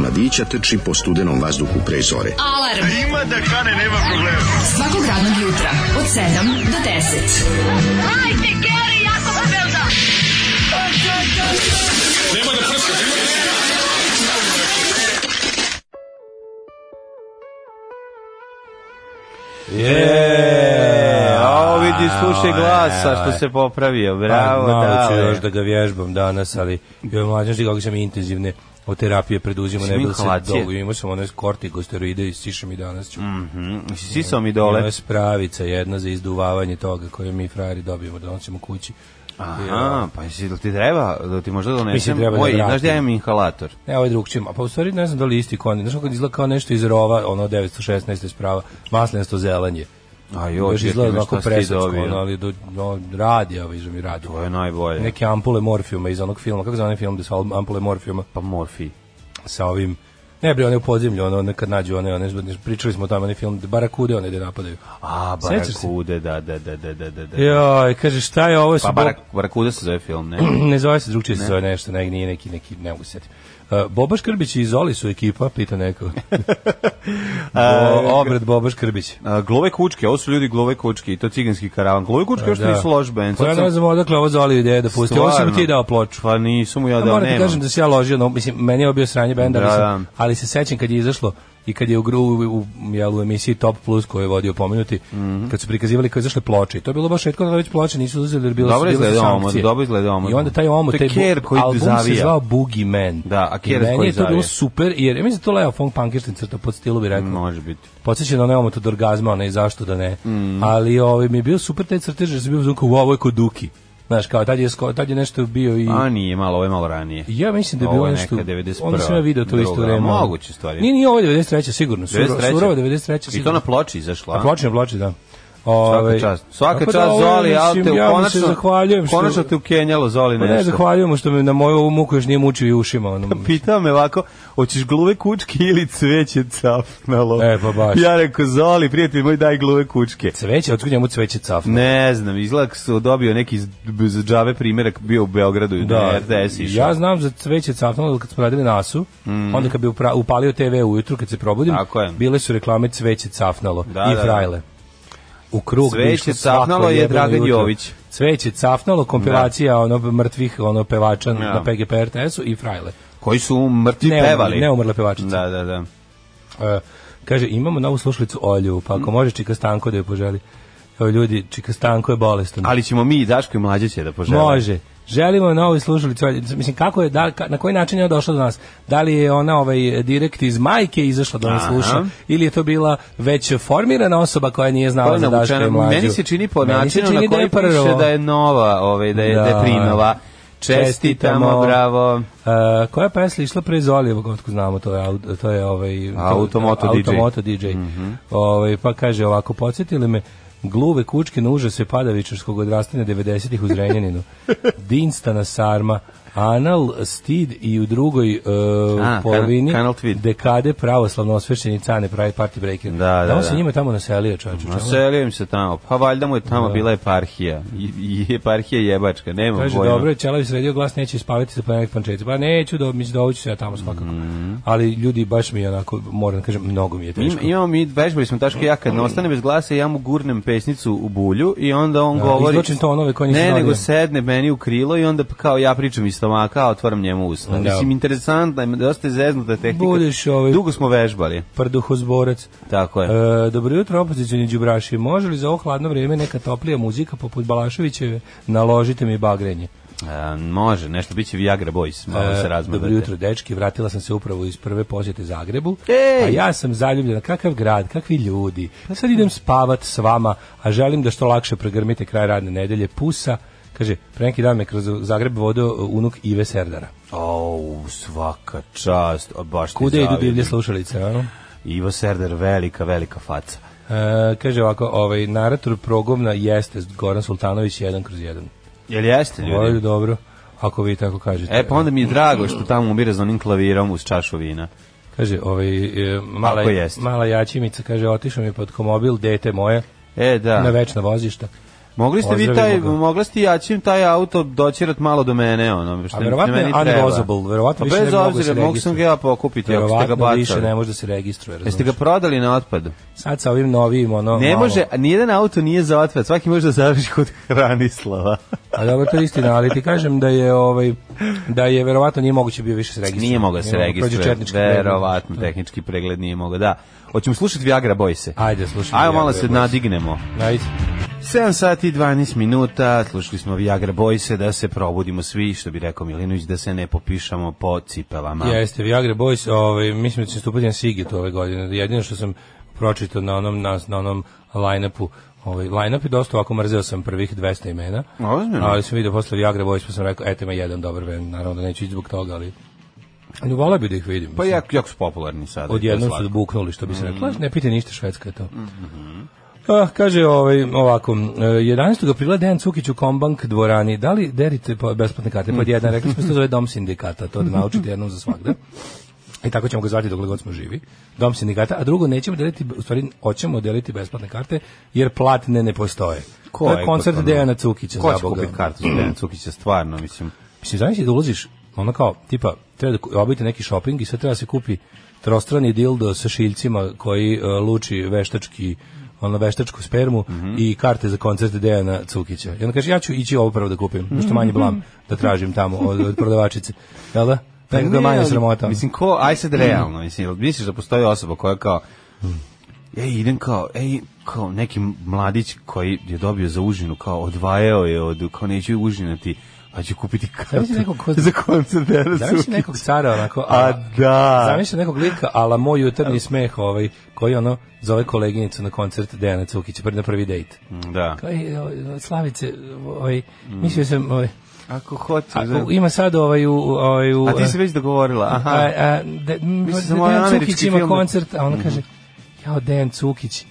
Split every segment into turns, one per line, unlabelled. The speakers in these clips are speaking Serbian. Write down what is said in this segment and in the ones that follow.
mladića teči po studenom vazduhu pre zore.
Alarm!
A ima da kane, nema problema.
Svakog radnog jutra, od 7 do 10.
Hajde, Geri, jako se velda!
Nema da prskaš, ima da
Yeah. E, A ovo vidi, slušaj glasa što se popravio. Bravo,
pa,
da.
Malo ću još da ga vježbam danas, ali joj mlađan kako sam intenzivne od terapije preduzimo, ne
Mislim,
bi da se
inhalacije.
dolgo imao sam onaj kortikosteroide i sišam i danas ću. Mm,
Mhm. Sisao mi dole.
Ima spravica jedna za izduvavanje toga koje mi frajeri dobijemo, da donosimo kući.
Aha, pa jesi da ti treba, da ti možda donesem?
Mislim, treba da
Oj,
vratim.
znaš da ja imam inhalator?
Ne, ovaj drug čim, a pa u stvari ne znam da li je isti koni. Znaš kako izgleda kao nešto iz rova, ono 916 sprava, maslenasto zelanje.
A
Još izgleda onako presacko, ono,
dobio.
ali do, no, radi, ovo izum i radi.
To je najbolje.
Neke ampule morfijuma iz onog filma, kako zove onaj film da su ampule morfijuma?
Pa morfi.
sa ovim ne bre one u podzemlju ono one kad nađu one one pričali smo o tome onaj film barakude one da napadaju
A,
Sjećaš se?
barakude, da, da, da, da, da, da. da.
joj kaže šta je ovo
Pa
sa
barak, barakuda se zove film, ne?
ne zove se drugčije se zove nešto ne, nije neki neki ne mogu se setiti Uh, Boba Škrbić i Zoli su ekipa, pita neko. Bo, obred Boba Škrbić.
A, glove kučke, ovo su ljudi glove kučke i to ciganski karavan. Glove kučke još
Da.
nisu loš band.
Pa ja
sad sam-
ne znam odakle ovo Zoli ideja da pusti. Ovo si mu ti
Stvarno.
dao ploču.
Pa nisu mu ja
Da,
dao,
moram ti
nema.
kažem da se ja ložio, no, mislim, meni je ovo bio sranje benda,
Da,
ali,
da.
sam, ali se sećam kad je izašlo i kad je u, gru, u, u, jel, u emisiji Top Plus koju je vodio pomenuti,
Mhm.
kad su prikazivali kao izašle ploče. I to je bilo baš retko da već ploče nisu uzeli jer bilo
Dobro
su bile su
izgleda omot,
sankcije.
dobro izgleda omot.
I onda taj omo,
To je
taj bu-
Kerr koji
album se
zavija.
zvao Boogie Man.
Da, a
I
Kerr
meni
koji
je to bilo
zavija.
super, jer ja mislim da to Leo Fong Punkerstein crta pod stilu bi rekao.
Može biti.
Podseća na neomot od orgazma, onaj zašto da ne.
Mhm.
Ali ovaj mi je bio super taj crtež, jer sam bio u zvuku, ovo je kod Duki. Znaš, kao tad je, sko- tad je nešto bio i...
A nije, malo, ovo je malo ranije.
Ja mislim da je
Ovo
bilo
je
nešto...
neka 91.,
Onda sam ja video to u isto
druga,
vreme.
moguće stvari.
Nije, nije ovo je 93. sigurno. 93.
93..
Surova 93.
I to
sigurno.
na ploči izašlo, a?
Na ploči, na ploči, da. Ovaj,
Svaka čast. Svaka
tako da,
čast
ovo,
Zoli,
mislim,
ali te
ja mu se
konačno
zahvaljujem što-
Konačno te ukenjalo Zoli
Pa
nešto.
ne, zahvaljujemo što me na moju ovu muku još nije mučio i ušima. Ono.
Pitao me ovako, hoćeš gluve kučke ili cveće cafnalo?
E, pa baš.
Ja rekao, Zoli, prijatelj moj, daj gluve kučke.
Cveće, otkud njemu cveće cafno?
Ne znam, izgleda su dobio neki z- b- z- džave primjerak, bio u Beogradu i da, RTS išao. Mm.
ja znam za cveće cafnalo kad smo radili nasu, onda kad bi upra- upalio TV ujutru kad se probudim,
Tako je.
bile su reklame cveće cafnalo
Da,
i
da,
frajle. U krug bi
Cveće
išlo svako
cafnalo je
jebeno
Dragan
jutro.
Jović. Da.
Cveće cafnalo, kompilacija ono mrtvih ono pevača
Ja.
na PGP RTS-u i frajle.
Koji su mrtvi
Ne umrli,
pevali.
ne umrle pevačice.
Da, da, da.
E, kaže, imamo novu slušalicu Olju, pa
Mm.
ako može Čika Stanko da je poželi. Evo ljudi, Čika Stanko je bolestan.
Ali ćemo mi, Daško i Mlađe će da požele.
Može. Želimo novu slušalicu. Mislim kako je da ka- na koji način je ona došla do nas? Da li je ona ovaj direkt iz majke izašla da nas
Aha.
sluša ili je to bila već formirana osoba koja nije znala
Ovo je
za Daška i
navučeno.
mlađu?
Pa Meni se čini po
Meni se
načinu
čini
na koji
da je prvo.
piše da je nova, ovaj, da je, da.
Da.
je prinova. Čestitamo, bravo.
E, koja pesma je išla pre Zolijevog, otko znamo, to je, au- to je ovaj, to-
Automoto Mhm. DJ.
Automoto DJ. ovaj, pa kaže ovako, podsjetili me gluve kučke na užase padavičarskog odrastanja 90-ih u Zrenjaninu. Dinstana sarma, anal, stid i u drugoj e,
A,
polovini
Kanal- Kanal Tweed.
dekade pravoslavno osvešćeni cane pravi party breaker.
Da, da,
on
da.
se njima tamo naselio, čovječe. čemu?
Naselio im se tamo. Pa valjda mu je
Da.
tamo bila eparhija. I, i eparhija jebačka, nema
Kaže,
pojma.
dobro je, Čelavi sredio glas, neće ispaviti za planet pančetica. Pa neću, do, mislim, dovuću se ja tamo svakako. Ali ljudi, baš mi je onako, moram da kažem, mnogo mi je
Im,
teško.
imamo mi, vežbali smo taško ja kad ne ostane bez glasa, ja mu gurnem pesnicu u bulju i onda on
Da,
govori...
izvlačim tonove koje nisam
Ne, nego
radio.
sedne meni u krilo i onda kao ja pričam iz stomaka, a otvaram njemu usta.
Da.
Mislim, interesantna je, dosta je zeznuta tehnika.
Budeš, ovaj-
Dugo smo vežbali,
Prduhozborac.
tako je.
E, dobro jutro, opozicioni đubraši. Može li za ovo hladno vrijeme neka toplija muzika poput Balaševićeve? Naložite mi bagrenje.
A, E, može, nešto biće Viagra Boys, malo
E,
se razmadate.
Dobro jutro, dečki. Vratila sam se upravo iz prve posjete Zagrebu.
Ej!
A ja sam zaljubljena. Kakav grad, kakvi ljudi. Sad idem spavat s vama, a želim da što lakše pregrmite kraj radne nedelje. Pusa, kaže, pre neki dan me kroz Zagreb vodio unuk Ive Serdara.
Au, svaka čast, a baš ti
Kude idu
zavidim.
divlje slušalice, a?
Ivo Serdar, velika, velika faca.
E, kaže ovako, ovaj, narator progomna jeste Goran Sultanović 1 kroz 1.
Jel jeste,
Ovo je
ljudi?
dobro, ako vi tako kažete.
E, pa onda mi je drago što tamo umire za onim klavirom uz čašu vina.
Kaže, ovaj, e, mala,
Tako jeste.
mala jačimica, kaže, otišao mi je pod komobil, dete moje,
E, da.
na večna vozišta.
Mogli ste vi taj,
Pozdravimo ga.
mogli ste jačim taj auto doćerat malo do mene, ono, što
A verovatno
meni
je
treba.
unvozable, verovatno
Pa
više ne
bez
bi mogao
obzira,
se
mogu sam ga ja pokupiti, ako ste ga
Verovatno više ne
bacali.
može da se registruje.
Jeste
razumiješ.
ga prodali na otpadu?
Sad sa ovim novim, ono...
Ne
malo-
može, nijedan auto nije za otpad, svaki može da završi kod Hranislava.
A dobro, to je istina, ali ti kažem da je, ovaj, da je verovatno nije moguće bio više se registrovati.
Nije mogao da se registruje,
Da.
verovatno, tehnički pregled nije mogao, da. Hoćemo slušati Viagra Boyse.
Ajde, slušaj.
Ajmo malo se nadignemo. 7 sati i 12 minuta, slušali smo Viagra Boyse, da se probudimo svi, što bi rekao Milinović, da se ne popišamo po cipelama.
Jeste, Viagra Boys, ovaj, mislim da će stupati na Sigit ove godine. Jedino što sam pročitao na onom, na, na onom line-upu, ovaj, line-up je dosta ovako mrzeo sam prvih 200 imena,
Ozbiljno?
ali sam vidio posle Viagra Boys pa sam rekao, eto ima jedan dobar band, naravno da neću ići zbog toga, ali ne volao bi da ih vidim.
Pa
mislim.
jako, jako su popularni sad.
Odjednom su buknuli, što bi se reklo.
Mm.
Ne pite ništa, Švedska je to.
Mm-hmm.
Ah, kaže ovaj, ovako, e, 11. aprila Dejan Cukić u Kombank dvorani. Da li derite po, besplatne karte? Pod jedan, rekli smo da se to zove dom sindikata, to da naučite jednom za svakda. I tako ćemo ga zvati dokle god smo živi. Dom sindikata, a drugo nećemo deliti, u stvari hoćemo deliti besplatne karte jer platne ne postoje.
Ko
to
je
je koncert
potpuno-
Dejana Cukića,
Ko
za
će
Boga.
kupiti kartu za Dejan Cukića, stvarno, mislim.
Mislim, zamisli da ulaziš, ono kao, tipa, treba da ku- obavite neki shopping i sad treba da se kupi trostrani dildo sa šiljcima koji e, luči veštački ono veštačku spermu
Mhm.
i karte za koncert Dejana Cukića. I onda kaže, ja ću ići ovo prvo da kupim, što manje
Mhm.
blam da tražim tamo od, od prodavačice. Jel da? Nekako je
Pa Ne,
manje
ali,
sramota. Mm.
Mislim, ko, aj sad realno, mislim, jel misliš da postoji osoba koja kao, ej, idem kao, ej, kao neki mladić koji je dobio za užinu, kao odvajao je od, kao neću užinati, pa ću kupiti kartu
Zamisli nekog ko-
za koncert Dejana
Zamisli
Cukića.
nekog cara onako, a,
A da.
Zamisli nekog lika, ala moj jutarnji smeh ovaj, koji ono zove koleginicu na koncert Dejana Cukića, prvi na prvi dejt.
Da.
Kao, ej, o- Slavice, ovaj, mislio sam, ovaj,
Ako hoćeš.
A,
da.
u- ima sad ovaj u... Ovaj, u
A ti si već dogovorila,
a,
aha.
a, de,
Mislim,
Mislim, da
ovaj
Dejan
američki
Cukić ima
film. Mhm.
koncert, a ona kaže, jao, Dejan Cukić,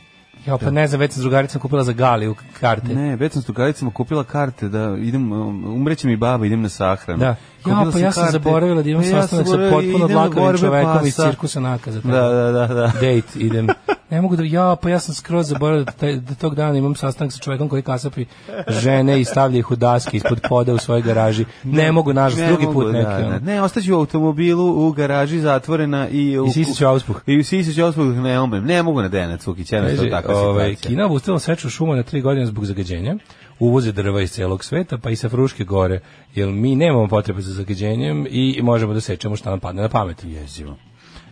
Ja pa ne znam, već sam s drugaricom kupila za Galiju karte.
Da. Ne, već sam s drugaricama kupila karte da idem, um, umreće mi baba, idem na sahranu.
Da. Ja,
Kupila
pa ja sam zaboravila da imam
E, ja sam
sastanak sa
zaboravila,
potpuno
idem na
dlakavim
borbe
čovekom iz
pasa.
cirkusa nakaza, tako.
Da, da, da. da.
date idem. Ne mogu da, ja, pa ja sam skroz zaboravio da, taj, da tog dana imam sastanak sa čovekom koji kasapi žene i stavlja ih u daske ispod poda u svojoj garaži. Ne mogu, nažalost,
Ne
drugi
mogu,
put neki.
Da,
ono.
da. Ne, ostaću u automobilu u garaži zatvorena i... U,
I sisit ću auspuh.
I u sisiću auspuh ne umrem. Ne mogu na Dejana Cukić, jednostavno
Kaže,
takva
ovaj,
situacija.
Kina obustavila seču šuma na tri godine zbog zagađenja, uvoze drva iz celog sveta, pa i sa Fruške gore, jer mi nemamo potrebe za zagađenjem i možemo da sečemo šta nam padne na pamet.
Jezivo.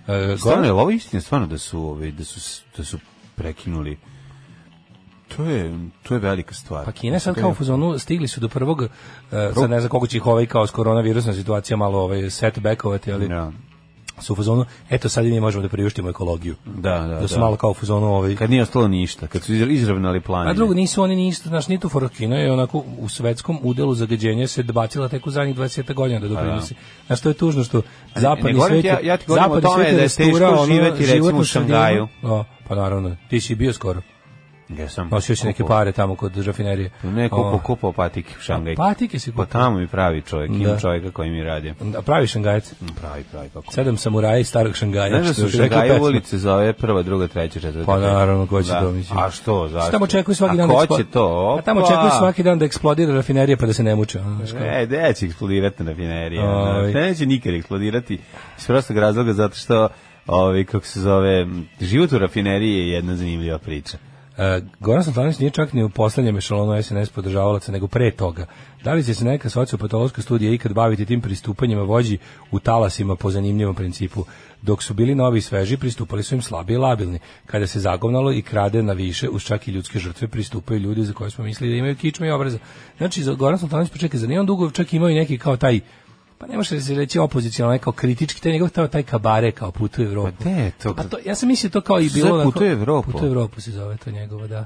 E,
Stvarno je li ovo istina stvarno da su ovaj da su da su prekinuli To je to je velika stvar.
Pa Kina je sad kao u fazonu stigli su do prvog, uh, sad ne znam koliko će ih ovaj kao s koronavirusna situacija malo ovaj setbackovati, ali
Da,
su u fazonu, eto sad i mi možemo da priuštimo ekologiju.
da, da.
Da su malo kao u fazonu ovaj...
kad nije ostalo ništa, kad su izra- izravnali planine.
A drugo, nisu oni ni isto, znaš, nije tu for Kina je onako u svetskom udelu zagađenja se bacila tek u zadnjih 20 godina
Pa
da doprinosi. Znaš, to je tužno što zapadni
govorim
svet
ti,
je,
ja- ja ti govorim o
zapadni
tome
svet
da je teško
rasturao ono
živeti, recimo,
životnu
u Šangaju.
sredinu. O, pa naravno, ti si bio skoro.
Jesam.
Nosio si neke
Kupo-
pare tamo kod rafinerije.
Pa Ne, kupo,
O,
kupo patike u Šangaj.
Patike si
Pa
kupio.
tamo mi pravi čovjek, ima
Da.
čovjeka koji mi radi.
A pravi Šangajec?
Pravi, pravi, kako.
Sedam samuraja iz starog Šangaja.
Znaš da
što bi
su
rekla
Šangaju
pesma.
ulice zove prva, druga, treća, četvrta.
Pa
peta.
naravno, ko će
Da.
to mislim.
A što, zašto?
Tamo očekuju svaki dan da
A ko
eksplo-
će to?
A tamo
Opa!
očekuju svaki dan da eksplodira rafinerija pa da se ne muče. ono, znaš kao.
E, da će eksplodirati rafinerija.
Ovaj.
Da, neće nikad eksplodirati iz prostog razloga zato što ovaj kako se zove m, život u rafineriji je jedna zanimljiva priča.
E, Goran Santanović nije čak ni u poslednjem ešalonu SNS podržavalaca, nego pre toga. Da li će se neka sociopatološka studija ikad baviti tim pristupanjima vođi u talasima po zanimljivom principu? Dok su bili novi i sveži, pristupali su im slabi i labilni. Kada se zagovnalo i krade na više, uz čak i ljudske žrtve, pristupaju ljudi za koje smo mislili da imaju kičme i obraza. Znači, za Goran Santanović, počekaj, za nije on dugo čak imao i neki kao taj pa ne može se reći opozicionalno, kao kritički, taj njegov taj, taj kabare kao putuje u Evropu.
gde je to?
Pa to, ja sam mislio to kao i
Zove
bilo... onako-
Putuje u Evropu?
Putuje u Evropu se zove to njegovo, da.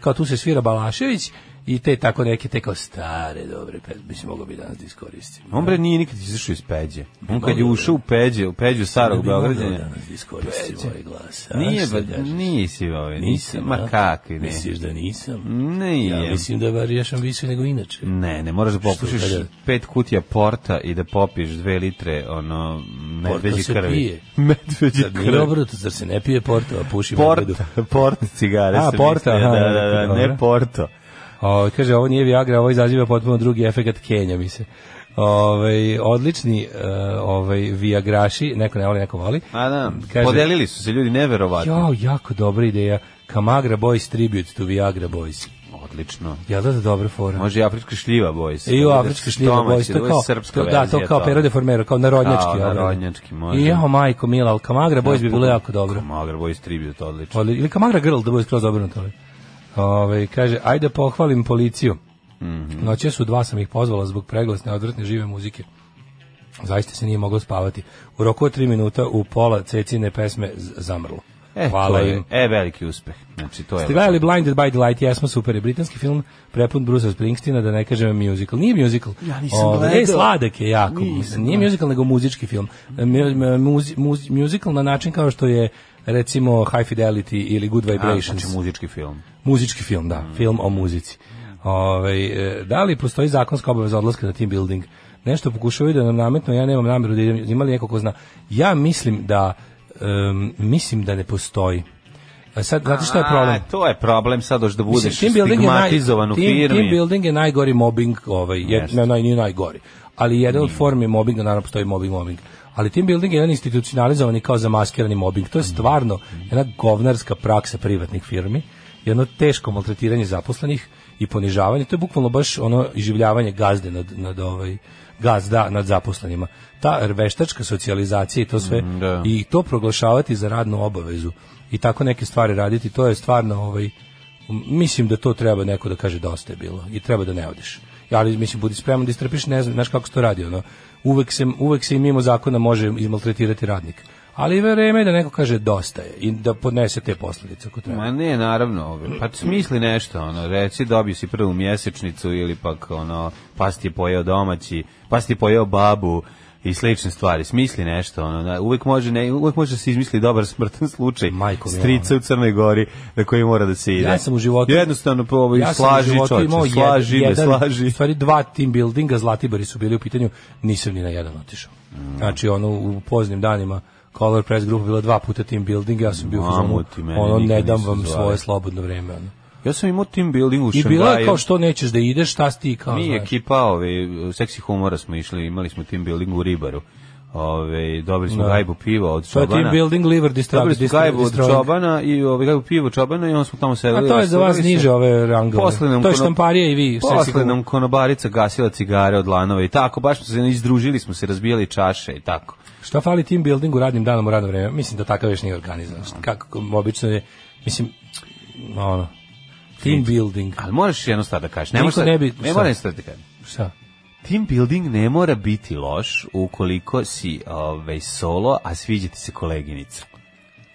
Kao tu se svira Balašević i te tako neke, te kao stare, dobre, pe, bi se mogao bi danas da iskoristim.
On bre nije nikad izašao iz peđe. On kad je ušao u peđe, u peđu starog Beograđana.
danas da iskoristim ovaj glas. a?
Nije,
Šta da
ba,
kažeš?
nisi, ovaj, nisi,
Nisam,
ma
a?
kakvi, ne.
Misliš da nisam?
Nije.
Ja mislim da bar ješam više nego inače.
Ne, ne, moraš da popušiš
Što, kada-
pet kutija porta i da popiješ dve litre, ono, medveđe
se
krvi.
pije.
Medveđe
Zar nije
krvi.
obrnuto, zar se ne pije porto, a puši medvedu?
Port, port cigare.
A,
sam
porta,
mislio,
aha,
da, da, da,
dobro.
ne porto.
O, kaže, ovo nije Viagra, ovo izaziva potpuno drugi efekat Kenja, mi se. Ovaj odlični e, ovaj Viagraši, neko ne voli, neko voli.
A da,
Kaže-
podelili su se ljudi neverovatno.
Jao, jako dobra ideja. Kamagra Boys tribute to Viagra Boys.
Odlično.
Jel da je dobra fora?
Može da i afrička šljiva boys.
I u afrički E, šljiva Boys, to kao,
srpska
to, da, to kao Pero de Formero, kao narodnjački.
Kao
ono.
narodnjački, može.
I jao, majko, mila, ali Kamagra Boys bi bilo jako dobro.
Magar boys tribute, odlično.
Oli- Ili Kamagra Girl, da bude skroz obrnuto. ali. Ovaj, kaže, ajde pohvalim policiju.
Mhm.
Noće su dva sam ih pozvala zbog preglasne, odvratne žive muzike. Zaista se nije moglo spavati. U roku od tri minuta u pola cecine pesme z- zamrlo.
E,
Hvala
to je,
im.
E, veliki uspeh. Znači, to je...
Ste gledali Blinded by the Light, jesmo super, je britanski film prepun Brusa Springsteena, da ne kažem musical. Nije musical.
Ja nisam
Ovaj,
gledao.
E, sladak je jako. Mislim, Nije musical, nego muzički film. E, mu- mu- muzi- muzi- musical na način kao što je recimo High Fidelity ili Good
A,
Vibrations.
znači, muzički film.
Muzički film, da, film o muzici. Ovaj, e, da li postoji zakonska obaveza odlaska na team building? Nešto pokušavaju da nam nametnu, ja nemam nameru da idem, ima li neko ko zna? Ja mislim da, em, mislim da ne postoji. A sad, znate šta je problem?
A, to je problem sad još da budeš
team building je naj-
stigmatizovan u
team-
firmi.
Team building je najgori mobbing, ovaj, jed,
Jeste. Mm.
ne, naj, nije najgori. Ali jedan od formi mobbinga, naravno postoji mobbing, mobbing. Ali team building je jedan institucionalizovani kao zamaskirani mobbing.
Mm.
To je stvarno jedna govnarska praksa privatnih firmi, jedno teško maltretiranje zaposlenih i ponižavanje. To je bukvalno baš ono iživljavanje gazde nad, nad ovaj, gazda nad zaposlenima. Ta veštačka socijalizacija i to sve
da.
i to proglašavati za radnu obavezu i tako neke stvari raditi, to je stvarno ovaj mislim da to treba neko da kaže dosta je bilo i treba da ne odeš. Ja ali mislim budi spreman da istrpiš, ne znam, znaš kako se to radi ono. Uvek se uvek se i mimo zakona može izmaltretirati radnik. Ali vreme je da neko kaže dosta je i da podnese te posledice ako treba.
Ma ne, naravno, ovaj, pa smisli nešto, ono, reci dobio si prvu mjesečnicu ili pak, ono, pas ti je pojeo domaći, pas ti je pojeo babu, i slične stvari. Smisli nešto, ono, da, uvek može, ne, uvek može da se izmisli dobar smrtan slučaj
Majko mila,
strica u Crnoj Gori na koji mora da se ide.
Ja sam u životu-
Jednostavno, po ovaj,
ja sam u
slaži
životu imao
čoče,
jed-
slaži me,
jedan,
slaži.
U stvari dva team buildinga, Zlatibori su bili u pitanju, nisam ni na jedan otišao.
Mm.
Znači, ono, u poznim danima Color Press grupa bila dva puta team building, ja sam bio u fazonu,
Mamuti, mene
ono,
nikad
ne dam
nisu
vam
zvali.
svoje slobodno vreme. Ono.
Ja sam imao team building u
I
Šangaju.
bilo je kao što nećeš da ideš, šta si ti kao,
Mi
znaš.
ekipa, ove, seksi humora smo išli, imali smo team building u Ribaru. Ove, dobili smo
Da.
gajbu piva od
To je
Čobana.
team building, da, liver
Dobili smo
distract,
gajbu od
distract.
Čobana i ove, gajbu pivo Čobana i onda smo tamo sedeli.
A to je za vas
rasturili se.
niže ove rangove.
Posle nam
To je
kono-
štamparija i vi, seksi
Posle
humor.
nam konobarica gasila cigare od lanova i tako, baš smo se izdružili, smo se razbijali čaše i tako.
Šta fali team building u radnim danom u radno vreme? Mislim da takav još nije organizovan. Šta- Kako obično je, mislim, ono, team building.
Ali moraš jedno stvar da kažeš. Ne,
Niko
možeš sad-
ne bi-
ne
šta?
moram stvar da kažem.
Šta?
Team building ne mora biti loš ukoliko si ovaj, solo, a sviđa ti se koleginica.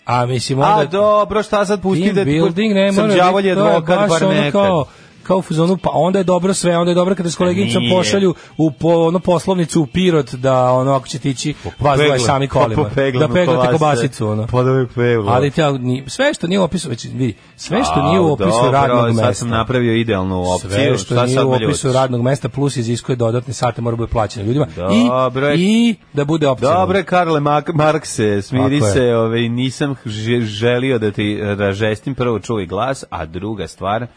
A mislim, onda...
A dobro, šta sad pusti
team
da ti-
building ne
sam
mora
đavolji
biti, to je
advokat
baš
bar
ono
nekad. Pa
kao kao u fuzonu, pa onda je dobro sve, onda je dobro kada s koleginicom
Nije.
pošalju u po, ono poslovnicu u Pirot da ono ako ćete ići vas dvoje
Pegle-
sami kolima,
po- po peglanu
da peglate
kobasice.
kobasicu ono.
Pa da mi pegla.
Ali te, ni, sve što nije u opisu, već vidi, sve što nije u
Au,
opisu
dobro,
radnog mesta.
Sad sam napravio idealnu opciju.
Sve što
šta
nije
sad
u
me ljutiš?
opisu radnog mesta plus iziskuje dodatne sate mora bude plaćeno ljudima
Dobro je.
i i da bude opcionalno.
Dobro je, Karle Mak Markse, smiri
Tako je.
se, ovaj, nisam ž- želio da ti ražestim, prvo čuvaj glas, a druga stvar,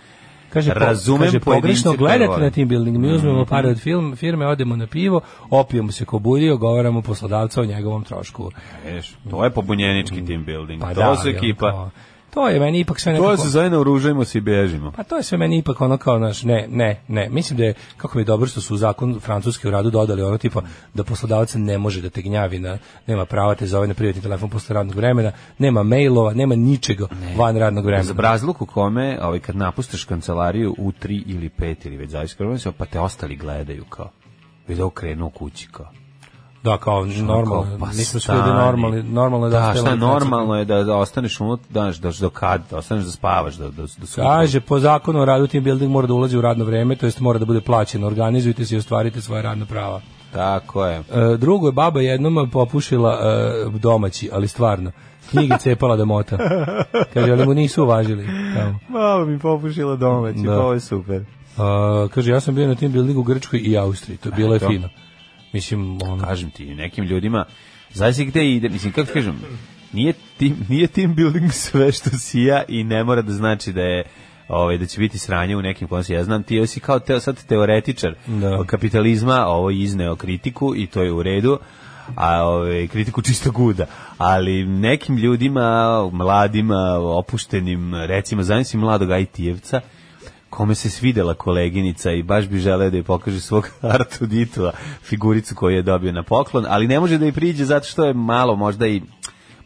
Kaže, po-
razumem
kaže,
pojedince
pogrešno
koji
gledate
vole. Mhm.
na team building, mi uzmemo pare od film, firme, odemo na pivo, opijemo se ko budio, govaramo poslodavca o njegovom trošku.
Eš, to je pobunjenički team building,
Pa
to
da,
su
ali ono
ekipa.
kao, To je meni ipak sve nekako...
To se zove naoružajmo se i bežimo.
Pa to je sve meni ipak ono kao, znaš, ne, ne, ne. Mislim da je, kako mi je dobro što su u zakon francuski u radu dodali ono tipa da poslodavac ne može da te gnjavi, na, nema prava te zove na privatni telefon posle radnog vremena, nema mailova, nema ničega van radnog vremena.
Za brazluk u kome, ovaj, kad napustiš kancelariju u 3 ili 5 ili već zavisno, kako se, pa te ostali gledaju kao, vidi okrenuo kući kao.
Da, kao normalno,
Kao, pa
mi smo svi
stani.
ljudi normalni, normalno je da,
da
ste
šta
lepo-
normalno je da, da ostaneš unut, da, da, do kad, da ostaneš da spavaš, da, da, da sutra.
Kaže, po zakonu o radu team building mora da ulazi u radno vreme, to jest mora da bude plaćen. Organizujte se i ostvarite svoje radno prava.
Tako je.
E, drugo je baba jednom popušila e, domaći, ali stvarno. Knjige cepala da mota. Kaže, ali mu nisu uvažili. Tamo.
Malo mi popušila domaći,
Da. pa ovo
je super.
E, kaže, ja sam bio na tim buildingu u Grčkoj i Austriji. To bilo je
Eto.
fino. Mislim, ono,
Kažem ti, nekim ljudima, zavisi gde ide, mislim, kako ti kažem, nije tim, nije tim building sve što si ja i ne mora da znači da je ovaj da će biti sranje u nekim konci. Ja znam ti si kao teo sad teoretičar
Da.
kapitalizma, ovo je izneo kritiku i to je u redu. a ove, kritiku čisto guda, ali nekim ljudima, mladima, opuštenim, recimo, zamisli mladog IT-evca, kome se svidela koleginica i baš bi želeo da je pokaže svog Artu Ditua figuricu koju je dobio na poklon, ali ne može da je priđe zato što je malo možda i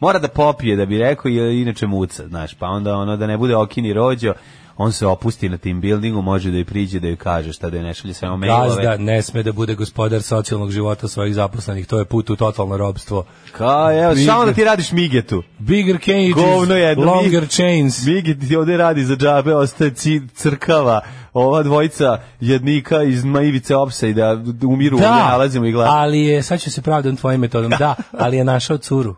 mora da popije da bi rekao jer inače muca, znaš, pa onda ono da ne bude okini rođo, on se opusti na tim buildingu, može da je priđe da joj kaže šta da je ne šalje samo mailove.
gazda ne sme da bude gospodar socijalnog života svojih zaposlenih. To je put u totalno robstvo.
Kao, evo, samo da ti radiš migetu.
Bigger cages,
Govno da jedno.
longer chains.
Migi ti ovde radi za džabe, ostaje ci, crkava. Ova dvojica jednika iz Maivice Opsa i da umiru, da. nalazimo i gledamo.
ali je, sad ću se pravdam tvojim metodom, da, ali je našao curu.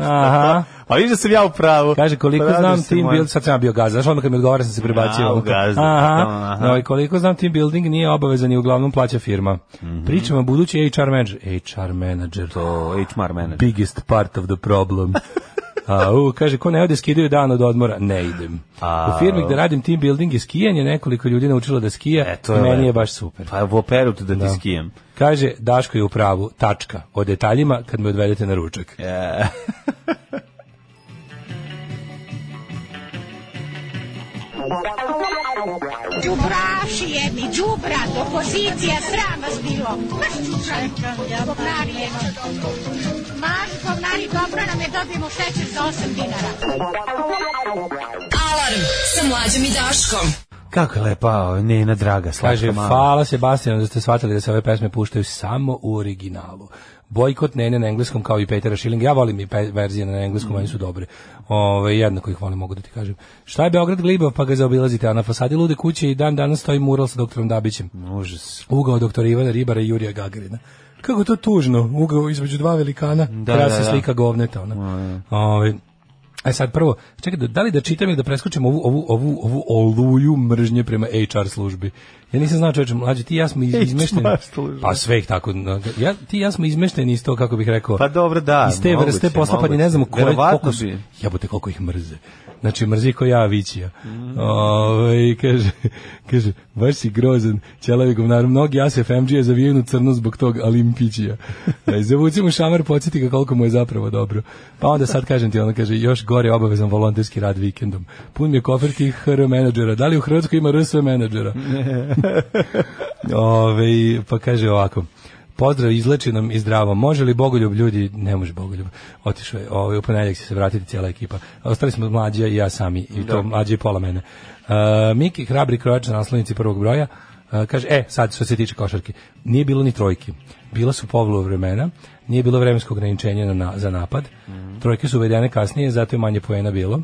Aha.
A vidiš da sam ja u pravu.
Kaže, koliko
Pravdaš
znam
se,
team
moja.
building, sad sam ja bio gazda, znaš onda kad mi odgovara sam se prebacio.
Au,
ono kao,
gazda,
aha,
da, aha.
No, i koliko znam team building nije obavezan i uglavnom plaća firma.
Mhm.
Pričamo o budući HR manager. HR manager,
To, HR manager.
biggest part of the problem. A, u, kaže, ko ne ode skidaju dan od odmora? Ne idem.
A,
u firmi gde radim team building i skijanje, nekoliko ljudi naučilo da skija,
E, to je
meni je
lepo.
baš super.
Pa u operu tu da ti skijem.
Kaže, Daško je u pravu, tačka, o detaljima kad me odvedete na ručak.
E,
Đubraši jedni, đubrat, opozicija, sram vas bilo. Maš čučaj, govnari jedno. Maš govnari, dobro nam je, dobijemo šećer za 8 dinara.
Alarm sa mlađom i Daškom.
kako je lepa, o, Nena draga, slatka
Kaže,
mala.
hvala Sebastianu da ste shvatili da se ove pesme puštaju samo u originalu. Bojkot Nene na engleskom kao i Petera Schilling. Ja volim i pe, verzije na engleskom, oni su dobre. Ove, jednako ih volim, mogu da ti kažem. Šta je Beograd Glibav, pa ga zaobilazite. A na fasadi lude kuće i dan danas stoji mural sa doktorom Dabićem.
Užas.
Ugao doktora Ivana Ribara i Jurija Gagarina. Kako to tužno, ugao između dva velikana,
Da,
da, da,
da, da.
slika govneta. Ona. Ovaj, E sad prvo, čekaj, da, da li da čitam ili da preskočim ovu, ovu, ovu, ovu oluju mržnje prema HR službi? Ja nisam znao čoveče, mlađe, ti i ja smo iz- izmešteni.
služba.
Pa sve ih tako, no, ja, ti i ja smo izmešteni iz to, kako bih rekao.
Pa dobro, da,
Iz te
moguće,
vrste posla, pa ni ne znamo
moguće.
koje,
Verovatno
koliko su,
bi.
jebote koliko ih mrze. Znači, mrzi ko ja, Avicija.
Mhm.
Ovaj, kaže, kaže, baš si grozan, ćelavi govnar, mnogi Asef MG je zavijen u crno zbog tog Alimpićija. Da, zavuci mu šamar, podsjeti ga koliko mu je zapravo dobro. Pa onda sad kažem ti, ona kaže, još gore obavezan volonterski rad vikendom. Pun mi je kofer tih HR menadžera. Da li u Hrvatskoj ima RSV menadžera? Ove, pa kaže ovako. Pozdrav, izleči nam i zdravo. Može li Bogoljub ljudi? Ne može Bogoljub. Otišao je, ovaj, u ponedjeljak će se vratiti cijela ekipa. Ostali smo mlađa i ja sami, i to mlađa i pola mene. Uh, Miki, hrabri krojač na naslovnici prvog broja, uh, kaže, e, sad što se tiče košarke, nije bilo ni trojki. Bila su povlu vremena, nije bilo vremenskog ograničenja na, na- za napad. Trojke su uvedene kasnije, zato je manje poena bilo. Uh,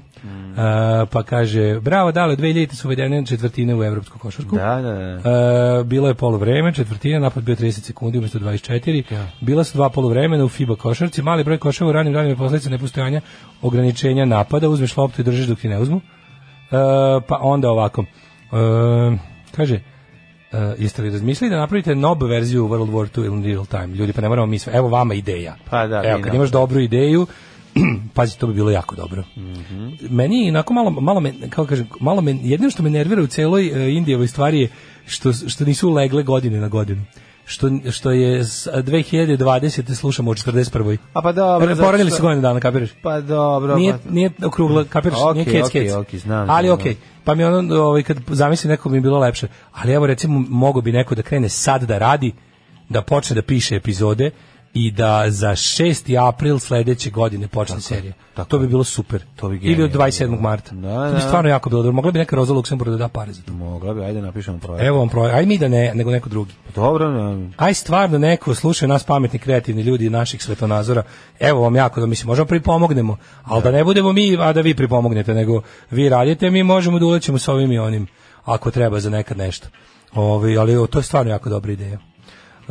pa kaže, bravo, dale, 2000 su uvedene četvrtine u evropsku košarku.
Da, da, da.
E, bilo je polovreme, četvrtina, napad bio 30 sekundi umesto 24. Bila su dva polovremena u FIBA košarci, mali broj koševa u ranim danima je posledica nepostojanja ograničenja napada, uzmeš loptu i držiš dok ti ne uzmu. E, pa onda ovako. E, kaže e, jeste li razmislili da napravite nob verziju World War 2 in real time? Ljudi, pa ne moramo mi sve. Evo vama ideja.
Pa da,
Evo,
vi
kad
nam.
imaš dobru ideju, pazi, to bi bilo jako dobro.
Mhm.
Meni je inako malo, malo me, kako kažem, malo me, jedino što me nervira u celoj e, Indijevoj stvari je što, što nisu legle godine na godinu. Što, što je s 2020. slušamo o 41.
A pa dobro,
Re-
zato
E, Poranili
što-
se godine dana, kapiraš?
Pa dobro,
Nije,
pa-
nije okrugla, kapiraš, nije
Okej,
kec,
okej,
kec.
okej, znam,
Ali
znam,
okej, pa mi ono, ovaj, kad zamislim neko bi mi bilo lepše. Ali evo recimo, mogo bi neko da krene sad da radi, da počne da piše epizode i da za 6. april sledeće godine počne serija.
tako
to bi
je.
bilo super.
To bi
Ili od
genijalno
27. marta.
Da,
To bi
da.
stvarno jako bilo dobro. Mogla bi neka Roza Luksemburg da da pare za to.
Mogla bi, ajde napišemo projekt.
Evo vam projekt. Aj mi da ne, nego neko drugi.
Dobro, ne,
Aj stvarno neko slušaju nas pametni kreativni ljudi naših svetonazora. Evo vam jako da mislim možemo pripomognemo, ali da ne budemo mi a da vi pripomognete, nego vi radite, mi možemo da ulećemo s ovim i onim ako treba za nekad nešto. Ovaj ali evo, to je stvarno jako dobra ideja.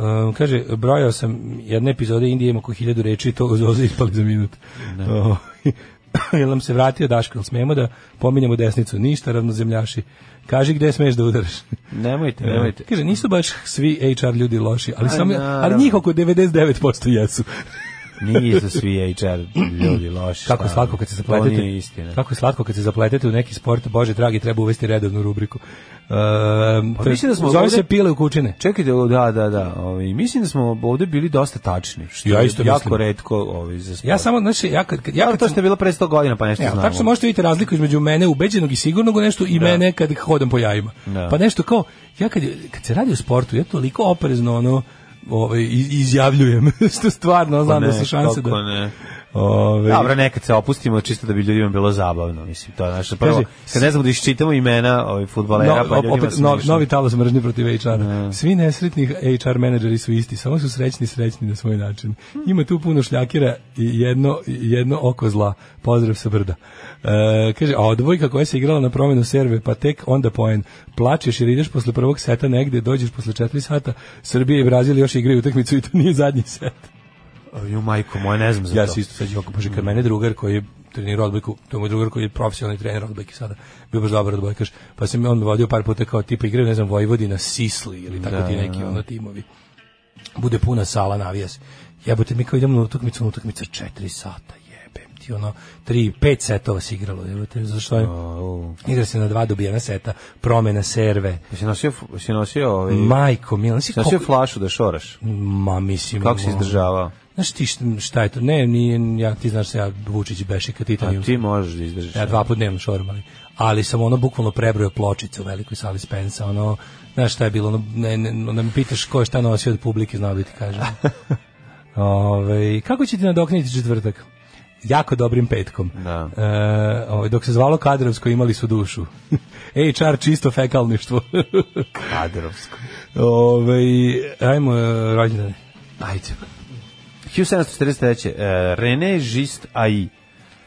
Um, kaže, brojao sam jedne epizode Indije ima oko hiljadu reči i to zoze ispali za minut. O, Jel nam se vratio Daško, jel smemo da pominjemo desnicu? Ništa, ravnozemljaši. Kaži gde smeš da udaraš.
nemojte, nemojte.
Da. Kaže, nisu baš svi HR ljudi loši, ali, samo, ali
naravno.
njih oko 99% jesu.
Nisu svi HR ljudi loši.
Kako je
stvarno.
slatko kad se
To
zapletete.
nije istina.
Kako je slatko kad se zapletete u neki sport, bože dragi, treba uvesti redovnu rubriku. Ehm, to je-
mislim da smo
zove
ovde-
se pile u kučine.
Čekajte, o, da, da, da. Ovi, mislim da smo ovde bili dosta tačni. Što
Ja
je
isto
jako
mislim.
retko ovi, za sport.
Ja samo, znači, ja kad, kad- ja
Ali
kad
to
sam-
što je bilo pre 100 godina, pa nešto
Ja,
znamo.
tačno možete vidjeti razliku između mene ubeđenog i sigurnog u nešto i mene kad hodam po jajima.
Da.
Pa nešto kao, ja kad, kad se radi o sportu, ja toliko oprezno ono, ovaj, iz- izjavljujem, što stvarno znam da
Pa ne,
su šanse
kako
da...
ne. Da,
Ovaj,
Dobro, nekad se opustimo čisto da bi ljudima bilo zabavno, mislim, to je naše prvo.
Kaže,
Kad ne znamo da iščitamo imena ovih fudbalera,
No,
pa ljudima
opet
se
no,
ništa. Da.
novi talas mržnje protiv HR. Svi nesretni HR menadžeri su isti, samo su srećni srećni na svoj način. Ima tu puno šljakira i jedno, jedno oko zla. Pozdrav sa brda. E, kaže, a odbojka koja se igrala na promenu serve, pa tek onda poen. Plačeš jer ideš posle prvog seta negde, dođeš posle četiri sata, Srbija i Brazil još igraju utakmicu i to nije zadnji set.
Ju majko moja, ne znam za
Ja
to.
se isto sad Joko Bože, kad mene drugar koji je trenirao odbojku, to je moj drugar koji je profesionalni trener odbojke sada, bio baš dobar odbojkaš, pa sam on me vodio par puta kao tipa igraju, ne znam, Vojvodina, Sisli ili tako
Da,
ti neki ono timovi. Bude puna sala, navija se. Jebote, mi kao idemo na utakmicu, na utakmica četiri sata, jebem ti, ono, tri, pet setova se igralo, jebote, zašto je?
Da.
Igra se na dva dobijena seta, promena serve,
Si nosio, f- si nosio, ovaj,
majko, milo, si
si nosio flašu da šoraš?
Ma, mislim...
Kako si
ono-
izdržavao?
Znaš ti šta- šta je to? Ne, nije, ja, ti znaš se ja Vučić Bešika
A
Titanijum.
ti možeš da izdržiš.
Ja dva put dnevno šoram, ali, ali sam ono bukvalno prebrojao pločice u velikoj sali Spensa, ono, znaš šta je bilo, ono, ne, ne, onda me pitaš ko je šta nosio od publike, znao bi ti kažem. Ove, kako ćete nadokniti četvrtak? Jako dobrim petkom.
Da.
E, ovaj, dok se zvalo kadrovsko imali su dušu. HR čisto fekalništvo.
Kadrovsko.
Ove, ajmo e, rođendane.
Ajde. 1743. Uh, René e, Gist Ai.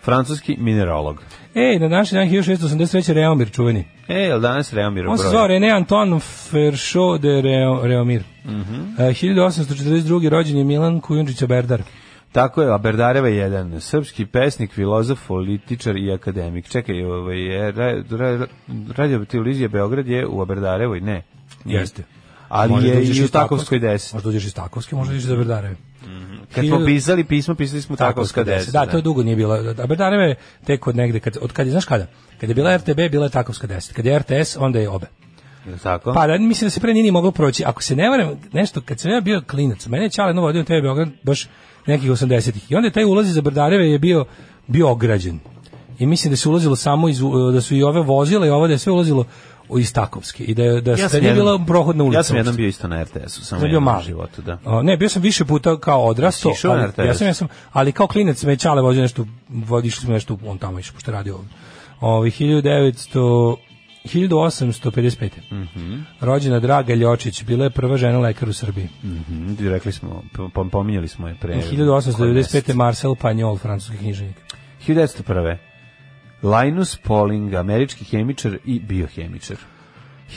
Francuski mineralog.
Ej, na današnji dan 1683. Reomir čuveni.
E, jel danas Reomir
On se
broj?
zvao René Anton Feršo de Reo, Reomir. Mm
Mhm.
-hmm. 1842. rođen je Milan Kujundžić Berdar.
Tako je, Aberdareva je jedan srpski pesnik, filozof, političar i akademik. Čekaj, ovaj je ra, ra, radio televizija Beograd je u Aberdarevoj, ne.
Jeste.
Ali
Možda
je
da uđeš
i u
iz
Takovskoj 10.
Možda uđeš iz Takovske, možda uđeš iz Aberdareve.
Kad smo
Hiljadu-
pisali pismo, pisali smo Takovska 10.
Da, to je dugo nije bila. Aberdareva je tek od negde, kad, od kad je, znaš kada? Kad je bila RTB, bila je Takovska 10. Kad je RTS, onda je obe.
Jel Tako?
Pa da, mislim da se pre nije ni moglo proći. Ako se ne varam, nešto, kad sam ja bio klinac, mene je Čale Novo vodio u TV Beograd baš nekih 80-ih. I onda je taj ulaz iz Aberdareve je bio, bio ograđen. I mislim da se ulazilo samo iz, u- da su i ove vozile i ovo da je sve ulazilo u- iz Takovske. I da, je- da, ja da nije bila prohodna ulica.
Ja sam jednom
uopšte.
bio isto na RTS-u, samo
Sam bio
jednom u
mali.
životu, da.
A, ne, bio sam više puta kao odrasto.
Jesi išao na
ali- Ja
RTS?
sam, ja sam, ali kao klinac me Čale vodio nešto, vodiš smo nešto, on tamo išao, pošto je radio ovdje. Ovi, 1900... 1855. Mm -hmm. Rođena Draga Ljočić, bila je prva žena lekar u Srbiji.
Mhm, Rekli smo, pom- pominjali smo je
Da,
pre.
1895. Marcel Pagnol, francuski knjiženik.
1901. Linus Pauling, američki hemičar i biohemičar.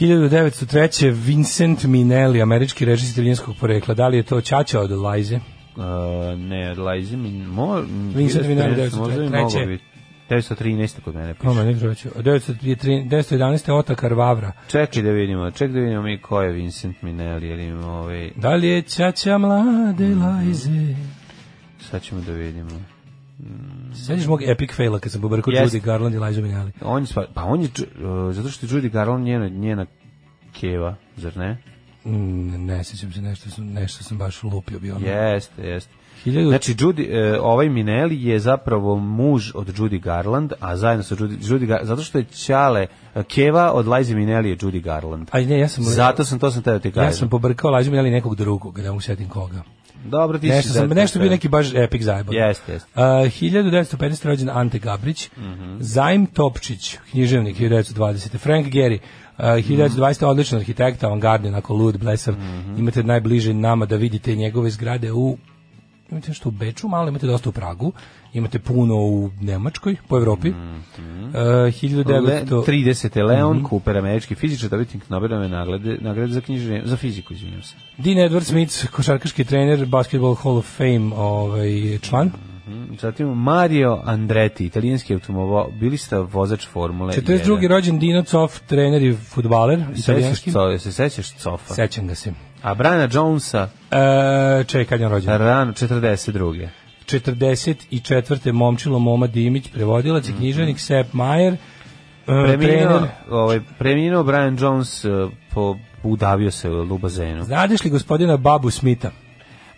1903. Vincent Minnelli, američki režis italijanskog porekla. Da li je to Čača od Lajze?
Uh, ne, Lajzi mi... Mo,
Vincent Minnelli,
1913, možda bi mogao
1903.
biti. 913 kod mene piše.
Oma, ne proći. 1911. Otakar Vavra.
Čekaj da vidimo, čekaj da vidimo mi ko je Vincent Minnelli, ili ima ovaj...
Da li je Čača mlade Lajze?
Sad ćemo da vidimo.
Sećaš mog epic faila kad sam pobrkao yes.
Jeste.
Judy Garland i Liza Minnelli.
On je, spa- pa on je, uh, zato što je Judy Garland njena, njena keva, zar ne?
Mm, ne sećam se, nešto sam, nešto sam baš lupio bio. ono.
Jeste, jeste.
Hiljadu-
Znači, Judy, e, ovaj Minelli je zapravo muž od Judy Garland, a zajedno sa Judy, Judy Garland, zato što je Ćale, e, Keva od Liza Minelli je Judy Garland.
Aj ne, ja sam...
Zato sam, to sam teo ti kažem.
Ja sam pobrkao Liza Minnelli i nekog drugog, da mu setim koga.
Dobro, ti si
Nešto, sam,
zato
nešto bio
teo.
neki baš epic zajebano.
Jeste, jeste.
Uh, 1950. rođen Ante Gabrić,
Mhm.
Zajm Topčić, književnik 1920. Frank Gehry, uh, 1920. odličan arhitekt, avangardni, onako lud, blesav.
Mhm.
Imate najbliže nama da vidite njegove zgrade u imate nešto u Beču, malo imate dosta u Pragu, imate puno u Nemačkoj, po Evropi. Uh,
Mhm. Le,
1900...
30. Leon
Mhm.
Cooper, američki fizičar, dobitnik Nobelove nagrade, nagrade za knjiženje, za fiziku, izvinjam se.
Dean Edward Smith, košarkaški trener, Basketball Hall of Fame ovaj, član.
Mhm. Zatim Mario Andretti, italijanski automobilista, vozač Formule
42. rođen Dino Cof, trener i futbaler, italijanski.
Pa Sećaš co, se sećaš Cofa?
Sećam ga se.
A Brana Jonesa,
E, čekaj, kad je on rođen?
rano 42.
44. momčilo Moma Dimić, prevodilac i književnik Sepp Majer, e,
Mhm. Preminuo,
trener.
ovaj, preminuo Brian Jones, eh, po, udavio se u bazenu.
Znadeš li gospodina Babu Smita?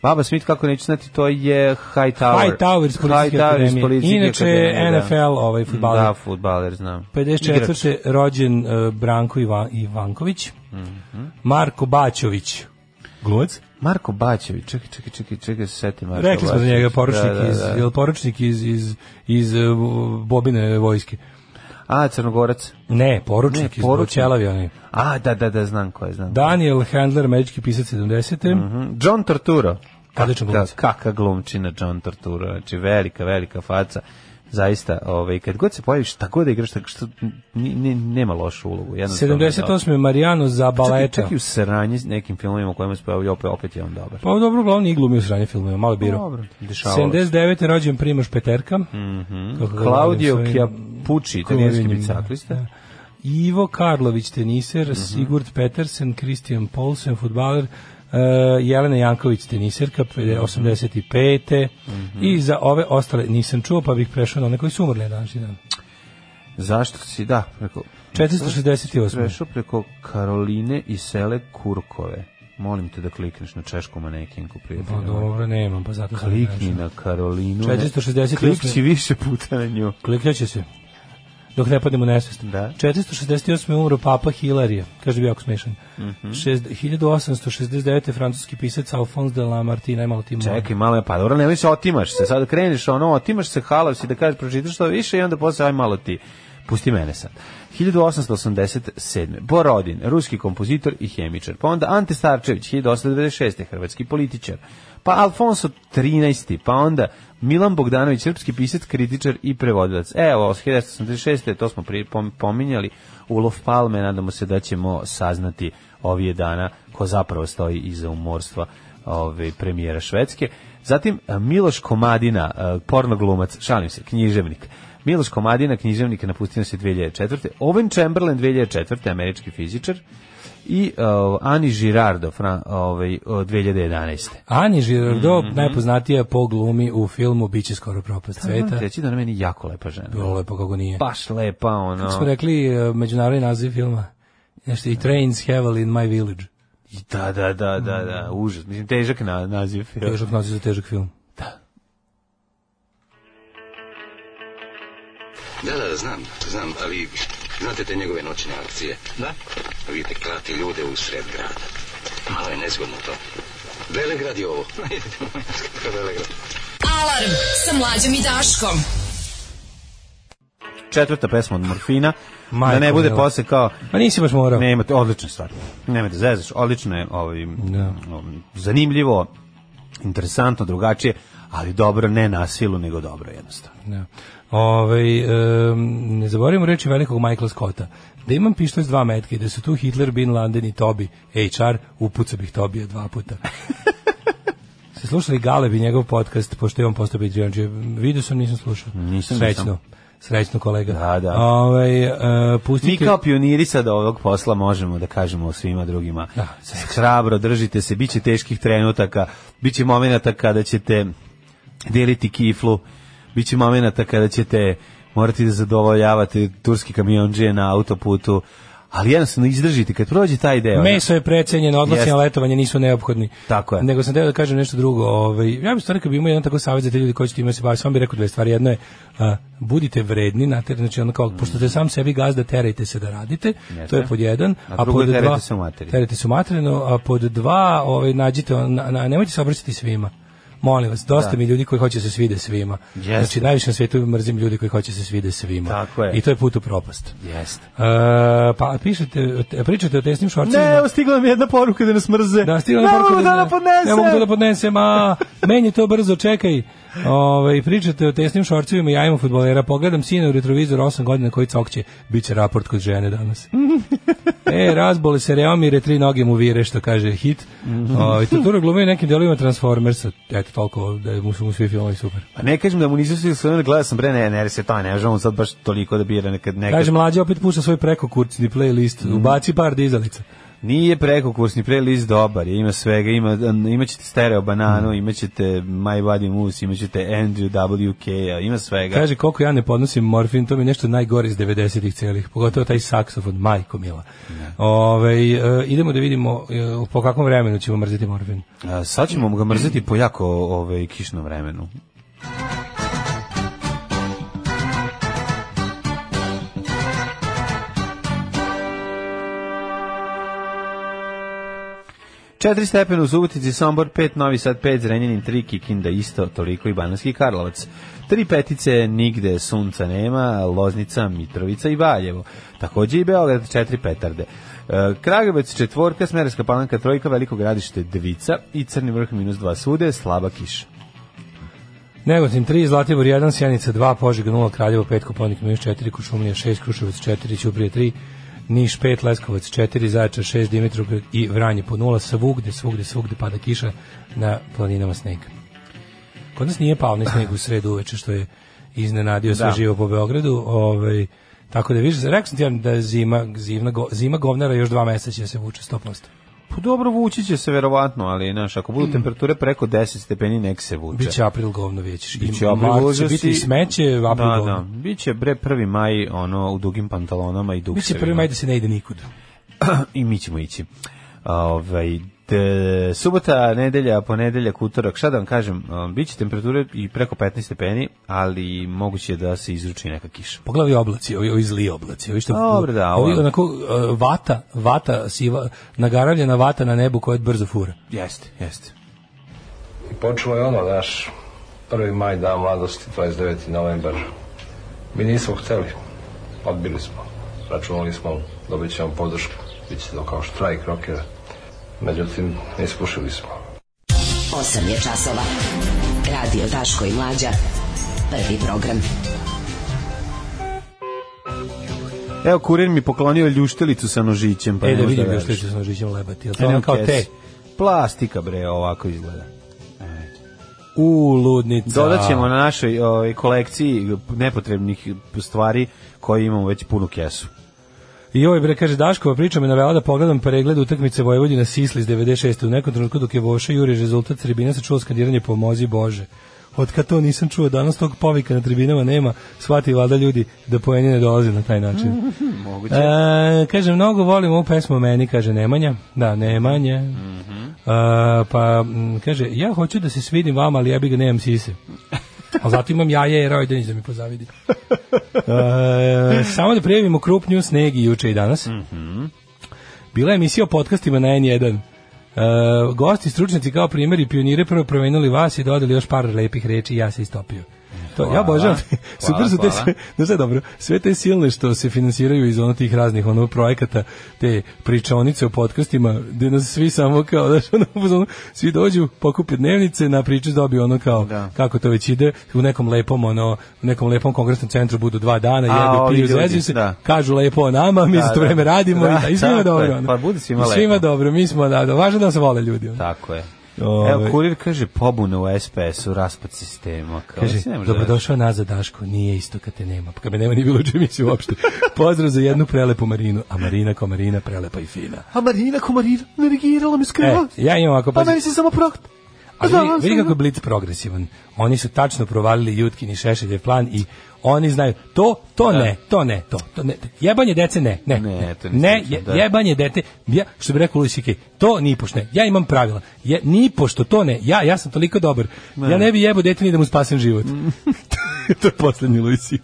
Baba Smith, kako neću znati, to je Hightower.
High Tower iz policijske
Hightower iz
akademije.
Policijske
Inače,
akademije, da.
NFL ovaj fudbaler.
Da, futbaler, znam. Igrač.
54. rođen e, Branko Ivan, Ivanković,
Mhm.
Marko Bačović, glumac.
Marko Baćević, čekaj, čekaj, čekaj, čekaj, se setim Marko
Rekli smo za njega, poručnik,
Da, da,
iz,
da.
jel poručnik iz, iz, iz e, Bobine vojske.
A, Crnogorac.
Ne, poručnik,
Ne,
iz
poručnik.
Bočelavi onaj.
A, da, da, da, znam ko je, znam. ko je.
Daniel Handler, američki pisac 70.
Mhm. John Torturo.
Odličan glumac.
Kaka- Kaka glumčina John Torturo, znači velika, velika faca. Zaista, ovaj, kad god se pojaviš, šta god da igraš, tako što ni, ni, nema lošu ulogu. jednostavno je dobar.
78. Mariano
Čak i-
Zabaleta.
Čak i u saranji s nekim filmovima u kojima se pojavlja, opet, opet je on dobar.
Pa dobro, uglavnom i glumio sranje filmove, malo biro.
Dobro, dešavalo se.
79. je rođen Primoš Peterka. Mm
Claudio Chiappucci, italijanski biciklista.
Da. Ivo Karlović,
Mhm.
teniser, Sigurd Petersen, Kristijan Polsen, futbaler, uh, Jelena Janković, teniserka, pe-
Mhm.
85. I za ove ostale nisam čuo, pa bih prešao na one koji su umrli na današnji dan.
Zašto si, da, preko...
468.
Prešao preko Karoline i sele Kurkove. Molim te da klikneš na češku manekinku,
Pa
prijatelju.
dobro, nemam, pa zato sam
Klikni
prešao.
na Karolinu.
468.
Klikni više puta na nju.
Kliknjaće se. Dok ne padnemo nesvest.
Da.
468. je umro Papa Hilarije. Kaže bi jako smešan.
Mhm.
Šest- 1869. je francuski pisac Alphonse de Lamartine, imalo ti mora.
Čekaj, malo je pa dobro, nemoj se otimaš se. Sad kreneš ono, otimaš se, halav si da kažeš pročitaš što više i onda posle aj malo ti. Pusti mene sad. 1887. Borodin, ruski kompozitor i hemičar. Pa onda Ante Starčević, 1896. hrvatski političar. Pa Alfonso 13. Pa onda Milan Bogdanović, srpski pisac, kritičar i prevodilac. Evo, 1986. to smo pri, pom- pominjali, ulov palme, nadamo se da ćemo saznati ovije dana ko zapravo stoji iza umorstva ove, premijera Švedske. Zatim, e, Miloš Komadina, e, pornoglumac, šalim se, književnik. Miloš Komadina, književnik, napustio nas je 2004. Owen Chamberlain 2004. američki fizičar i uh, Ani Girardo fra, ovaj, od 2011.
Ani Girardo,
Mhm.
najpoznatija po glumi u filmu Biće skoro propast sveta.
Treći da na meni jako lepa žena.
Bilo lepo kako nije.
Baš lepa, ono.
Kako smo rekli e, međunarodni naziv filma. Nešto i Trains Heavily in My Village.
I Da, da, da, da, da, užas. Mislim, težak na, naziv.
Mm. Težak naziv za težak film.
Da, da, da, znam, znam, ali znate te njegove noćne akcije? Da. Vidite, klati ljude u sred grada. Malo je nezgodno to. Velegrad je ovo. Velegrad.
Alarm sa mlađom i Daškom.
Četvrta pesma od Morfina. da
Majko
ne bude
mila.
posle kao...
Pa nisi baš morao.
Ne, imate odlična stvar. Nema da zezaš, odlično je, ovaj,
Da.
um, zanimljivo, interesantno, drugačije, ali dobro, ne na silu, nego dobro jednostavno.
Da. Ovaj, em, ne zaboravimo reći velikog Michaela Scotta. Da imam pištolj s dva metka i da su tu Hitler, Bin Laden i Tobi, HR, upucao bih Tobija dva puta. Ste slušali Galeb i njegov podcast, pošto je on postao Patreon, čije vidio sam, nisam slušao.
Nisam,
Srećno.
nisam.
Srećno kolega.
Da, da.
Ovaj, e,
Mi
pustite...
kao pioniri sada ovog posla možemo da kažemo svima drugima. Da. Hrabro, držite se, bit će teških trenutaka, bit će momenata kada ćete deliti kiflu, bit će momenata kada ćete morati da zadovoljavate turski kamionđije na autoputu, ali jednostavno izdržite, kad prođe taj deo.
Meso je precenjeno, odlazi
Jeste.
na letovanje nisu neophodni.
Tako je.
Nego sam teo da kažem nešto drugo. Ovaj ja bih stvarno kad bi imao jedan tako savet za te ljude koji će time se baviti, samo bih rekao dve stvari. Jedno je a, budite vredni, na znači ono kao pošto ste sam sebi gazda, terajte se da radite.
Mm. Jeste.
To je pod jedan,
A
a,
drugo je
pod
terajte
dva
se u materinu.
terajte se u materinu, a pod dva, ovaj nađite on- na, na, nemojte se obraćati svima. Molim vas, dosta mi ljudi koji hoće da se svide svima.
Jeste.
Znači, najviše na svijetu mrzim ljudi koji hoće da se svide svima.
Tako je.
I to je put u propast.
Jeste.
E, pa pišete, pričate o tesnim šorcima.
Ne, evo stigla nam je jedna poruka da nas mrze.
Da, stigla
ne
mi poruka
mogu da,
ne-
da podnesem.
Ne mogu to da podnesem, a meni to brzo, čekaj. Ove, pričate o tesnim šorcevima i jajima futbolera. Pogledam sina u retrovizor 8 godina koji cokće. Biće raport kod žene danas. e, razbole se reomire, tri noge mu vire, što kaže hit. Ove, Totoro glumio u nekim delovima Transformersa. Eto, toliko da mu su mu svi filmovi super.
A ne kažem da mu nisu svi sve gledao sam bre, ne, ne, se to ne, možemo sad baš toliko da bira nekad nekad.
Kaže, mlađe opet pušta svoj prekokurcni playlist. Ubaci par dizalica.
Nije prekokursni prelist dobar, je, ima svega, ima imaćete stereo bananu, imaćete My Body Moose, imaćete Andrew WK, -a, ima svega.
Kaže koliko ja ne podnosim morfin, to mi je nešto najgore iz 90-ih celih, pogotovo taj saksofon, majko mila. Ovaj, e, idemo da vidimo e, po kakvom vremenu ćemo mrziti morfin.
A, sad ćemo ga mrzeti po jako ovaj kišnom vremenu. Četiri stepena u Subotici, Sombor 5, Novi Sad 5, Zrenjanin 3, Kikinda isto, toliko i Bananski Karlovac. Tri petice, nigde sunca nema, Loznica, Mitrovica i Valjevo. Takođe i Beograd, četiri petarde. E, Kragovac četvorka, Smereska palanka trojka, Veliko gradište dvica i Crni vrh minus dva sude, slaba kiša.
Negotin 3, Zlatibor 1, Sjenica 2, Požega 0, Kraljevo 5, Koponik minus 4, Kušumlija 6, Kruševac 4, Ćuprije 3, Niš 5, Leskovac 4, Zaječar 6, Dimitrovgrad i Vranje po 0, svugde, svugde, svugde pada kiša na planinama snega. Kod nas nije pao ni sneg u sredu uveče, što je iznenadio sve
Da.
živo po Beogradu. Ovaj, tako da više, rekao sam ti ja da je zima, zima, zima govnara još dva meseca će se vuče 100%.
Pa dobro, vući će se verovatno, ali znaš, ako budu temperature preko 10 stepeni, nek se vuče.
Mm. Biće april govno, vijećeš.
Biće
I
april,
mart će
uložio
biti i
si-
smeće,
Da,
april govno.
da. Biće bre 1. maj ono u dugim pantalonama i duksevima.
Biće prvi maj da se ne ide nikud.
i mi ćemo ići. Ovaj de, subota, nedelja, ponedeljak, utorak, šta da vam kažem, um, bit će temperature i preko 15 stepeni, ali moguće je da se izruči neka kiša.
Poglavi oblaci, ovi, ovi zli oblaci, ovi što
Dobro, da,
ovi
ovo-
onako e, vata, vata siva, nagaravljena vata na nebu koja brzo fura.
Jeste, jeste.
I počelo je ono, naš prvi maj, dan mladosti, 29. novembar. Mi nismo hteli, odbili smo. Računali smo, dobit ćemo podršku, bit će to kao štrajk rokera. Međutim, iskušili smo.
8 je časova. Radio Daško i Mlađa. Prvi program.
Evo, kurir mi poklonio ljuštelicu sa nožićem. Pa
E,
ne
da
možeš
vidim još što
veruješ.
ću s nožićem lebati. Jel to
Ja
ono
nemam
kao
kes.
te?
Plastika, bre, ovako izgleda.
U, ludnica.
Dodat ćemo na našoj ovaj, kolekciji nepotrebnih stvari koje imamo već punu kesu.
I ovaj bre kaže Daškova priča me navela da pogledam pregled utakmice Vojvodina Sisli iz 96. U nekom trenutku dok je Voša juri rezultat s tribina se čuo skandiranje pomozi Bože. Od kad to nisam čuo, danas tog povika na tribinama nema, shvati valjda ljudi da poeni ne dolaze na taj način.
Moguće.
E, kaže, mnogo volim ovu pesmu o meni, kaže Nemanja. Da, Nemanja. Mm
Mhm.
pa, mm, kaže, ja hoću da se svidim vama, ali ja bi ga nemam sise. A zato imam jaje i rojdenić da mi pozavidi. E, samo da prijavimo Krup News Negi juče i danas.
Mhm.
Bila je emisija o podcastima na N1. E, gosti, stručnjaci kao primjer i pionire prvo promenuli vas i dodali još par lepih reči i ja se istopio. To, ja
Hvala.
obožavam. Super su te
hvala.
sve, znaš šta je dobro, sve te silne što se finansiraju iz ono tih raznih ono projekata, te pričaonice o podcastima, gde nas svi samo kao, znaš, ono, u fazonu, svi dođu, pokupe dnevnice, na priču dobiju ono kao,
Da.
kako to već ide, u nekom lepom, ono, u nekom lepom kongresnom centru budu dva dana,
A,
jedu,
ovi
piju,
ljudi,
zvezuju se,
da.
kažu lepo o nama, mi
Da,
za to
da.
vreme radimo
Da,
i, i svima
tako
dobro.
je,
ono.
pa bude svima
I svima
lepo.
dobro, mi smo, da, da, važno da nas vole ljudi. ono.
Tako je.
Ove.
Evo, kurir kaže pobuna u SPS-u, raspad sistema. Kao,
Kaže,
mislim, ne može da veruješ.
dobrodošao nazad Daško, nije isto kad te nema. Pa kad me nema nije bilo čim mislim uopšte. Pozdrav za jednu prelepu Marinu, a Marina ko Marina prelepa i fina.
A Marina Komarina nergirala mi
E,
skroz.
ja imam ovako,
pa
pazi,
meni se samo prokt.
a vidi,
znam,
vidi
znam.
kako je Blitz progresivan. Oni su tačno provalili Jutkin i Šešeljev plan i oni znaju, to, to ne, to ne, to, to ne, jebanje dece ne, ne,
Da. Ne, to nisam
ne,
slušao,
je-
da.
jebanje dete, ja, što bi rekao Luis CK, to nipošto ne, ja imam pravila, ja, nipošto to ne, ja, ja sam toliko dobar, ja ne bi jebo dete ni da mu spasim život.
Mm.
to je poslednji Luis CK.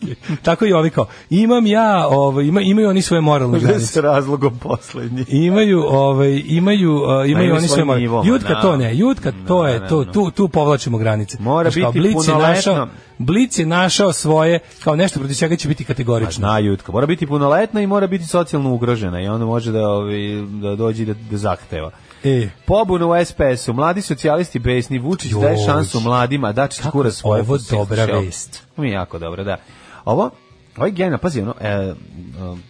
Tako i ovi kao, imam ja, ovo, ima, imaju oni svoje moralne granice.
s razlogom poslednji.
Imaju, ovaj, imaju, uh, imaju
Pa imaju
oni
svoj
sve mora.
nivo,
Jutka
da.
to ne, jutka to
Da,
je,
da,
to,
da.
tu, tu povlačimo granice.
Mora
Znaš, kao,
biti
Blic je
punoletno.
našao- Blic je našao svoje, kao nešto protiv čega će biti
Pa
kategorično.
zna Jutka, mora biti punoletna i mora biti socijalno ugrožena i onda može da, ovi, da dođe i da, da zahteva.
E,
Pobuna u SPS-u, mladi socijalisti besni, Vučić
Joj.
daje šansu mladima, da Dačić
Kako
kura
je
svoje.
ovo
fosilno
dobra
šelo.
vest.
Mi je jako dobro, da. Ovo, ovo je genijalno, pazi, ono, e, um,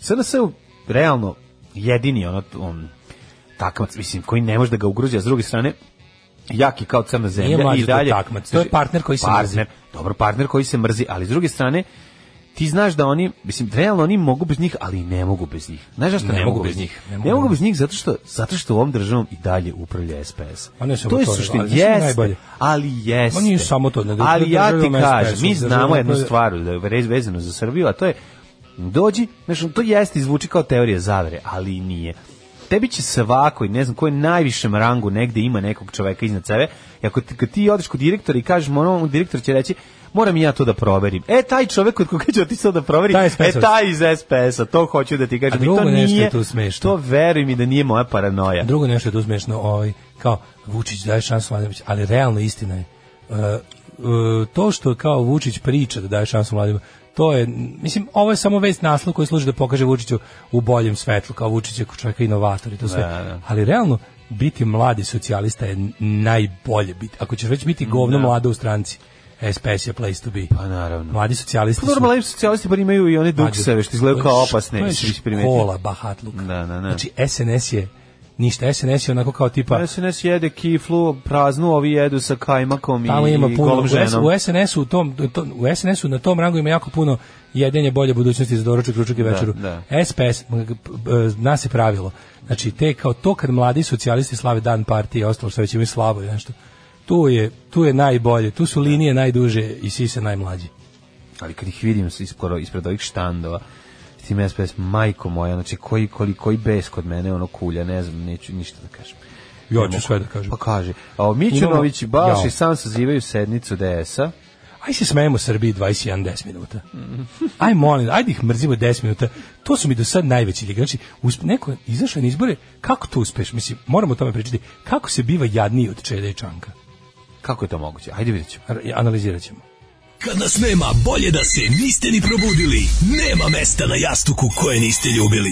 SNS je realno jedini ono, on, takmac, mislim, koji ne može da ga ugrozi, a s druge strane, jaki kao crna zemlja
mlađe,
i
to je
dalje.
takmac, to je partner koji se mrzi.
Partner, dobro, partner koji se mrzi, ali s druge strane, ti znaš da oni, mislim, realno oni mogu bez njih, ali i ne mogu bez njih. Znaš zašto ne, mogu bez njih? Ne mogu, bez njih zato što, zato što ovom državom i dalje upravlja SPS.
A ne samo
to je
to,
suština,
ali znaš što je
jeste,
najbolje?
ali jeste.
Ma nije samo to, nego
ali ja ti
državom SPS,
kažem, mi
državom
znamo jednu
upravlja-
stvar da je vez- vezano za Srbiju, a to je dođi, znaš, to jeste izvuči kao teorija zavere, ali i nije. Tebi će svako i ne znam koji najvišem rangu negde ima nekog čoveka iznad sebe, i ako ti, kad ti odeš kod direktora i kažeš, moram, direktor će reći, moram i ja to da proverim. E, taj čovek kod koga ću ti sad da proverim,
Taj je
e,
spesovac.
taj iz SPS-a, to hoću da ti kažem.
A
I to
drugo nešto je
nije,
tu smešno.
To veruj mi da nije moja paranoja.
drugo nešto je tu smešno, ovaj, kao Vučić daje šansu Mladenović, ali realno istina je. E, e, to što kao Vučić priča da daje šansu mladima, to je, mislim, ovo je samo vest naslov koji služi da pokaže Vučiću u boljem svetlu, kao Vučić je kao čovjek inovator i to sve.
Da, da.
Ali realno, biti mladi socijalista je najbolje biti. Ako ćeš već biti govno mlada u stranci, SPS je place to be.
Da. Pa naravno.
Mladi socijalisti
Pa normalno, socijalisti bar imaju i one dukseve što izgledaju kao opasne.
To je
jesi primetio?
škola bahatluk.
Da, da, da.
Znači, SNS je ništa, SNS je onako kao tipa...
Pa SNS jede kiflu, praznu, ovi jedu sa kajmakom i,
Tamo ima
i
puno,
golom
u, E. S,
ženom.
u SNS-u u tom, to, u SNS-u na tom rangu ima jako puno jedenje bolje budućnosti za doručak, ručak i večeru.
da.
SPS, m, g, p, b, nas je pravilo. Znači, te kao to kad mladi socijalisti slave dan partije i ostalo što već imaju slavo i nešto. Tu je, tu je najbolje, tu su linije najduže i sise najmlađi.
Ali kad ih vidim s- isporo, ispred ovih štandova, s tim SPS, majko moja, znači koji, koji, koji bes kod mene, ono kulja, ne znam, neću ništa da kažem.
Ja
Ne
ću
mogu.
sve da kažem.
Pa kaže. A Mićunović i
Imamo-
Baš
Jao.
i sam sazivaju sednicu DS-a.
Aj se smejemo Srbiji 21 10 minuta. Aj molim, ajde ih mrzimo 10 minuta. To su mi do sad najveći ljig. Znači, usp... neko je izašao na izbore, kako to uspeš? Mislim, moramo o tome pričati. Kako se biva jadniji od Čede i Čanka?
Kako je to moguće? Ajde vidjet ćemo.
Ar- Analizirat ćemo.
Kad nas nema, bolje da se niste ni probudili. Nema mesta na jastuku koje niste ljubili.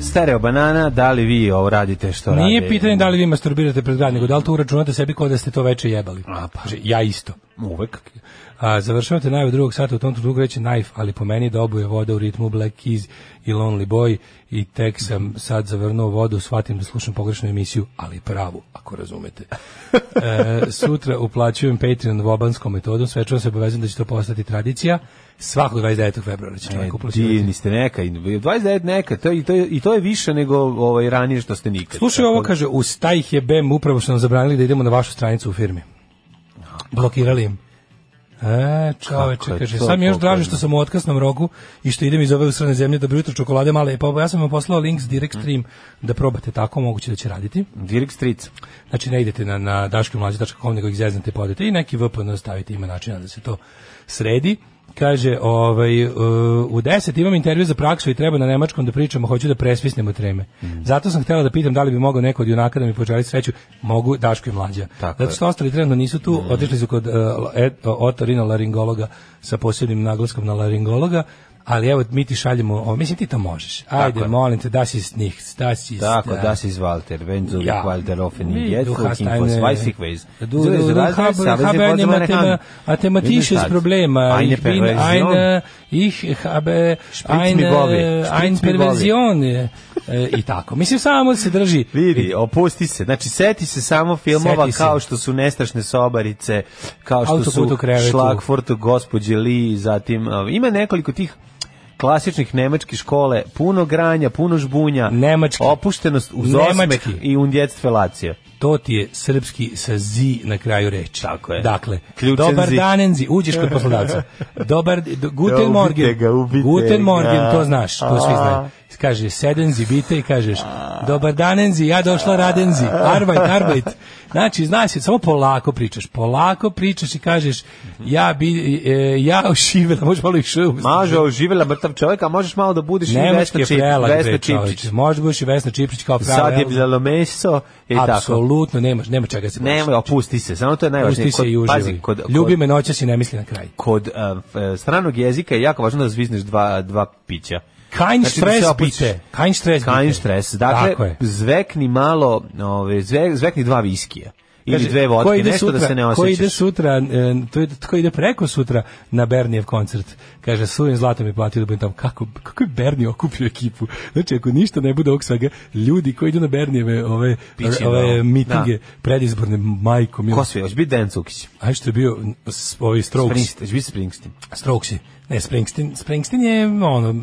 Stereo banana, da li vi ovo radite što radite?
Nije pitanje da li vi masturbirate pred grad, nego da li to uračunate sebi kao da ste to veče jebali.
A, pa.
Kaže, Ja isto.
Uvek.
A završavate najve drugog sata u tom trenutku reći knife, ali po meni da obuje voda u ritmu Black Keys i Lonely Boy i tek sam sad zavrnuo vodu, shvatim da slušam pogrešnu emisiju, ali pravu, ako razumete. E, sutra uplaćujem Patreon vobanskom metodom, sve ću vam se obavezam da će to postati tradicija. Svakog 29. februara će
E,
čovjek uplaćivati.
divni ste neka, i 29 neka, to, je- i, to, je- i to je više nego ovaj, ranije što ste nikad.
Slušaj
Tako
ovo,
da-
kaže, uz taj jebem upravo što nam zabranili da idemo na vašu stranicu u firmi. Blokirali im. E,
Kako
čoveče,
je
kaže,
to
sad mi još draže
pokojno?
što sam u otkasnom roku i što idem iz ove usrane zemlje, dobro jutro čokolade male, pa ja sam vam poslao link s Direct Stream da probate tako, moguće da će raditi.
Dirk Stric.
Znači ne idete na, na daškimlađe.com nego ih zeznete pa odete i neki VPN stavite, ima načina da se to sredi. Kaže, ovaj, e, u 10 imam intervju za praksu i treba na nemačkom da pričamo, hoću da presvisnemo treme.
Mhm.
Zato sam htela da pitam da li bi mogao neko od junaka da mi poželi sreću. Mogu Daško i mlađa.
Tako Mhm.
Zato što ostali trenutno nisu tu, otišli su kod uh, otorina laringologa sa posebnim naglaskom na laringologa, ali evo mi ti šaljemo, ovo. mislim ti to možeš. Ajde,
je.
molim te, da si s njih, da si
Tako, das ist Walter, wenn so ja.
Ja. Da
Walter offen in
Wie,
jetzt,
du hast
looking for
eine-
Schweißig ways.
Du, du,
da,
du, hab- habe ein Mathema- mathematisches Problem. Ich bin ein, äh, ich habe
Spritz mi
eine,
Bobi, Spritz
ein
mi
Perversion. E, I tako. Mislim, samo se drži.
Vidi, opusti se. Znači, seti se samo filmova
Seti se.
kao što su Nestašne sobarice, kao što
Autoput u
su
krevetu.
Šlagfurt, gospođe Li, zatim... a, Ima nekoliko tih klasičnih nemačke škole, puno granja, puno žbunja,
Nemački.
opuštenost uz osmeh
Nemački.
i undjec felacija.
To ti je srpski sa zi na kraju reči.
Tako je.
Dakle,
Ključen
dobar
zi.
danenzi, uđeš kod poslodavca. Dobar, d-
Ja,
guten
Da, ubite
morgen.
ga, ubite
guten
ga.
morgen, to znaš, to svi znaju. Kaže, sedenzi, bite i kažeš, dobar danenzi, ja došla radenzi, arbajt, arbajt. Znači, znaš, samo polako pričaš, polako pričaš i kažeš, ja bi, e, ja ošivela, možeš malo i š umjesto
Mažo, oživela mrtav čovjek, a možeš malo da budiš i
Nemački
Vesna
je
Čip-
prelag,
Vesna
bre,
Čipčić.
čovječe. Možda budeš i Vesna Čipčić kao prava.
Sad je
Elza.
bilo meso i tako.
Apsolutno, nemaš, nema čega da se plašiš.
Nemoj, opusti se, samo to je najvažnije.
Pusti se i uživaj.
Pazi, kod, kod,
Ljubi me noćas i ne misli na kraj.
kod uh, f- e, stranog jezika je jako važno da zvizniš dva, dva pića.
Kein
Znači, da
stres
se opustiš.
bite. Kein stres bite.
Kein stres. Dakle,
Tako je.
zvekni malo, ove, zve, zvekni dva viskija. Ili
Kaže,
dve
ko
vodke,
ide
nešto da
sutra-
se ne
Ko ide
osjećaš.
sutra, e, to ide, ko ide preko sutra na Bernijev koncert, kaže, suvim zlatom je platio da budem tamo. Kako, kako je Berni okupio ekipu? Znači, ako ništa ne bude ovog svega, ljudi koji idu na Bernijeve ove,
Piće malo.
ove mitinge, predizborne majkom. milo.
da, Ko sve, hoće biti Dejan Cukić.
A što je bio s- ovi Strokes?
Springsteen, hoće biti Springsteen.
Strokesi. Ne, Springsteen, Springsteen je ono, m,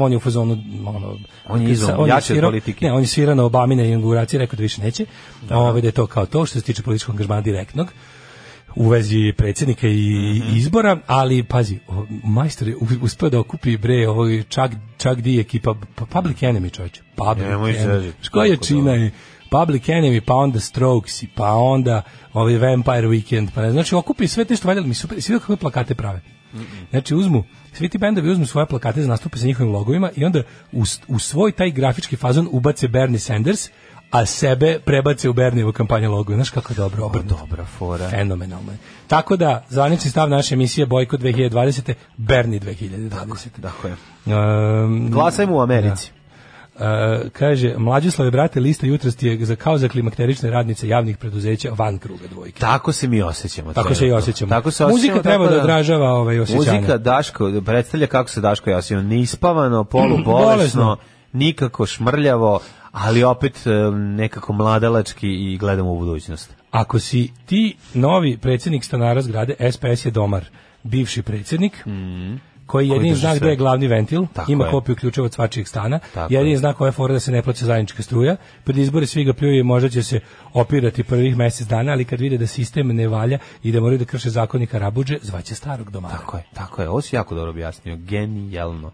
on je u fazonu, ono,
On je izum,
sa-
jači od
svirao-
politike.
Ne, on je svirao na Obamine inauguracije, rekao da više neće. Da. Ove, da je to kao to što se tiče političkog angažmana direktnog u vezi predsjednika i
Mhm.
izbora, ali pazi, o, majstor je u- uspeo da okupi bre ovaj čak čak di ekipa pa Public Enemy čovjek. Public
Nemoj
Enemy.
zezati,
Znaš koja je
kako
čina je Public Enemy, pa onda Strokes, pa onda ovaj Vampire Weekend, pa ne, znači okupi sve te što valjali, mi super, svi kakve plakate prave. Znači uzmu, svi ti bendovi uzmu svoje plakate za nastupe sa njihovim logovima i onda u, s- u svoj taj grafički fazon ubace Bernie Sanders, a sebe prebace u Bernijevu kampanju logo. Znaš kako je
Pa
dobro obrnuto.
dobra fora.
Fenomenalno je. Tako da, zvanični stav naše emisije Bojko 2020. Berni 2020.
Tako je.
Um,
Glasajmo u Americi.
Da. Uh, kaže, mlađoslave brate, lista jutros ti je za, kao za klimakterične radnice javnih preduzeća van kruga dvojke.
Tako se mi osjećamo.
Tako se i osjećamo.
Tako se
Muzika
osjećamo.
treba
tako
da odražava ove osjećanja.
Muzika Daško predstavlja kako se Daško ja osjećam. Neispavano, polubolesno,
Bolesno.
nikako šmrljavo, ali opet e, nekako mladalački i gledamo u budućnost.
Ako si ti novi predsjednik stanara zgrade, SPS je domar, bivši predsjednik, koji jedini
Mhm. drži
znak
sve.
da je glavni ventil,
Tako
ima
je.
kopiju ključeva od svačijeg stana,
Tako
jedini
je.
znak ove fora da se ne plaća zajednička struja, pred izbore svi ga pljuju i možda će se opirati prvih mjesec dana, ali kad vide da sistem ne valja i da moraju da krše zakonika Rabuđe, zvaće starog domara.
Tako je, tako je. Ovo si jako dobro objasnio. Genijalno.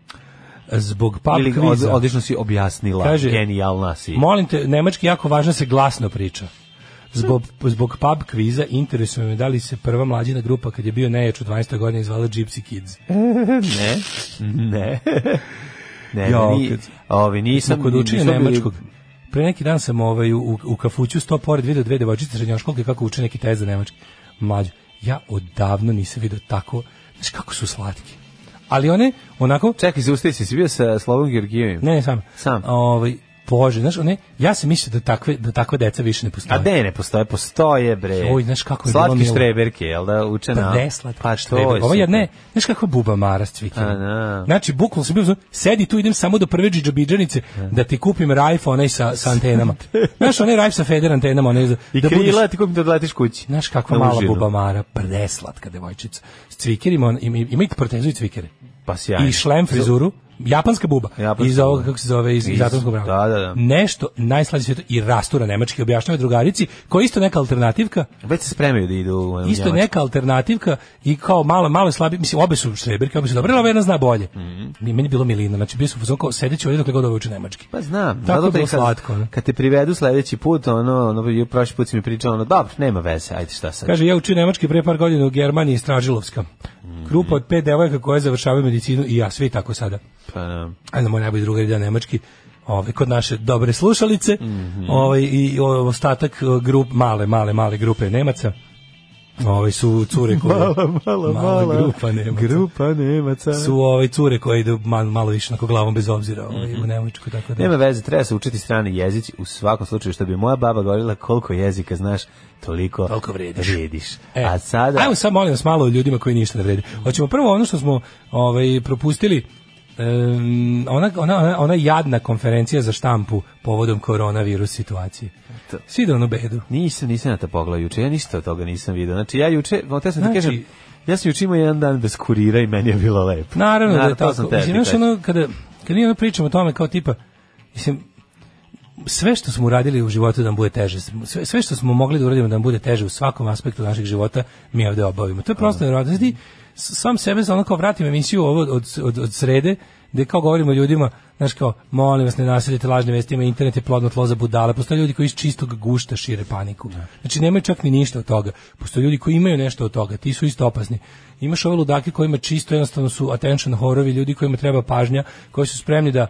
Zbog pub
Ili od-
kviza,
odlično si objasnila.
Pa, Kaže-
Genijalna si.
Molim te, nemački jako važno da se glasno priča. Zbog, zbog pub kviza interesuje me da li se prva mlađina grupa kad je bio nejač u 12. godini zvala Gypsy Kids.
Ne, ne. ne,
Jao,
ni,
kad-
ovi, nisam...
Sam kod učenja
nisam bili-
nemačkog. Pre neki dan sam ovaj, u, u kafuću sto pored video dve devojčice srednjoškolke kako uče neki test za nemački. Mlađo, ja odavno nisam video tako, znaš kako su slatki. ali one onako
Čekaj, zaustavi se, si bio sa Slovom Georgijevim?
Ne, ne, sam.
Sam.
Ovaj, bože, znaš, one, ja sam mislio da takve, da takve deca više ne postoje.
A de ne postoje, postoje bre.
Joj, znaš kako je bilo
Slatki
milo.
štreberke, jel da, učena?
Pa ne slatko.
Pa
što
što
je?
je?
Ovo je ne, znaš kakva buba marast cvikina.
A, da.
Znači, bukvalno sam bio, u fazonu, sedi tu, idem samo do prve džidžabidžanice da ti kupim rajf onaj sa, sa antenama. znaš, onaj rajf sa feder antenama, onaj za...
I
da budeš-
krila, ti kupim da odletiš kući.
Znaš kakva
Na
mala
užinu.
bubamara, preslatka devojčica. S cvikerima, on- ima, ima i protezu i cvikere.
Pa sjajno.
I šlem frizuru, japanska buba,
Japanska
iz ovog,
buba.
kako se zove, iz, iz
Iz-
atomskog brava.
da, da, da.
Nešto najslađe sveto i rastura nemački, objašnjava drugarici, koja je isto neka alternativka,
Već se spremaju da idu u
isto je
Njemačku.
neka alternativka i kao malo malo slabi mislim obe su štreberke obe su dobre ali ova jedna zna bolje Ni meni je bilo milina znači bio sam kao sedeći ovdje dokle god ovo uči nemački
Pa znam,
tako je
zato
bilo
te kad,
slatko da. ne?
kad te privedu sledeći put, ono, ono, ju- prošli put si mi pričala, ono, dobro, nema veze, ajde šta sad.
Kaže, ja učio nemački pre par godina u Germaniji iz Stražilovska. Grupa od pet devojaka koje završavaju medicinu i ja, svi tako sada.
Pa, da.
Ajde, moj najbolji drugar ide nemački. Ovaj kod naše dobre slušalice, ovaj i o- ostatak o, grup male, male, male grupe Nemaca. Ovaj su cure koje mala grupa Nemaca.
Grupa Nemaca.
su ovaj cure koje idu mal- malo više onako glavom bez obzira ovaj, u Nemačku tako da.
Nema veze, treba se učiti strani jezici u svakom slučaju, što bi moja baba govorila koliko jezika znaš, toliko,
Toliko vrediš. E,
A sada...
Ajmo sad molim vas malo o ljudima koji ništa ne vrede. Hoćemo prvo ono što smo ovaj propustili em, ona, ona, ona, ona jadna konferencija za štampu povodom koronavirus situacije.
To.
Svi da onu bedu.
Nisam, nisam na to pogledao juče, ja ništa od toga nisam vidio. Znači, ja juče, o, te sam
Znači-
ti kažem, ja sam juče imao jedan dan bez kurira i meni je bilo lepo.
Naravno da je
to sam
tako.
tebi
Mislim, znaš,
kažem.
ono, kada, kada mi ono pričamo o tome kao tipa, mislim, sve što smo uradili u životu da nam bude teže, sve, sve što smo mogli da uradimo da nam bude teže u svakom aspektu našeg života, mi ovde obavimo. To je prosto nevjerojatno. Znači, ti s- sam sebe ono kao vratim emisiju ovo od, od, od srede, gde kao govorimo ljudima, znaš kao, molim vas ne nasiljete lažne vesti, ima internet je plodno tlo za budale, postoje ljudi koji iz čistog gušta šire paniku. Znači nemaju čak ni ništa od toga. Postoje ljudi koji imaju nešto od toga, ti su isto opasni. Imaš ove ludake kojima čisto jednostavno su attention horovi, ljudi kojima treba pažnja, koji su spremni da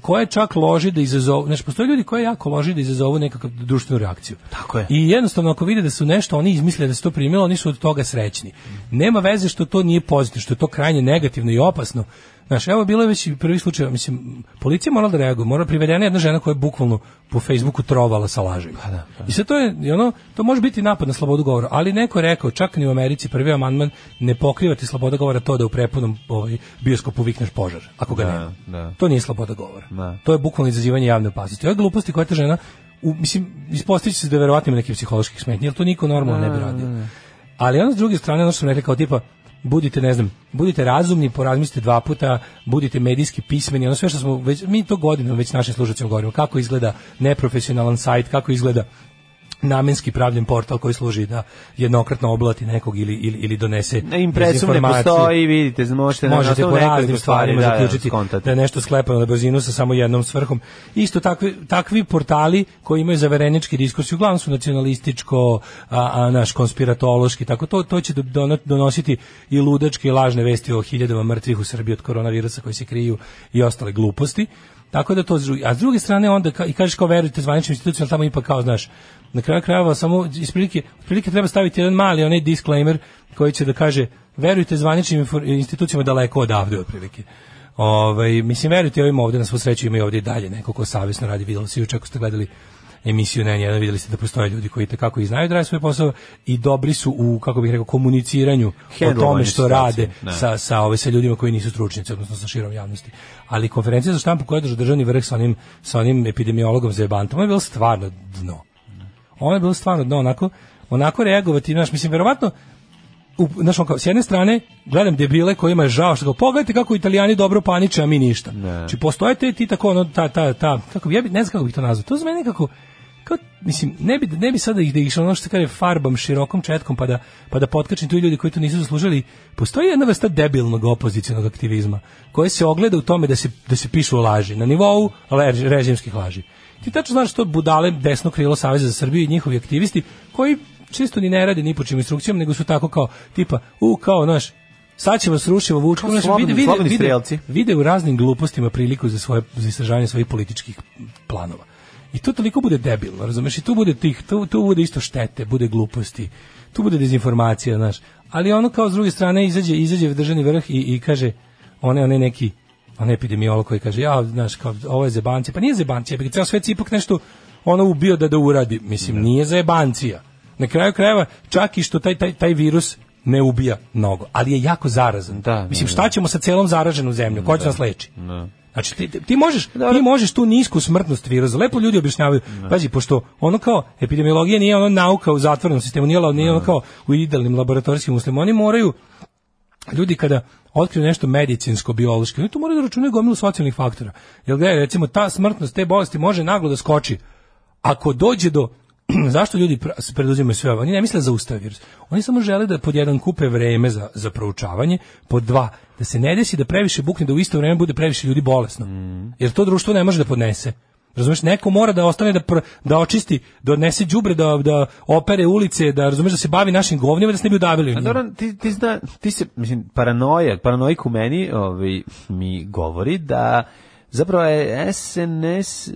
koje čak loži da izazovu, znači postoje ljudi koji jako loži da izazovu nekakvu društvenu reakciju.
Tako je.
I jednostavno ako vide da su nešto oni izmisle da se to primilo, oni su od toga srećni. Nema veze što to nije pozitivno, što je to krajnje negativno i opasno. Znaš, evo bilo je već i prvi slučaj, mislim, policija morala da reaguje, mora privedena je jedna žena koja je bukvalno po Facebooku trovala sa lažima.
Pa da,
I sad to je, i ono, to može biti napad na slobodu govora, ali neko je rekao, čak ni u Americi prvi amandman ne pokriva ti sloboda govora to da u prepunom ovaj, bioskopu vikneš požar, ako ga nema.
da.
To nije sloboda govora.
Da.
To je bukvalno izazivanje javne opasnosti. Ove gluposti koje ta žena, u, mislim, ispostavit će se da verovatno ima nekih psiholoških smetnji, jer to niko normalno
Da,
ne bi radio. Ali ono s druge strane, ono što sam rekli kao tipa, budite, ne znam, budite razumni, porazmislite dva puta, budite medijski pismeni, ono sve što smo, već, mi to godinama već našim služacima govorimo, kako izgleda neprofesionalan sajt, kako izgleda namenski pravljen portal koji služi da jednokratno oblati nekog ili, ili, ili donese
Na impresum ne
dezinformaciju
postoji, vidite, možete na
možete
osnovu
po
nekoliko
raznim stvarima
stvari, da, da,
zaključiti da,
skontati.
je nešto sklepano na brzinu sa samo jednom svrhom. Isto takvi, takvi portali koji imaju zaverenički diskurs, uglavnom su nacionalističko, a, a naš konspiratološki, tako to, to će do- dono- donositi i ludačke i lažne vesti o hiljadama mrtvih u Srbiji od koronavirusa koji se kriju i ostale gluposti. Tako da to, s druge- a s druge strane onda ka- i kažeš kao verujte zvaničnim institucijama, ali tamo ipak kao znaš, na kraju krajeva samo isprilike, otprilike treba staviti jedan mali onaj disclaimer koji će da kaže verujte zvaničnim infor- institucijama daleko odavde otprilike. Ovaj mislim verujte ovim ovde na svu sreću ima i ovde i dalje neko ko savjesno radi, videli ste juče ako ste gledali emisiju na N1, videli ste da postoje ljudi koji itekako i znaju da rade svoj posao i dobri su u, kako bih rekao, komuniciranju o tome
Handlovanje
što
situacije,
rade
da.
sa, sa, ove, sa ljudima koji nisu stručnjaci, odnosno sa širom javnosti. Ali konferencija za štampu koja je držao državni vrh sa onim, sa onim epidemiologom za jebantom, je bilo stvarno dno. Ono je bilo stvarno dno, onako, onako reagovati, znaš, mislim, verovatno, u, znaš, on kao, s jedne strane, gledam debile kojima je žao, što kao, pogledajte kako italijani dobro paniče, a mi ništa. Znači, postoje te, ti tako, ono, ta, ta, ta, kako, bi- ja bi, ne znam kako bih to nazvao, to za mene nekako, kao, mislim, ne bi, ne bi sada ih da išao ono što se kaže farbam širokom četkom pa da, pa da potkačim tu i ljudi koji to nisu zaslužili. Postoji jedna vrsta debilnog opozicionog aktivizma koja se ogleda u tome da se, da se pišu laži, na nivou lež- režimskih laži. Ti tačno znaš što budale desno krilo Saveza za Srbiju i njihovi aktivisti koji često ni ne rade ni po čim instrukcijama, nego su tako kao, tipa, u, kao, naš, sad će vas rušimo, vučko,
Kao
znaš,
slobodni-
vide, vide,
slobodni
vide,
strelci.
vide u raznim glupostima priliku za svoje za istraživanje svojih političkih planova. I to toliko bude debilno, razumeš? I tu bude tih, tu, tu bude isto štete, bude gluposti, tu bude dezinformacija, znaš. Ali ono kao s druge strane izađe, izađe državni vrh i, i kaže, one, one neki on epidemiolog koji kaže, ja, znaš, kao, ovo je zebancija, pa nije zebancija, pa ceo svet se ipak nešto ono ubio da da uradi, mislim, nije zebancija. Na kraju krajeva, čak i što taj, taj, taj virus ne ubija mnogo, ali je jako zarazan.
Da, da,
mislim,
da.
šta ćemo sa celom zaraženu zemljom, ko će nas leči? Znači, ti, ti- ti možeš, ti možeš tu nisku smrtnost virusa. Lepo ljudi objašnjavaju. Pazi, pošto ono kao epidemiologija nije ono nauka u zatvorenom sistemu, nije, la- nije ono kao u idealnim laboratorijskim uslovima. Oni moraju ljudi kada otkriju nešto medicinsko biološko, oni tu moraju da računaju gomilu socijalnih faktora. Jel gledaj, recimo ta smrtnost te bolesti može naglo da skoči. Ako dođe do zašto ljudi pra- preduzimaju sve ovo? Oni ne misle da zaustave virus. Oni samo žele da pod jedan kupe vreme za, za proučavanje, pod dva, da se ne desi da previše bukne, da u isto vreme bude previše ljudi bolesno. Jer to društvo ne može da podnese. Razumeš, neko mora da ostane da pr- da očisti, da odnese đubre, da da opere ulice, da razumeš da se bavi našim govnima da se ne bi udavili. u
A
njima.
Pa dobro, ti, ti, zna, ti se, mislim, paranoja, paranoik u meni ovaj, mi govori da zapravo je SNS, eh,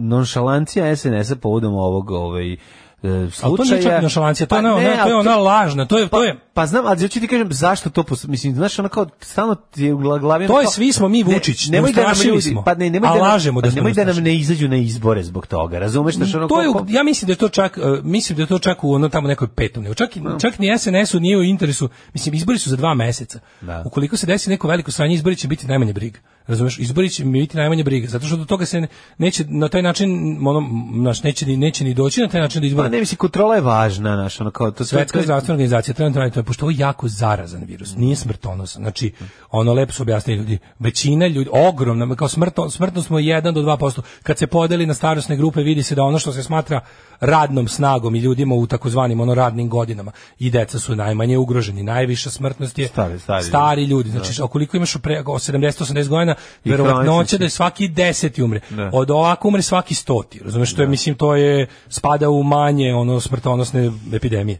nonšalancija SNS-a povodom ovog ovaj, eh,
Ali to
slučaja.
nije čak nonšalancija, to, je
Pa
ona,
ne,
ona- to
ali
je ona lažna, to je,
Pa,
to je,
pa znam, ali hoću ti kažem zašto to, pos- mislim, znaš, ono kao stalno ti je u gla- glavi ono
To je
kao-
svi smo mi Vučić,
nemoj da nam
neustrašivi
ljudi-
smo,
pa ne, nemoj
a
da nam-
lažemo da
pa
smo
nemoj da nam
neustrašivi.
ne izađu na izbore zbog toga, razumeš, znaš, ono
to je,
kao-
u- ja mislim da je to čak, e, mislim da je to čak u ono tamo nekoj petom, nego čak, i-
Da.
čak ni SNS-u nije u interesu, mislim, izbori su za dva meseca.
Da.
Ukoliko se desi neko veliko sranje, izbori će biti najmanje briga. Razumeš, izbori će biti najmanje briga, zato što do toga se ne- neće na taj način, ono, naš, neće, ni- neće ni doći na taj način do
Pa
izbora.
ne, mislim, kontrola je važna, znaš, ono kao, to sve- to
Svetska
je-
zdravstvena organizacija trenutno radi to, pošto ovo je jako zarazan virus, nije smrtonosan. Znači, ono lepo su objasnili ljudi, većina ljudi, ogromna, kao smrto, smrtno smo 1 do 2%. Kad se podeli na starosne grupe, vidi se da ono što se smatra radnom snagom i ljudima u takozvanim ono radnim godinama i deca su najmanje ugroženi, najviša smrtnost je
Stari- stari ljudi.
stari ljudi. Znači, koliko imaš pre, o 70-80 godina,
Da. I
verovatnoće
kronični
da je svaki deseti umre.
Da.
Od ovako umre svaki stoti. Razumeš, to je, mislim, to je, spada u manje ono smrtonosne epidemije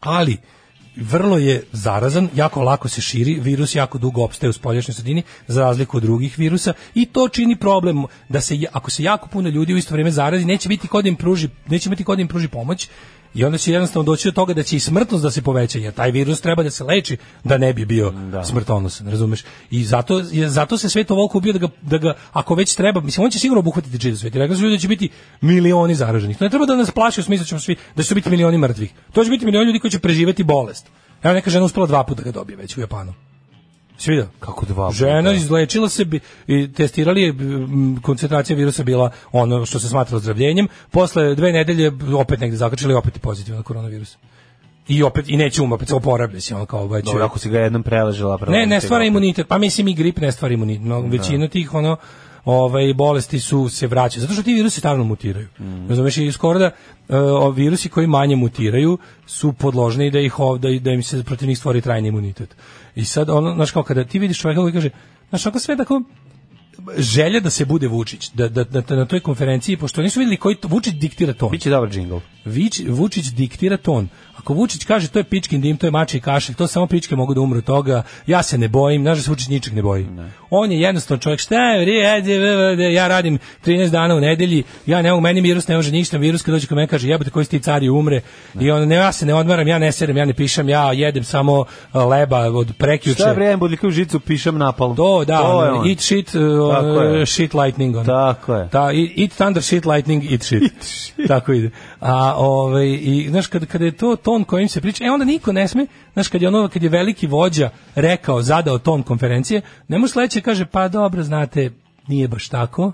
ali vrlo je zarazan, jako lako se širi, virus jako dugo opstaje u spoljašnjoj sredini, za razliku od drugih virusa, i to čini problem da se, ja- ako se jako puno ljudi u isto vrijeme zarazi, neće biti ko da im pruži, neće biti ko da im pruži pomoć, i onda će jednostavno doći do toga da će i smrtnost da se poveća, jer taj virus treba da se leči da ne bi bio smrtonosan, razumeš? I zato, je- zato se svet ovoliko ubio da ga, da ga, ako već treba, mislim, on će sigurno obuhvatiti čitav svet. I Rekli su ljudi da će biti milioni zaraženih. To ne treba da nas plaši u smislu da ćemo svi, da će to biti milioni mrtvih. To će biti milioni ljudi koji će preživeti bolest. Evo neka žena uspela dva puta da ga dobije već u Japanu. Si vidio?
da? Kako dva puta?
Žena izlečila se bi- i testirali je m, koncentracija virusa bila ono što se smatra ozdravljenjem. Posle dve nedelje opet negde zakačili i opet je pozitivan koronavirus. I opet i neće umre, opet se oporavlja se on kao ovaj već.
Dobro, ako si ga jednom preležela, preležite
Ne, ne
ga Da.
stvara
opet.
imunitet. Pa mislim i grip ne stvara imunitet. No, većina tih ono ovaj bolesti su se vraćaju zato što ti virusi stalno mutiraju.
Mm.
Razumeš i skoro da e, o- virusi koji manje mutiraju su podložni da ih ovda i da im se protiv njih stvori trajni imunitet. I sad ono znaš kao kada ti vidiš čovjeka koji kaže znaš ako sve tako želja da se bude Vučić, da, da, da, na toj konferenciji, pošto nisu vidjeli koji to- Vučić diktira ton.
Biće dobar džingl.
Vić, Vučić diktira ton. Ako Vučić kaže to je pičkin dim, to je mači kašelj, to samo pičke mogu da umru od toga, ja se ne bojim, znaš da se Vučić ničeg ne boji. On je jednostavno čovjek, šta je, bre, ajde, v, v, d, ja radim 13 dana u nedelji, ja ne mogu, meni virus ne može ništa, virus kad dođe kod mene kaže, jebote, koji ste ti cari umre, i on, ne, ja se ne odmaram, ja ne serem, ja ne pišem, ja jedem samo a, leba od prekjuče.
Šta je vrijem budljika u žicu, pišem napalm.
To, da,
To je
ono,
on.
eat shit, uh,
Tako je.
shit lightning. Ono.
Tako je.
Da, i- eat thunder shit, lightning, eat shit. Tako ide. A, ovaj, i, znaš, kad, kad je to ton kojim se priča, e, onda niko ne sme, znaš, kad je ono, kad je veliki vođa rekao, zadao ton konferencije, ne može sledeće, kaže, pa dobro, znate, nije baš tako,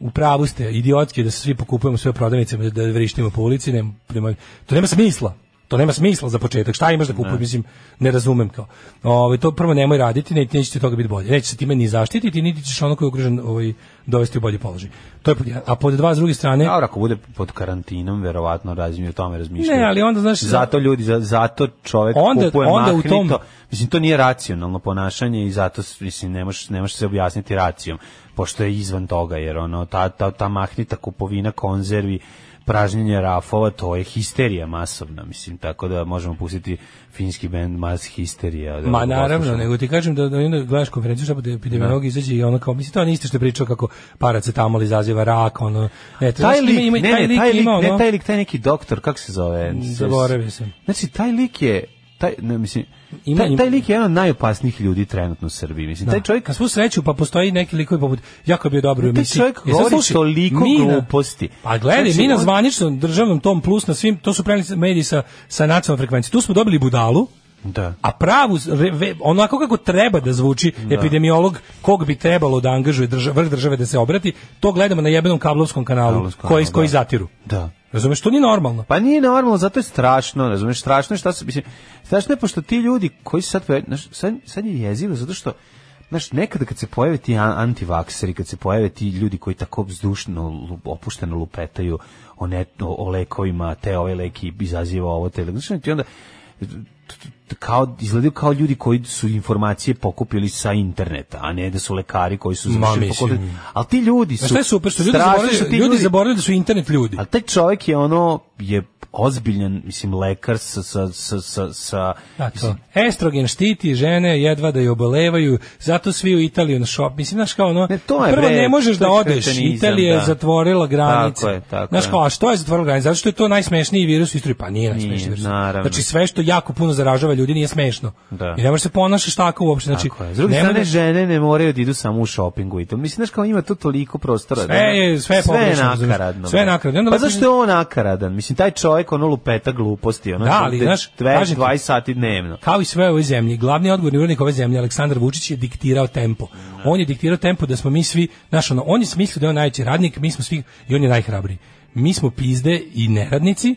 u pravu ste, idiotski da se svi pokupujemo sve prodavnice da da vrištimo po ulici, nema, nema- to nema smisla. To nema smisla za početak. Šta imaš da kupuješ, mislim, ne razumem kao. Ovaj to prvo nemoj raditi, ne, neće ti toga biti bolje. Neće se time ni zaštititi, niti ćeš ono koji je ugrožen ovaj dovesti u bolji položaj. To je pod jedan. A pod dva s druge strane,
E, Dobro, ako bude pod karantinom, verovatno razmišlja o tome razmišljaju.
Ne, ali onda, znaš,
zato ljudi za- zato čovjek
Onda-
kupuje
onda u
mahnito.
tom-
Mislim to nije racionalno ponašanje i zato s- mislim ne možeš ne možeš se objasniti racijom pošto je izvan toga jer ono ta ta ta mahnita kupovina konzervi pražnjenje rafova, to je histerija masovna, mislim, tako da možemo pustiti finski bend Mass Histerija. da
Ma
ga
naravno,
poslušamo.
nego ti kažem da, da onda gledaš konferenciju šta bude
Da.
epidemiolog izađe i ono kao mislim to nije isto što je pričao kako paracetamol izaziva rak, ono. Ne, to,
taj
znaš, ima-
lik,
ima-
ne, ne,
taj lik ima,
ne,
ono-
taj lik, taj neki doktor, kako se zove?
Zaboravio sam.
Znači, taj lik je taj, ne, mislim,
Ima- Da.
taj,
ima-
taj lik je jedan od najopasnijih ljudi trenutno u Srbiji. Mislim, taj čovjek
na svu sreću pa postoji neki likovi poput jako je bio dobar u
Taj
emisiji.
čovjek
E, sad
govori
slušaj,
toliko
mi na-
gluposti.
Pa gledaj,
Znači,
mi na
on-
zvaničnom državnom tom plus na svim, to su preneli mediji sa, sa nacionalnom frekvencijom. Tu smo dobili budalu,
Da.
a pravu, re- ve- onako kako treba da zvuči epidemiolog, kog bi trebalo da angažuje drža, vrh države da se obrati, to gledamo na jebenom kablovskom kanalu,
Kablovskom,
koji,
da.
koji zatiru.
Da.
Razumeš, to nije normalno.
Pa nije normalno, zato je strašno, razumeš, strašno je šta se, mislim, strašno je pošto ti ljudi koji su sad, pojavi- znaš, sad, sad je jezivo, zato što, znaš, nekada kad se pojave ti an- antivakseri, kad se pojave ti ljudi koji tako vzdušno, lu- opušteno lupetaju o, ne, o, o lekovima, te ovaj leki izaziva ovo, te, znaš, ti onda, t- t- kao izgledaju kao ljudi koji su informacije pokupili sa interneta, a ne da su lekari koji su
Ma,
završili
mislim.
fakultet. Ali ti ljudi su
Znaš šta je super, što ljudi,
strašno
zaboravili,
su ti
ljudi, zaboravili da su internet ljudi.
a taj čovjek je ono je ozbiljan, mislim lekar sa sa sa sa, sa
Da, to. Estrogen štiti žene jedva da je obolevaju, zato svi u Italiju na šop. Mislim, znaš kao ono,
Ne, to je,
prvo
bre,
ne možeš
to je
da odeš,
kretenizam,
Italija je
da.
zatvorila granice.
Tako je, tako
znaš
je.
kao, a što je zatvorila granice? Zato što je to najsmešniji virus u istoriji. Pa nije najsmešniji
Nije,
virus.
naravno.
Znači sve što jako puno zaražava ljudi nije smešno.
Da.
I ne možeš se ponašaš tako uopšte. Znači,
Tako je. S druge
ne
strane,
možeš-
žene ne moraju da idu samo u šopingu i to. Mislim, znaš kao ima tu toliko prostora. da-
Sve je- sve je pogrešno, razumeš.
nakaradno.
Sve je nakaradno. Onda
Pa
lepo-
zašto je on nakaradan? Mislim, taj čovjek ono lupeta gluposti. Ono,
Da, ali,
te-
znaš,
dve-
kažem ti-
20 sati dnevno.
kao i sve u ovoj zemlji, glavni odgovorni urednik ove zemlje, Aleksandar Vučić, je diktirao tempo. On je diktirao tempo da smo mi svi, znaš, ono, on je smislio da je on najveći radnik, mi smo svi, i on je najhrabriji. Mi smo pizde i neradnici,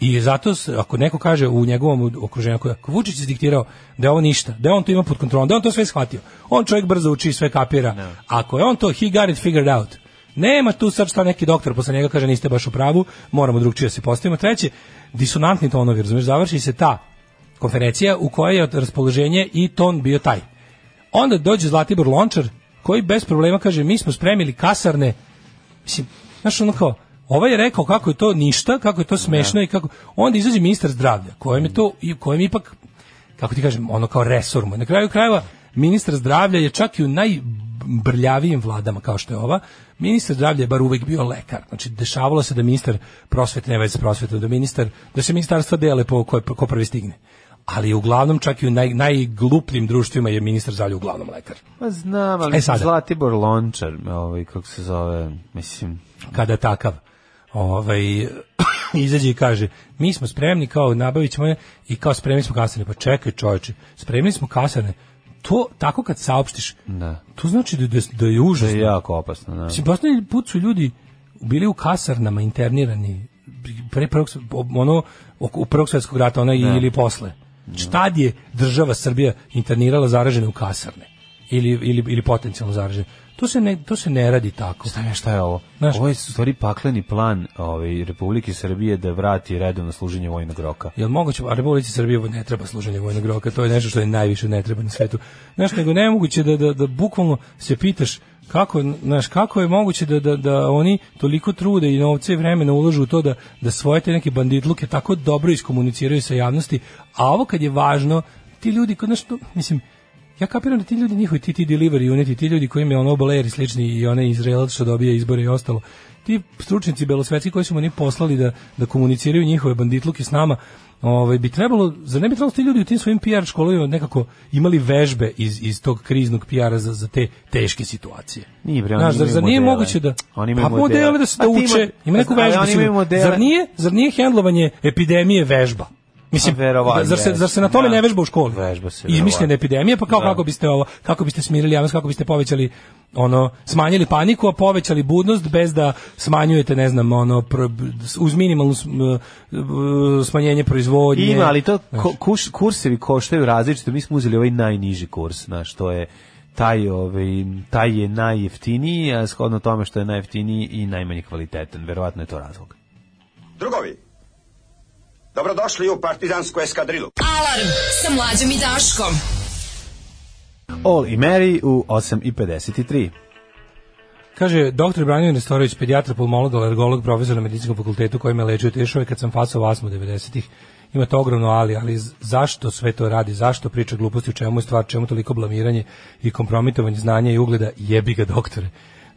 I zato, s- ako neko kaže u njegovom okruženju, ako, ako Vučić je diktirao da je ovo ništa, da on to ima pod kontrolom, da je on to sve shvatio, on čovjek brzo uči, sve kapira, ako je on to, he got it figured out, nema tu sad šta neki doktor posle njega kaže niste baš u pravu, moramo drugčije da se postavimo. Treće, disonantni tonovi, razumeš, završi se ta konferencija u kojoj je raspoloženje i ton bio taj. Onda dođe Zlatibor Lončar koji bez problema kaže mi smo spremili kasarne. Mislim, znaš ono kao, ovaj je rekao kako je to ništa, kako je to smešno i kako... Onda izađe ministar zdravlja kojem je to, i kojem ipak, kako ti kažem, ono kao resor mu. Na kraju krajeva ministar zdravlja je čak i u najbrljavijim vladama kao što je ova, ministar zdravlja je bar uvek bio lekar. Znači, dešavalo se da ministar prosvete ne veze s prosvetom, da ministar, da se ministarstva dele po ko, ko prvi stigne. Ali uglavnom čak i u naj, najglupljim društvima je ministar zdravlja uglavnom lekar.
Pa znam, ali
E, sada.
Zlatibor Lončar, ovaj, kako se zove, mislim...
kada takav ovaj izađe i kaže mi smo spremni kao nabavit ćemo je i kao spremni smo kasarne pa čekaj čoveče spremni smo kasarne to tako kad saopštiš
Da.
to znači da, da, da je užasno
Je jako opasno, da.
Mislim, poslednji put su ljudi bili u kasarnama internirani pre prvog, s- ono, oko prvog svjetskog rata,
Da.
ona ili posle. Štad je država Srbija internirala zaražene u kasarne ili, ili, ili potencijalno zaražene. To se ne, to se ne radi tako.
Šta je, šta je ovo?
Znaš-
ovo je u stvari pakleni plan ovaj, Republike Srbije da vrati redovno služenje vojnog roka.
Jel moguće, a Republici Srbije ne treba služenje vojnog roka, to je nešto što je najviše ne treba na svetu. Znaš, nego nemoguće da, da, da bukvalno se pitaš kako, znaš, kako je moguće da, da, da oni toliko trude i novce i vremena ulažu u to da, da svoje te neke banditluke tako dobro iskomuniciraju sa javnosti, a ovo kad je važno, ti ljudi, kod znaš, to, mislim, ja kapiram da ti ljudi njihovi, ti, ti delivery uniti, ti ljudi koji imaju ono obaleri slični i one Izraelac što dobije izbore i ostalo, ti stručnici belosvetski koji su mu oni poslali da, da komuniciraju njihove banditluke s nama, ovaj, bi trebalo, zar ne bi trebalo da su ti ljudi u tim svojim PR školovima nekako imali vežbe iz, iz tog kriznog PR-a za, za te teške situacije?
Nije bre, oni
Znaš, zar,
imaju
zar nije
modele.
moguće da...
Oni imaju
pa modele
modele.
da se
A
da
ti ima- pa,
uče, ima neku
ali
vežbu.
oni imaju
sigurno.
modele.
Zar nije, zar nije hendlovanje epidemije vežba? Mislim,
A Pa, verovatno
zar se, zar se na
jeste,
tome
da.
ne vežba u školi?
Vežba se,
Izmišljena
verovatno.
epidemija, pa kao
Da.
kako biste ovo, kako biste smirili javnost, kako biste povećali ono smanjili paniku, a povećali budnost bez da smanjujete, ne znam, ono pro, uz minimalno sm- e, smanjenje proizvodnje.
Ima, ali to
Znaš.
ko, kuš, kursevi koštaju različito. Mi smo uzeli ovaj najniži kurs, znaš, to je taj, ovaj, taj je najjeftiniji, a shodno tome što je najjeftiniji i najmanje kvalitetan. Verovatno je to razlog.
Drugovi, dobrodošli u partizansku eskadrilu.
Alarm sa mlađom i Daškom.
All i Mary u 8.53.
Kaže, doktor Branimir Nestorović, pediatra, pulmolog, alergolog, profesor na medicinskom fakultetu koji me leči od tešove kad sam fasao vasmu 90-ih. Ima to ogromno ali, ali z- zašto sve to radi, zašto priča gluposti, u čemu je stvar, čemu toliko blamiranje i kompromitovanje znanja i ugleda, jebi ga doktore.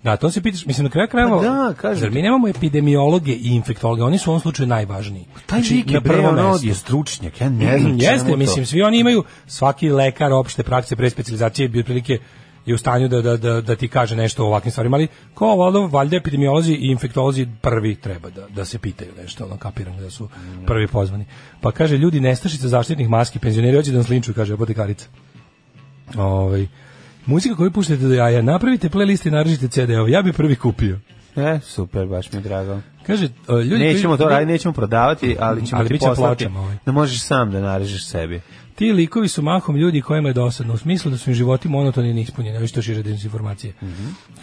Da, to se pitaš, mislim na kraju krajeva.
Pa da, kažem
Zar
ti.
mi nemamo epidemiologe i infektologe, oni su u ovom slučaju najvažniji.
Pa Taj
Znači,
lik
na
je
prvo
prvo
mesto.
je stručnjak, ja ne znam čemu
Jeste,
to.
mislim, svi oni imaju, svaki lekar opšte prakse pre specializacije bi otprilike je u stanju da, da, da, da ti kaže nešto o ovakvim stvarima, ali ko valjda, valjda epidemiolozi i infektolozi prvi treba da, da se pitaju nešto, ono kapiram da su prvi pozvani. Pa kaže, ljudi nestašice zaštitnih maski, penzioneri hoće da nas linčuju, kaže apotekarica. Ovaj, muzika koju puštate do jaja, napravite playlist i naručite CD-ove, ja bi prvi kupio.
E, super, baš mi je drago.
Kaže, e, ljudi...
Nećemo to
koji-
raditi, nećemo prodavati, ali ćemo
Ali
ti
bit će
poslati
plaćama, ovaj.
da možeš sam da narežeš sebi.
Ti likovi su mahom ljudi kojima je dosadno, u smislu da su im životi monotoni i neispunjeni, ovi što šire dezinformacije.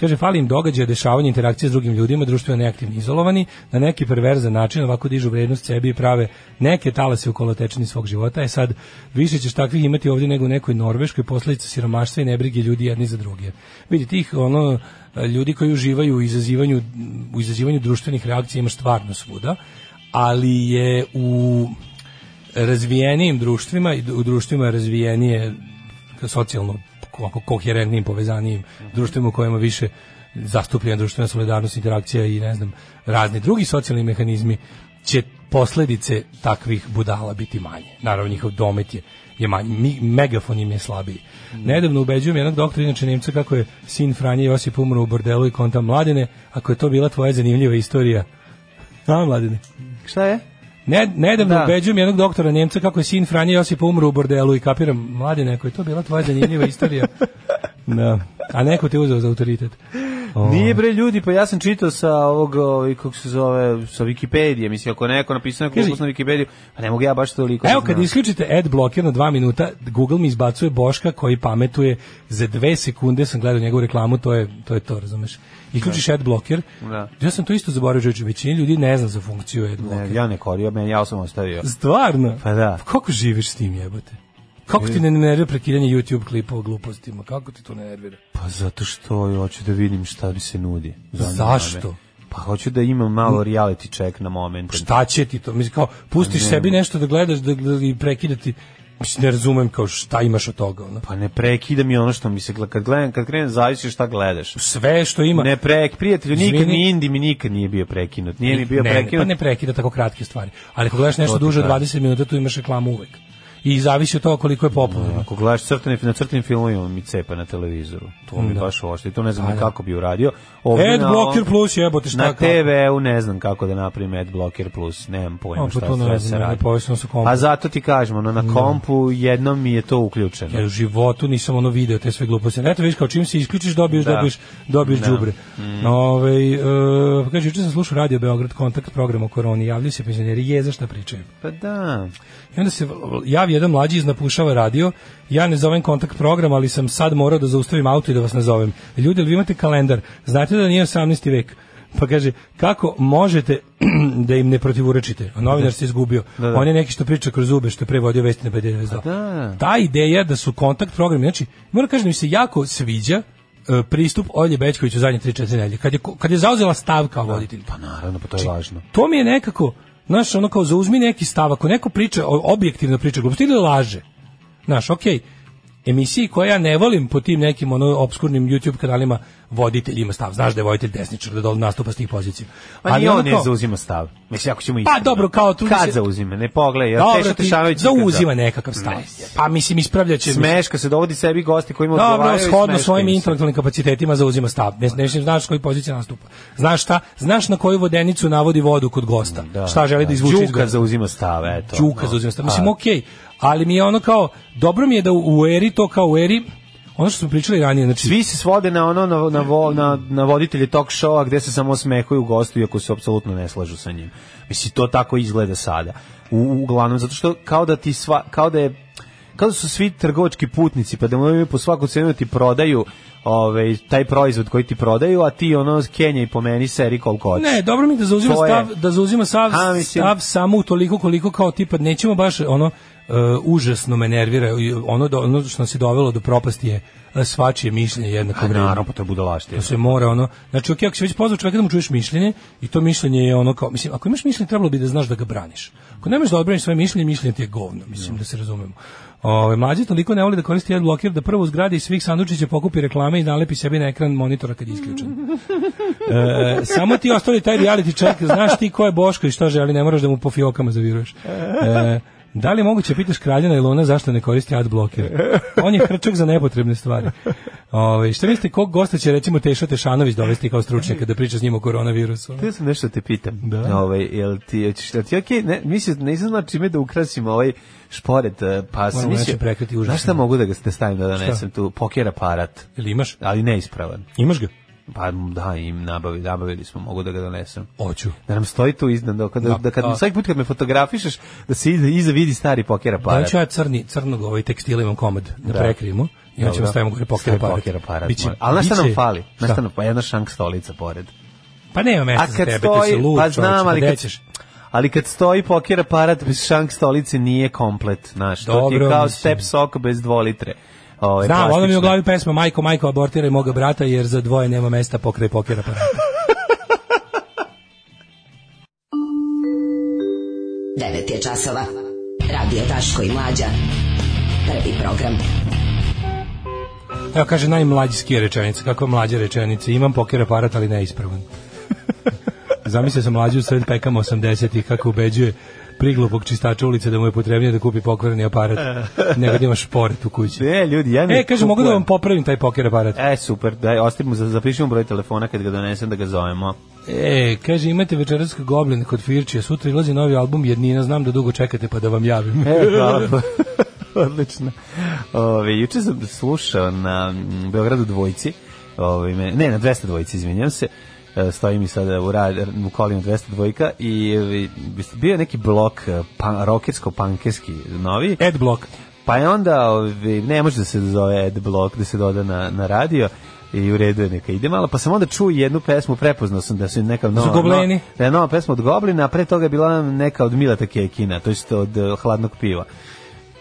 Kaže, fali im događaja, dešavanje, interakcije s drugim ljudima, društveno neaktivni, izolovani, na neki perverzan način ovako dižu vrednost sebi i prave neke talase u kolotečini svog života. E sad, više ćeš takvih imati ovdje nego u nekoj Norveškoj posljedica siromaštva i nebrige ljudi jedni za druge. Vidi, tih ono, ljudi koji uživaju u izazivanju, u izazivanju društvenih reakcija ima stvarno svuda, ali je u razvijenijim društvima i u društvima razvijenije socijalno ovako koherentnim povezanijim društvima u kojima više zastupljena društvena solidarnost, interakcija i ne znam, razni drugi socijalni mehanizmi će posledice takvih budala biti manje. Naravno njihov domet je je manji, Mi- megafon im je slabiji. Nedavno ubeđujem jednog doktora, inače Nemca, kako je sin Franje Josip umro u bordelu i konta mladine, ako je to bila tvoja zanimljiva istorija. A, mladine?
Šta je?
Ne, nedavno
Da.
ubeđujem jednog doktora Njemca kako je sin Franje Josipa umro u bordelu i kapiram, mladi neko je to bila tvoja zanimljiva istorija. Da. A neko te uzeo za autoritet.
Nije bre ljudi, pa ja sam čitao sa ovog, ovaj, kako se zove, sa Wikipedije, mislim, ako je neko napisao neku
Kaži.
glupost na Wikipediju, pa ne mogu ja baš toliko.
Evo
da
kad
znam.
isključite ad blocker na dva minuta, Google mi izbacuje Boška koji pametuje za dve sekunde, sam gledao njegovu reklamu, to je to, je to razumeš. Isključiš ad blocker,
Da.
ja sam to isto zaboravio, čovječe, većini ljudi ne zna za funkciju ad blocker.
Ne, ja ne korio, men, ja sam ostavio.
Stvarno?
Pa da.
Kako živiš s tim jebote? Kako ti ne nervira prekidanje YouTube klipa o glupostima? Kako ti to ne nervira?
Pa zato što ja hoću da vidim šta mi se nudi. Zanima
Zašto? Pa
me. Pa hoću da imam malo reality check na moment.
šta će ti to? Mislim, kao, pustiš sebi nešto da gledaš da, da i prekidati. Mislim, ne razumem kao šta imaš od toga. Ono.
Pa ne prekida mi ono što mi se gleda. Kad, gledam, kad krenem, zavisi šta gledaš.
Sve što ima...
Ne prek, prijatelju, nikad
Izvini.
ni Indi mi nikad nije bio prekinut. Nije mi bio
ne, ne, pa
prekinut.
ne prekida tako kratke stvari. Ali ako gledaš nešto
To ti
duže od
kažem.
20 minuta, tu imaš reklamu uvek. I zavisi od toga koliko je popularno.
Ako gledaš crtane, na crtanim filmovima mi cepa na televizoru. To mi
Da.
baš ošte. To ne znam
Pa
ni
da.
kako bi uradio. Ovdje
Ed
na
Blocker
ovom-
Plus, jebote, šta
Na
kao?
TV-u ne znam kako da napravim Ad Blocker Plus, nemam pojma
A, pa
šta
to ne
sve
znam,
se
meni
radi.
povijesno su kompu. Da.
Pa zato ti kažem, ono, na kompu jednom mi je to uključeno.
Ja u životu nisam ono video te sve gluposti. Eto vidiš kao čim se isključiš dobiješ
Da. Mm.
dobiješ dobiješ đubre. Ovaj e, pa kaže juče sam slušao radio Beograd kontakt program o koroni. Javljaju se penzioneri je za šta pričaju.
Pa da.
I onda se javi jedan mlađi iz napušava radio, ja ne zovem kontakt program, ali sam sad morao da zaustavim auto i da vas nazovem. Ljudi, jel vi imate kalendar? Znate da nije 18. vek? Pa kaže, kako možete da im ne protivurečite? A novinar se izgubio.
Da, da.
On je neki što priča kroz zube, što je prevodio vesti na 52.
da.
Ta ideja da su kontakt programi, znači, moram kažem da mi se jako sviđa e, pristup Olje Bećkoviću u zadnje 3-4 nedelje. Kad je, ko- kad je zauzela stav kao voditelj.
Pa naravno, pa to je važno.
To mi je nekako, znaš, ono kao zauzmi neki stav, ako neko priča, o- objektivno priča gluposti ili laže, znaš, okej, emisiji koje ja ne volim po tim nekim ono obskurnim YouTube kanalima voditelj ima stav, znaš da je voditelj desničar, da dol nastupa s tih pozicija.
Pa Ali
ono
on ne
kao-
zauzima stav. Mislim, ako ćemo
Pa dobro, kao trudi
Kad
se-
zauzima? Ne pogledaj. ja
Dobro,
Tešo
ti
Tešanović nikad
zauzima
za-
nekakav stav. Pa mislim, ispravljaće...
Smeška se dovodi sebi gosti koji mu
Dobro,
odgovaraju. i
Da, shodno
smeška
svojim
im se.
intelektualnim kapacitetima zauzima stav. Ne, ne znaš s koje pozicije nastupa. Znaš šta? Znaš na koju vodenicu navodi vodu kod gosta.
Da,
šta želi da, izvuče iz
Đuka
gosta.
zauzima stav, eto. da.
Đuka
No.
zauzima stav. Mislim, okej, ali mi je ono kao, dobro mi je da u, u eri, to kao u eri, ono što smo pričali ranije, znači,
Svi se svode na ono na na vo- na, na voditelje talk showa gde se samo smehuju gostu iako se apsolutno ne slažu sa njim. Mislim to tako izgleda sada. U, uglavnom zato što kao da ti sva kao da je kao da su svi trgovački putnici pa da moraju po svaku cenu da ti prodaju ovaj taj proizvod koji ti prodaju a ti ono Kenja i po meni seri koliko hoćeš.
Ne, dobro mi je da zauzima
To je-
stav, da zauzima stav,
A, mislim-
stav samo u toliko koliko kao tipa nećemo baš ono e, užasno me nervira i ono do, ono što nas je dovelo do propasti je e, svačije mišljenje jednako
Pa
vredno.
naravno, pa to je budalaštija.
To Da se mora ono. Znači, okej, ako si već pozvao čoveka da mu čuješ mišljenje i to mišljenje je ono kao, mislim, ako imaš mišljenje trebalo bi da znaš da ga braniš. Ako nemaš da odbraniš svoje mišljenje, mišljenje ti je govno, mislim da se razumemo. Ove, mlađe toliko ne voli da koristi adblock jer da prvo u zgradi iz svih sandučića pokupi reklame i nalepi sebi na ekran monitora kad je isključen. E, samo ti ostali taj reality check, znaš ti ko je Boško i šta želi, ne moraš da mu po fiokama zaviruješ. E, da li je moguće pitaš Kraljana Ilona zašto ne koristi ad bloker? On je hrčak za nepotrebne stvari. Ove, šta mislite, kog gosta će recimo Teša Tešanović dovesti kao stručnjaka da priča s njim o koronavirusu?
Htio sam nešto da te pitam.
Da.
Ovaj, jel ti, hoćeš, jel ti okej, ne, mislim, nisam znao čime da ukrasim ovaj šporet, eh, pa sam
Moram
mislio,
nešto prekriti, užasno.
znaš šta mogu da ga da stavim da donesem tu, poker aparat,
Ili imaš?
ali neispravan.
Imaš ga?
Pa da, im nabavi, nabavili smo, mogu da ga donesem.
Oću.
Da nam stoji tu iznad, da, da, da kad,
Da.
svaki put kad me fotografišeš, da se iza, iza vidi stari poker
Da li
aparat.
ću ja crni, crnog ovaj tekstila imam komad da,
Da.
prekrijemo i onda ćemo
Dobro.
stavimo gore poker
Stavi
aparat.
Poker aparat.
Biće-
moj. Ali znaš šta
biće-
nam fali? Znaš
Šta?
šta nam, pa jedna šank stolica pored.
Pa nema mesta
A
za
kad
tebe, ti si
stoji,
lud,
pa znam, ali kad,
ćeš?
ali kad stoji poker aparat bez šank stolice nije komplet, znaš, to ti
Dobro,
je kao
mislim.
step sok bez dvolitre. Ove,
Znam, ono mi je u
plastične.
glavi pesma Majko, Majko, abortiraj moga brata jer za dvoje nema mesta pokraj poker aparata.
9 je časova. Radio Daško i Mlađa. Prvi program.
Evo kaže najmlađiskija rečenica, kako mlađe rečenice. Imam poker aparat, ali ne ispravan. Zamislio sam mlađu sred pekama 80-ih kako ubeđuje priglupog čistača ulice da mu je potrebnije da kupi pokvareni aparat nego da ima šporet u kući.
Ne, ljudi, ja ne
E, kaže, mogu da vam popravim taj poker aparat.
E, super, daj, ostavimo, za- zapišimo broj telefona kad ga donesem da ga zovemo.
E, kaže, imate večeras Goblin kod Firčija, sutra ilazi novi album Jednina, znam da dugo čekate pa da vam javim.
E, bravo. Odlično. Ove, juče sam slušao na mm, Beogradu dvojci, ove, me, ne, na 200 dvojci, izvinjam se, E, stoji mi sada u, rad, u kolima 200 dvojka i ove, bio je neki blok e, pan, rokersko-pankerski novi,
Ed Block.
pa je onda, ove, ne može da se zove ad blok, da se doda na, na radio, i u redu je neka ide malo, pa sam onda čuo jednu pesmu, prepoznao sam da su neka nova,
Goblini.
da je nova pesma od Goblina, a pre toga je bila neka od Milata Kekina, to jest od eh, Hladnog piva.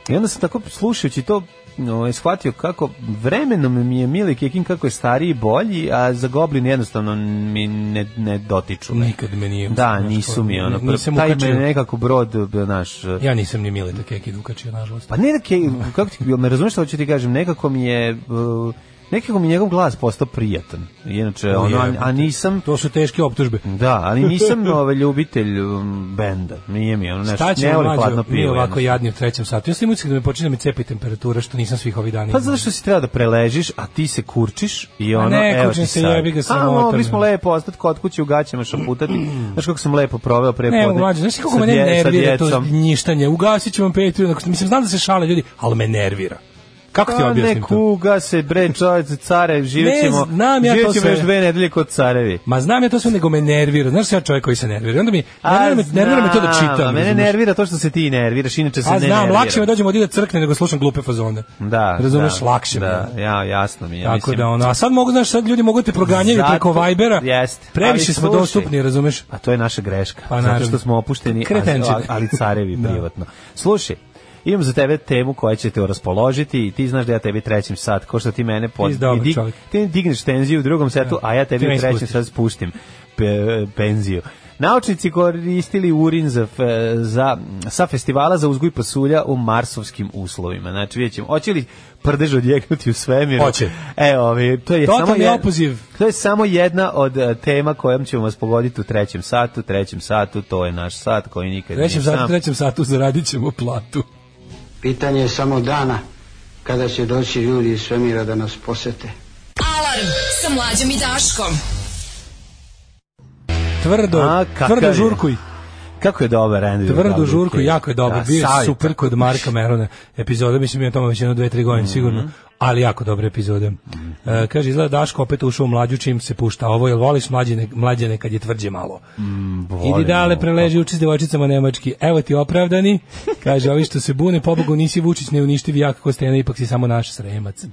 I onda sam tako slušajući to no, shvatio kako vremenom mi je Mili Kekin kako je stariji i bolji, a za Goblin jednostavno mi ne, ne dotiču.
Nikad me nije...
Da, nisu mi ono.
Nisam
taj
ukačio.
me nekako brod naš eh,
Ja nisam ni Mileta Kekid ukačio, nažalost.
pa ne, da ke, kako ti, jel me razumeš što hoću ti kažem, nekako mi je, uh, nekako mi je njegov glas postao prijatan. Inače, ono, a, a nisam,
To su teške optužbe.
da, ali nisam ovaj, ljubitelj um, benda, nije mi ono nešto,
Šta
ne
ćemo
volim
mlađo,
hladno
mi
pivo.
ovako
jednostavno.
jadni u trećem satu. Ja sam imao da me počinje da me cepi temperatura, što nisam svih ovih dana.
Pa
imao.
zato što si treba da preležiš, a ti se kurčiš i
A
ono,
ne,
evo
kurčim
ti
se,
sad.
jebi ga,
a,
sramota me.
mogli smo lepo ostati kod kuće u gaćama šaputati. Znaš kako sam lepo proveo pre
Ne,
podne
mlađe, znaš kako
sa
me ne
dje- sa
nervira to
djecom.
njištanje. Ugasit ću vam petlju, onako, mislim, znam da se šale ljudi, ali me nervira. Kako ti
Pa
objasnim
ne
to?
kuga se bre čoveče care živit
Ne
ćemo
znam ja to
živit ćemo
sve.
još dve nedelje kod carevi
Ma znam ja to sve, nego me nervira. Znaš ja čovjek koji se nervira. Onda mi, nervira, me, nervira me to da
znam,
čitam.
a Mene
razumeš?
nervira to što se ti nerviraš, inače se
A
ne
znam,
nervira.
lakše me dođem od da crkne nego slušam glupe fazone.
Da,
Razumeš,
da,
lakše mi
da,
je.
ja, jasno mi je.
Tako
mislim.
da ono, a sad mogu, znaš, sad ljudi mogu da te proganjaju
Zato-
preko Vibera.
Jeste.
Previše smo
Ali slušaj.
dostupni, razumeš?
A to je naša greška.
Pa,
zato
naravno. Da.
što smo opušteni,
Kretenčine.
a- ali carevi privatno. Slušaj, imam za tebe temu koja će te raspoložiti i ti znaš da ja tebi trećim sat, ko što ti mene pod...
Ti si dobar
i dig-
čovjek. Da.
Ti digneš tenziju u drugom setu, a ja
Ti
tebi
me
u trećem
ispustiš.
sat spustim pe- penziju. Naučnici koristili urin za, fe- za, sa festivala za uzgoj pasulja u marsovskim uslovima. Znači, vidjet ćemo, hoće li prdež odjeknuti u svemiru?
Hoće.
E, ovi, to je
Totalni
samo jed-
opoziv.
to je samo jedna od e, tema kojom ćemo vas pogoditi u trećem satu, trećem satu, to je naš sat koji nikad
Trećem
nije
satu,
sam.
trećem satu zaradit ćemo platu.
Pitanje je samo dana kada će doći ljudi iz svemira da nas posete.
Alarm sa Mlađom i Daškom.
Tvrdo,
A, kakav
tvrdo
je.
žurkuj.
Kako je dobar Andy.
Tvrdo
Dobrik
žurku,
je.
jako je dobro.
Da,
Bio je
savjet.
super kod Marka Merona. Epizoda, mislim, je o tome već jedno dve, tri godine,
Mhm.
sigurno. Ali jako dobre epizode. E, kaže, izgleda Daško opet ušao u mlađu čim se pušta ovo, jel voliš mlađene, mlađene kad je tvrđe malo? Idi
volim,
dale,
no,
preleži uči s devojčicama nemački. Evo ti opravdani. Kaže, ovi što se bune, pobogu nisi Vučić, ne uništivi jak ko stena, ipak si samo naš sremac.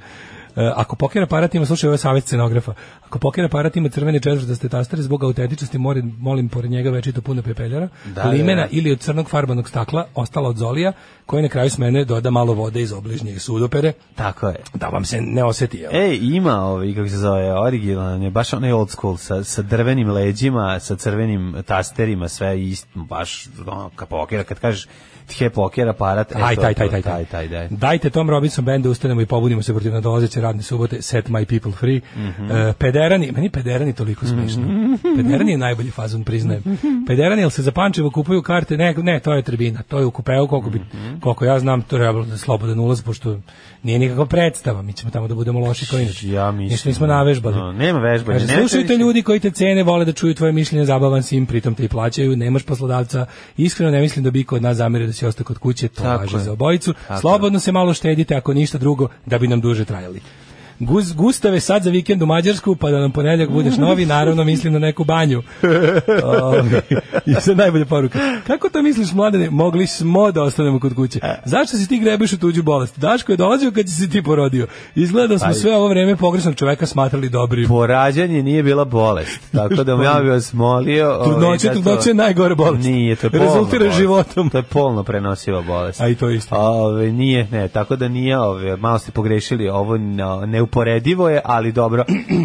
E, ako poker aparat ima, slušaj, ovo je savjet scenografa, ako poker aparat ima crvene četvrtaste tastere, zbog autentičnosti molim, molim pored njega večito puno pepeljara,
Da,
limena
da, da.
ili od crnog farbanog stakla, ostala od zolija, koji na kraju smene doda malo vode iz obližnjeg sudopere,
Tako je.
da vam se ne oseti. Jel?
E, ima ovaj, kako se zove, originalan je, baš onaj old school, sa, sa drvenim leđima, sa crvenim tasterima, sve ist, baš, ono, ka pokera, kad kažeš, tje poker aparat, e,
Aj,
to
taj,
je
taj,
to,
taj, taj.
taj, daj.
Dajte Tom Robinson bendu, ustanemo i pobudimo se protiv nadolazeće radne subote, set my people free.
Mhm.
E, pederani, meni pederani toliko smešno. Pederani je najbolji fazon, priznajem.
Mhm.
Pederani, jel se za Pančevo kupuju karte? Ne, ne, to je tribina, to je u kupeu, koliko, bi,
Mhm.
koliko ja znam, to je trebalo da je slobodan ulaz, pošto nije nikakva predstava, mi ćemo tamo da budemo loši kao inače.
Ja mislim.
Ništa nismo navežbali.
No, nema vežbanja,
Kaže,
ne
slušajte
trebaš-
ljudi koji te cene, vole da čuju tvoje mišljenje, zabavan si im, pritom te i plaćaju, nemaš poslodavca. Iskreno ne mislim da bi iko od nas zamerio da si ostao kod kuće, to
Tako
važi
je.
za obojicu.
Tako
Slobodno se malo štedite, ako ništa drugo, da bi nam duže trajali. Guz, Gustave sad za vikend u Mađarsku, pa da nam ponedljak budeš novi, naravno mislim na neku banju. Ovaj, I sad najbolja poruka. Kako to misliš, mladene, mogli smo da ostanemo kod kuće?
E.
Zašto si ti grebeš u tuđu bolest? Daško je dolazio kad si se ti porodio. Izgleda da smo
Aj.
sve ovo vreme pogrešnog čoveka smatrali dobrim.
Porađanje nije bila bolest, tako da ja bih vas molio... ovaj,
Trudnoće,
da to-
trudnoće je najgore bolest.
Nije, to je polno
Rezultira
bolest.
životom.
To je polno prenosiva bolest.
A i to je isto.
Ove, nije, ne, tako da nije, ove, malo ste pogrešili, ovo no, neuporedivo je, ali dobro,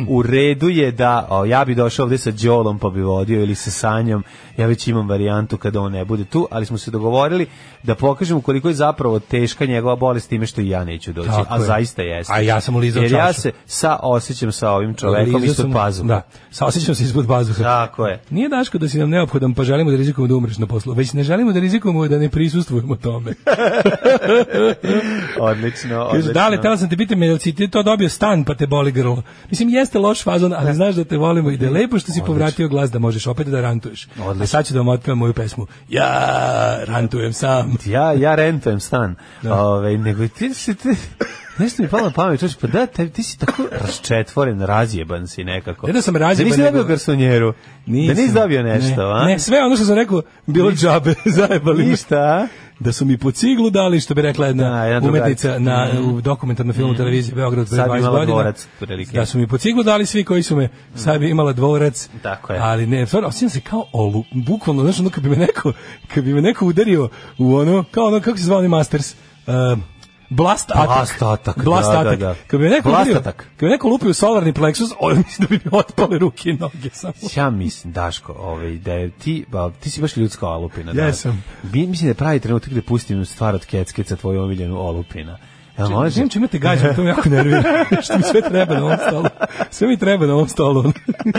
u redu je da, o, ja bi došao ovde sa Đolom pa bi vodio ili sa Sanjom, ja već imam varijantu kada on ne bude tu, ali smo se dogovorili da pokažemo koliko je zapravo teška njegova bolest time što i ja neću doći,
Tako
a
je.
zaista jeste.
A ja sam ulizao
Jer ja
čašu.
se sa osjećam sa ovim čovekom
Lizao
ispod Da.
sam-
pazuha.
Da, sa osjećam se ispod bazuha.
Tako je.
Nije Daško da si nam neophodan, pa želimo da rizikujemo da umreš na poslu, već ne želimo da rizikujemo da ne prisustvujemo tome.
Odlično,
Kaže,
odlično.
da li, tela sam te pitam, jel si ti to dobio stan pa te boli grlo? Mislim, jeste loš fazon, ali znaš da te volimo i da je lepo što si povratio glas da možeš opet da rantuješ.
Odlično.
A sad ću da vam otpevam moju pesmu. Ja rantujem sam.
ja, ja rentujem stan.
Da.
Ove, nego ti si, ti, nešto mi je palo na pamet, čoveč, pa da, te, ti si tako raščetvoren, razjeban si nekako.
Ne da sam razjeban,
Da nisi dobio
nego-
garsonjeru, da nisi
Nisam.
dobio nešto,
ne,
a?
Ne, sve ono što sam rekao, bilo džabe, zajebali me.
Ništa, a?
da su mi po ciglu dali, što bi rekla jedna
Da, jedna
umetnica na,
drugarica.
u dokumentarnom filmu televizije Beograd pre
Mhm. Sad bi
20
imala
godina.
dvorac, otprilike. Mhm.
da su mi po ciglu dali svi koji su me, sad bi imala dvorac.
Tako je.
Ali ne, stvarno, osjećam se kao olu, bukvalno, znaš, ono kad bi me neko, kad bi me neko udario u ono, kao ono, kako se zvao onaj Masters, um, Blast atak.
Blast atak,
Blast
da, da,
atak.
da.
Kad bi me neko
Blast
udario,
atak.
kad bi me neko lupio u solarni plexus, ovo mislim da bi mi otpale ruke i noge samo.
Ja mislim, Daško, ovaj, da je ti, ba, ti si baš ljudska olupina. Da.
Jesam.
Mi, mislim da je pravi trenutak da pustim stvar od keckeca tvoju omiljenu olupina. Ja,
Ne znam Znači, čime te gađam, to me jako nervira. Što mi sve treba na ovom stolu. Sve mi treba na ovom stolu.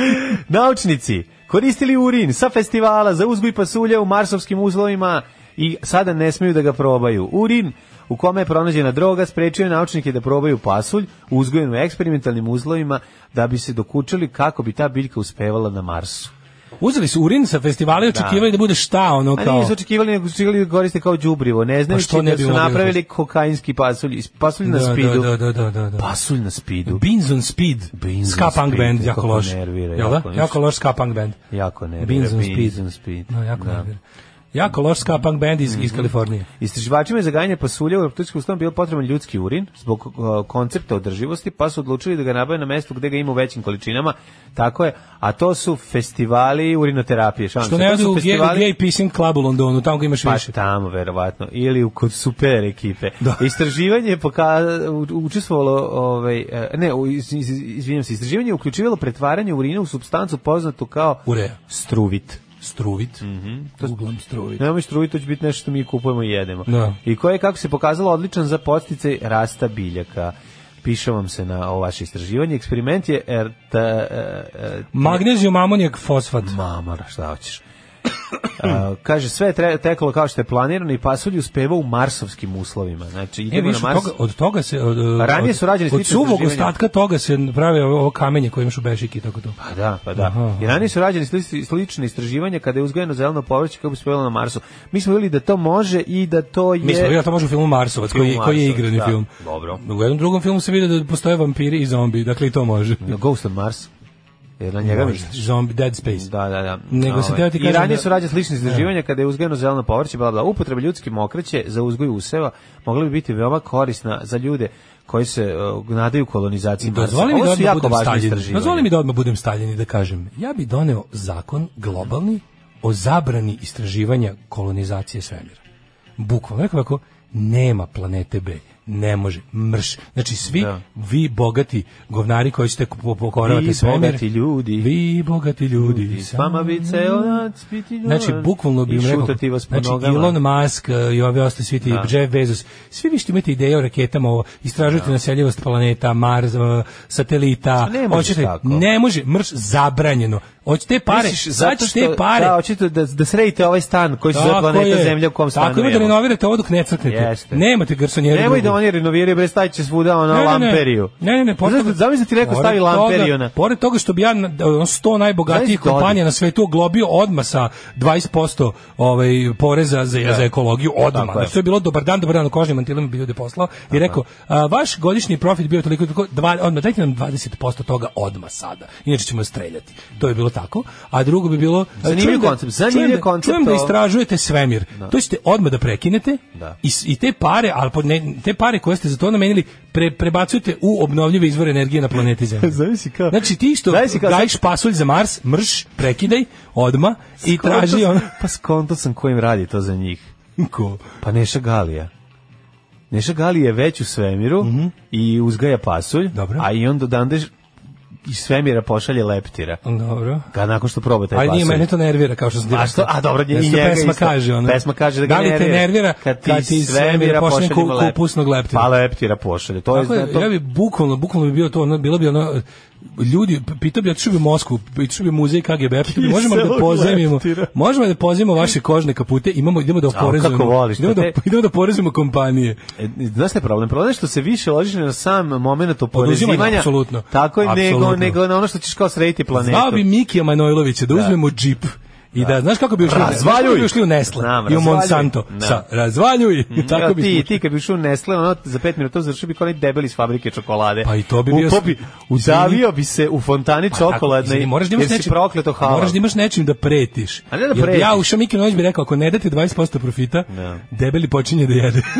Naučnici koristili urin sa festivala za uzgoj pasulja u marsovskim uslovima i sada ne smeju da ga probaju. Urin u kome je pronađena droga sprečio je naučnike da probaju pasulj uzgojen u eksperimentalnim uslovima da bi se dokučili kako bi ta biljka uspevala na Marsu.
Uzeli su urin sa festivala i očekivali da, bude šta ono
A
kao...
nisu očekivali, nego su očekivali da koriste kao đubrivo. Ne
Pa
znajući
što ne
da
bi
su
mogli
napravili kokainski pasulj, iz- pasulj na
Da,
spidu.
Da, da, da, da, da.
Pasulj na spidu.
Beans on Speed.
Beans on
ska punk
Speed,
band, jako
kako
loš.
nervira,
Jel da?
jako,
Jako loš ska punk band.
Jako ne.
Beans on Speed. Mhm.
Beans on speed.
No, jako
Da.
nervira. Jako loš ska punk band iz, iz Kalifornije.
Istraživačima je za gajanje pasulja u reptilskom ustavu bio potreban ljudski urin zbog uh, koncepta održivosti, pa su odlučili da ga nabave na mestu gde ga ima u većim količinama. Tako je, a to su festivali urinoterapije. Šalim
Što
se,
ne
to
odu
su
u gay, gay Pissing Club u Londonu, tamo ga imaš
Pa
više.
tamo, verovatno. Ili u- kod super ekipe.
Da.
Istraživanje je poka... u- učestvovalo, ovaj, e, ne, u- iz- iz- izvinjam se, istraživanje je uključivalo pretvaranje urina u substancu poznatu kao
Urea.
struvit.
Struvit. Mm -hmm. Uglavnom struvit.
Nemoj struji, to će biti nešto što mi kupujemo i jedemo.
Da.
I koji je, kako se pokazalo, odličan za podsticaj rasta biljaka. Piše vam se na ovo vaše istraživanje. Eksperiment je... Er, ta, e, e,
Magnezijum, amonijak, fosfat.
Mamara, šta hoćeš? A, kaže, sve je tre- teklo kao što je planirano i pasulj uspeva u marsovskim uslovima. Znači,
E,
idemo
viš,
na
od
Mars.
toga, od toga se... Od, uh,
Ranije
od-
su rađeni
Od
slična
suvog
istraživanja.
ostatka toga se prave ovo ovo kamenje koje imaš u bešiki i tako to.
Pa da, pa da.
Aha.
I ranije su rađeni sli- slične istraživanja kada je uzgojeno zeleno povrće kako bi uspevalo na Marsu. Mi smo vidjeli da to može i da to je...
Mi smo vidjeli, to može u filmu Marsovac,
Film
koji, je- koji je
Marsovac,
igrani
da,
film.
dobro.
U jednom drugom filmu se vidi da postoje vampiri i zombi, dakle i to može.
Ghost on Mars. Jer na njega misliš?
Zombi, Dead Space.
Da, da, da.
Nego sam
Ovaj.
teo ti
I
kažem
ranije
da-
su rađene slične istraživanja kada je uzgojeno zeleno povrće, bla bla. Upotreba ljudske mokraće za uzgoj useva mogla bi biti veoma korisna za ljude koji se uh, nadaju kolonizaciji Marsa.
Dozvoli mi da
Ovo su
odmah
jako
budem
važne
Stalin.
istraživanja.
Dozvoli mi da odmah budem Stalin i da kažem, ja bi doneo zakon globalni o zabrani istraživanja kolonizacije svemira. Bukvalno, rekao ovako, nema planete B ne može, mrš. Znači svi
Da.
vi bogati govnari koji ćete po- pokoravati
Vi
svemir.
bogati ljudi.
Vi bogati ljudi.
I S vama bi ceo dan biti ljubav.
da- Mm. Znači, bukvalno bi
Da. I
im rekao,
šutati vas po
znači,
nogama.
Elon Musk e, i ovi ostali svi ti,
Da.
Jeff Bezos, svi vi što imate ideje o raketama, ovo, istražujete naseljivost planeta, Mars, e, satelita,
Pa Da. ne možeš tako.
ne može, mrš, zabranjeno. Hoćete te pare,
Misliš,
zato te pare.
Da, očito da, da sredite ovaj stan koji se zove
Tako
planeta
je.
Zemlja u kom stanujemo.
Tako ima da renovirate ovo dok ne crknete.
Jeste.
Nemate garsonjere.
Nemoj
drugu.
da oni renoviraju, bre, stavit će svuda ono
Ne, ne, ne.
lamperiju.
Ne, ne, ne, pored
Znaš, zamisli ti neko
pored
stavi
toga-
lamperiju na...
Pored toga što bi ja na- ono, 100 najbogatijih
Znaš, da Dodi.
kompanija na svetu oglobio odma sa 20% ovaj poreza za za ekologiju odma.
Da. Tako je.
Znači to je bilo dobar dan, dobar dan, u kožnim mantilima bi ljude poslao i rekao a, vaš godišnji profit bio toliko i toliko, dva, odmah dajte nam 20% toga odma sada. Inače ćemo streljati. To je bilo tako. A drugo bi bilo a,
Zanimljiv
čujem da-
koncept, zanimljiv
čujem da-
koncept
Čujem da
ovo.
istražujete svemir. To ćete odmah da prekinete
Da.
i, s- i te pare, ali pod ne- te pare koje ste za to namenili pre, prebacujete u obnovljive izvore energije na planeti Zemlji.
Zavisi kao...
Znači ti što
Zavisi kao-
daješ pasulj za Mars, mrš, prekidaj, odma i
Skonto
traži
sam-
ono...
Pa skonto sam kojim radi to za njih.
Ko?
Pa Neša Galija. Neša Galija je već u svemiru i uzgaja pasulj,
Mhm. Dobro.
a i onda odande iz svemira pošalje leptira.
Dobro.
Ga nakon što proba taj
Ajde,
pasulj.
nije, mene to nervira, kao što sam ti
A što-
rekao.
a dobro, i
Jer što
njega
pesma
isto.
kaže, ono.
Pesma kaže da ga
li te
nervira
nervira
kad ti
kad ti
iz
svemir
svemira
pošalje
pošaljemo
ku-
lep-
kupusnog leptira?
Pa leptira pošalje. To je,
Tako je,
to,
ja bi bukvalno, bukvalno bi bio to, ono, bilo bi ono, ljudi, p- pitao bi, otišao bi u Moskvu, pitao bi muzej KGB, pitao bi, možemo da
Kiselog
pozajmimo,
leptira.
možemo da pozajmimo vaše kožne kapute, imamo, idemo da oporezujemo,
kako voliš,
idemo, da,
te-
idemo da oporezujemo kompanije.
E, Znaš šta je problem? Problem je što se više ložiš na sam moment oporezivanja.
apsolutno.
Tako je, nego,
Apsolutno.
nego na ono što ćeš kao srediti planetu.
Zvao bi Mikija Manojlovića da uzmemo džip i da, znaš kako bi ušli,
Razvaljuj!
znaš kako bi ušli u Nestle
Znam,
i u
razvaljuj.
Monsanto,
Da. Mhm.
sa razvaljuj, tako
Evo,
bi
ti,
ušli.
ti kad bi ušao u Nestle, ono, za pet minuta završio bi kao onaj debeli iz fabrike čokolade.
Pa i to bi
U-
bio-
bi,
Izvini.
udavio bi se u fontani
Pa tako,
čokoladne,
izvini, moraš da imaš
jer si
nečim,
prokleto halal.
Moraš da imaš nečim da pretiš.
A ne da
Jer bi Ja
pretiš.
ušao Miki Nović bi rekao, ako ne date 20% profita,
Da.
debeli počinje da jede.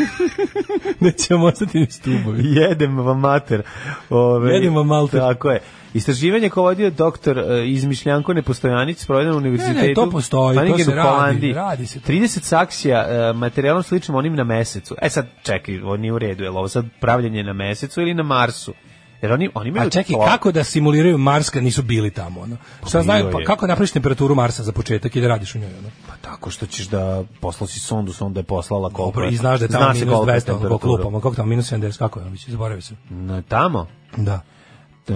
Nećemo ostati ni stubovi.
Jedem vam mater. Ove,
Jedem vam mater.
Tako je. Istraživanje koje je vodio doktor e, izmišljanko Nepostojanić sprovedeno na univerzitetu.
Ne, ne, to postoji, to
Vaningen
se
u
radi,
Holandiji.
radi se to.
30 saksija e, materijalom sličnim onim na mesecu. E sad, čekaj, ovo nije u redu, je li ovo sad pravljenje na mesecu ili na Marsu? Jer oni, oni imaju
A čekaj,
to-
kako da simuliraju Mars kad nisu bili tamo? Ono? Šta
bilo
znaju, pa
je.
kako napraviš temperaturu Marsa za početak i da radiš u njoj? Ono?
Pa tako što ćeš da poslao si sondu, sonda je poslala koliko.
Dobro, I znaš da je tamo
Zna se
minus
kolika je
200, ono, po
temperatura.
klupama, kako tamo, minus 70, kako je, ono, biće, zaboravio sam.
Na, tamo?
Da.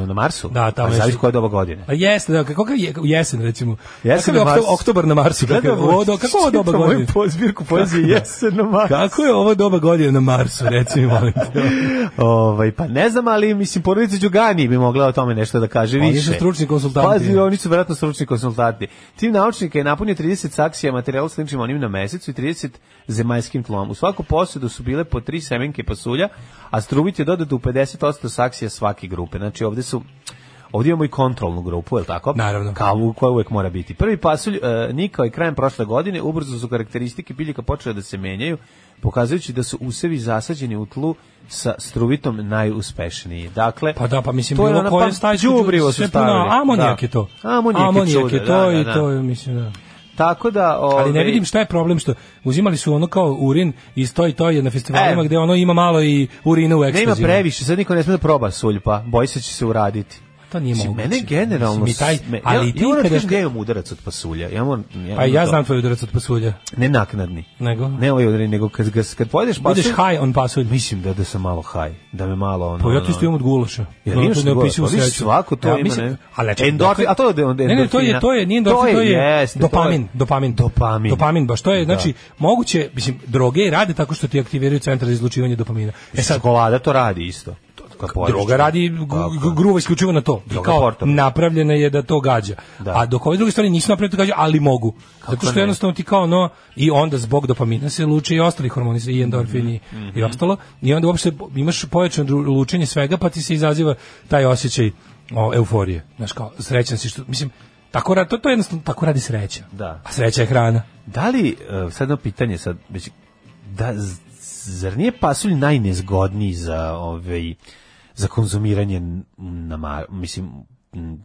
Na Marsu?
Da, tamo
je.
je-
Zavisi koja je doba godine.
A jeste, da, kako je jesen recimo.
Jesen
Jesen je
na Marsu.
okto, oktobar na Marsu. Kako, je ovo do- kako je ovo doba
Čitao moju
godine?
pozbirku poezije jesen na Marsu.
Kako je ovo doba godine na Marsu, reci mi, molim te.
Ovaj, pa ne znam, ali mislim, porodica Đugani bi mogla o tome nešto da kaže
Oni
više.
su stručni konsultanti.
Pazi, oni su vjerojatno stručni konsultanti. Tim naučnika je napunio 30 saksija materijala sličnim onim na mesecu i 30 zemaljskim tlom. U svaku posedu su bile po tri semenke pasulja, a strubit je dodato u 50% saksija svake grupe. Znači, ovdje su Ovdje imamo i kontrolnu grupu, je li tako?
Naravno.
Kao u koja uvek mora biti. Prvi pasulj e, nikao je krajem prošle godine, ubrzo su karakteristike biljaka počele da se menjaju, pokazujući da su usevi zasađeni u tlu sa struvitom najuspešniji. Dakle,
Pa da, pa mislim,
to je
bilo
ono,
koje
pa
stajsko
đubrivo
đu-
su
sve puno
stavili.
Amonijak
Da.
je to.
Amonijak,
Amonijak
čudo,
je to
da,
i
da,
to,
da.
je, mislim, da.
Tako da,
Ali ne
ovaj,
vidim šta je problem što uzimali su ono kao urin iz to i to je na festivalima
E.
gde ono ima malo i urina u
Ne
ekstazima.
ima previće, sad niko ne sme da proba sulj, pa boji se će se uraditi.
To nije
Mislim,
moguće.
Mene generalno...
Mislim, i taj-
sme-
ali
ja,
ti
ja moram da
kada-
kažem da ja imam udarac od pasulja. Ja moram, ja
Pa
moram
ja
to-
znam tvoj udarac od pasulja.
Ne naknadni.
Nego?
Ne ovaj udarac, nego kad, kad, kad pojedeš pasulj...
Budeš high on pasulj.
Pa Mislim da, da sam malo haj, da me malo ono...
Pa ja to isto imam od gulaša.
Jer
No,
imaš
to
od
ne
gulaša,
opisivo
pa vidiš,
sreću.
svako to ima, ne?
Ali čekaj,
Endorfin, a to je od
Ne, ne, to je,
endorfina.
to je, nije
To
endorfin,
je,
to je,
jeste, to je-
dopamin, dopamin.
Dopamin.
Dopamin, baš to je,
Da.
znači, moguće, mislim, droge rade tako što ti aktiviraju centar za izlučivanje dopamina. E sad,
Čokolada to radi isto. Kad pojedeš
droga radi gu-
Tako.
gu- gruva isključivo na to. I
Droga
kao
portabilna.
napravljena je da to gađa.
Da.
A dok ove druge stvari nisu napravljene da gađa, ali mogu. Zato što
ne?
jednostavno ti kao no i onda zbog dopamina se luče i ostali hormoni i endorfini
Mhm.
i ostalo i onda uopšte imaš pojačano dru- lučenje svega pa ti se izaziva taj osjećaj o, euforije. Znaš kao srećan si što mislim tako radi to, to je jednostavno tako radi sreća.
Da.
A sreća je hrana.
Da li, e, sad jedno pitanje, sad, već, da, z- zar nije pasulj najnezgodniji za ovaj za konzumiranje na mar, mislim m,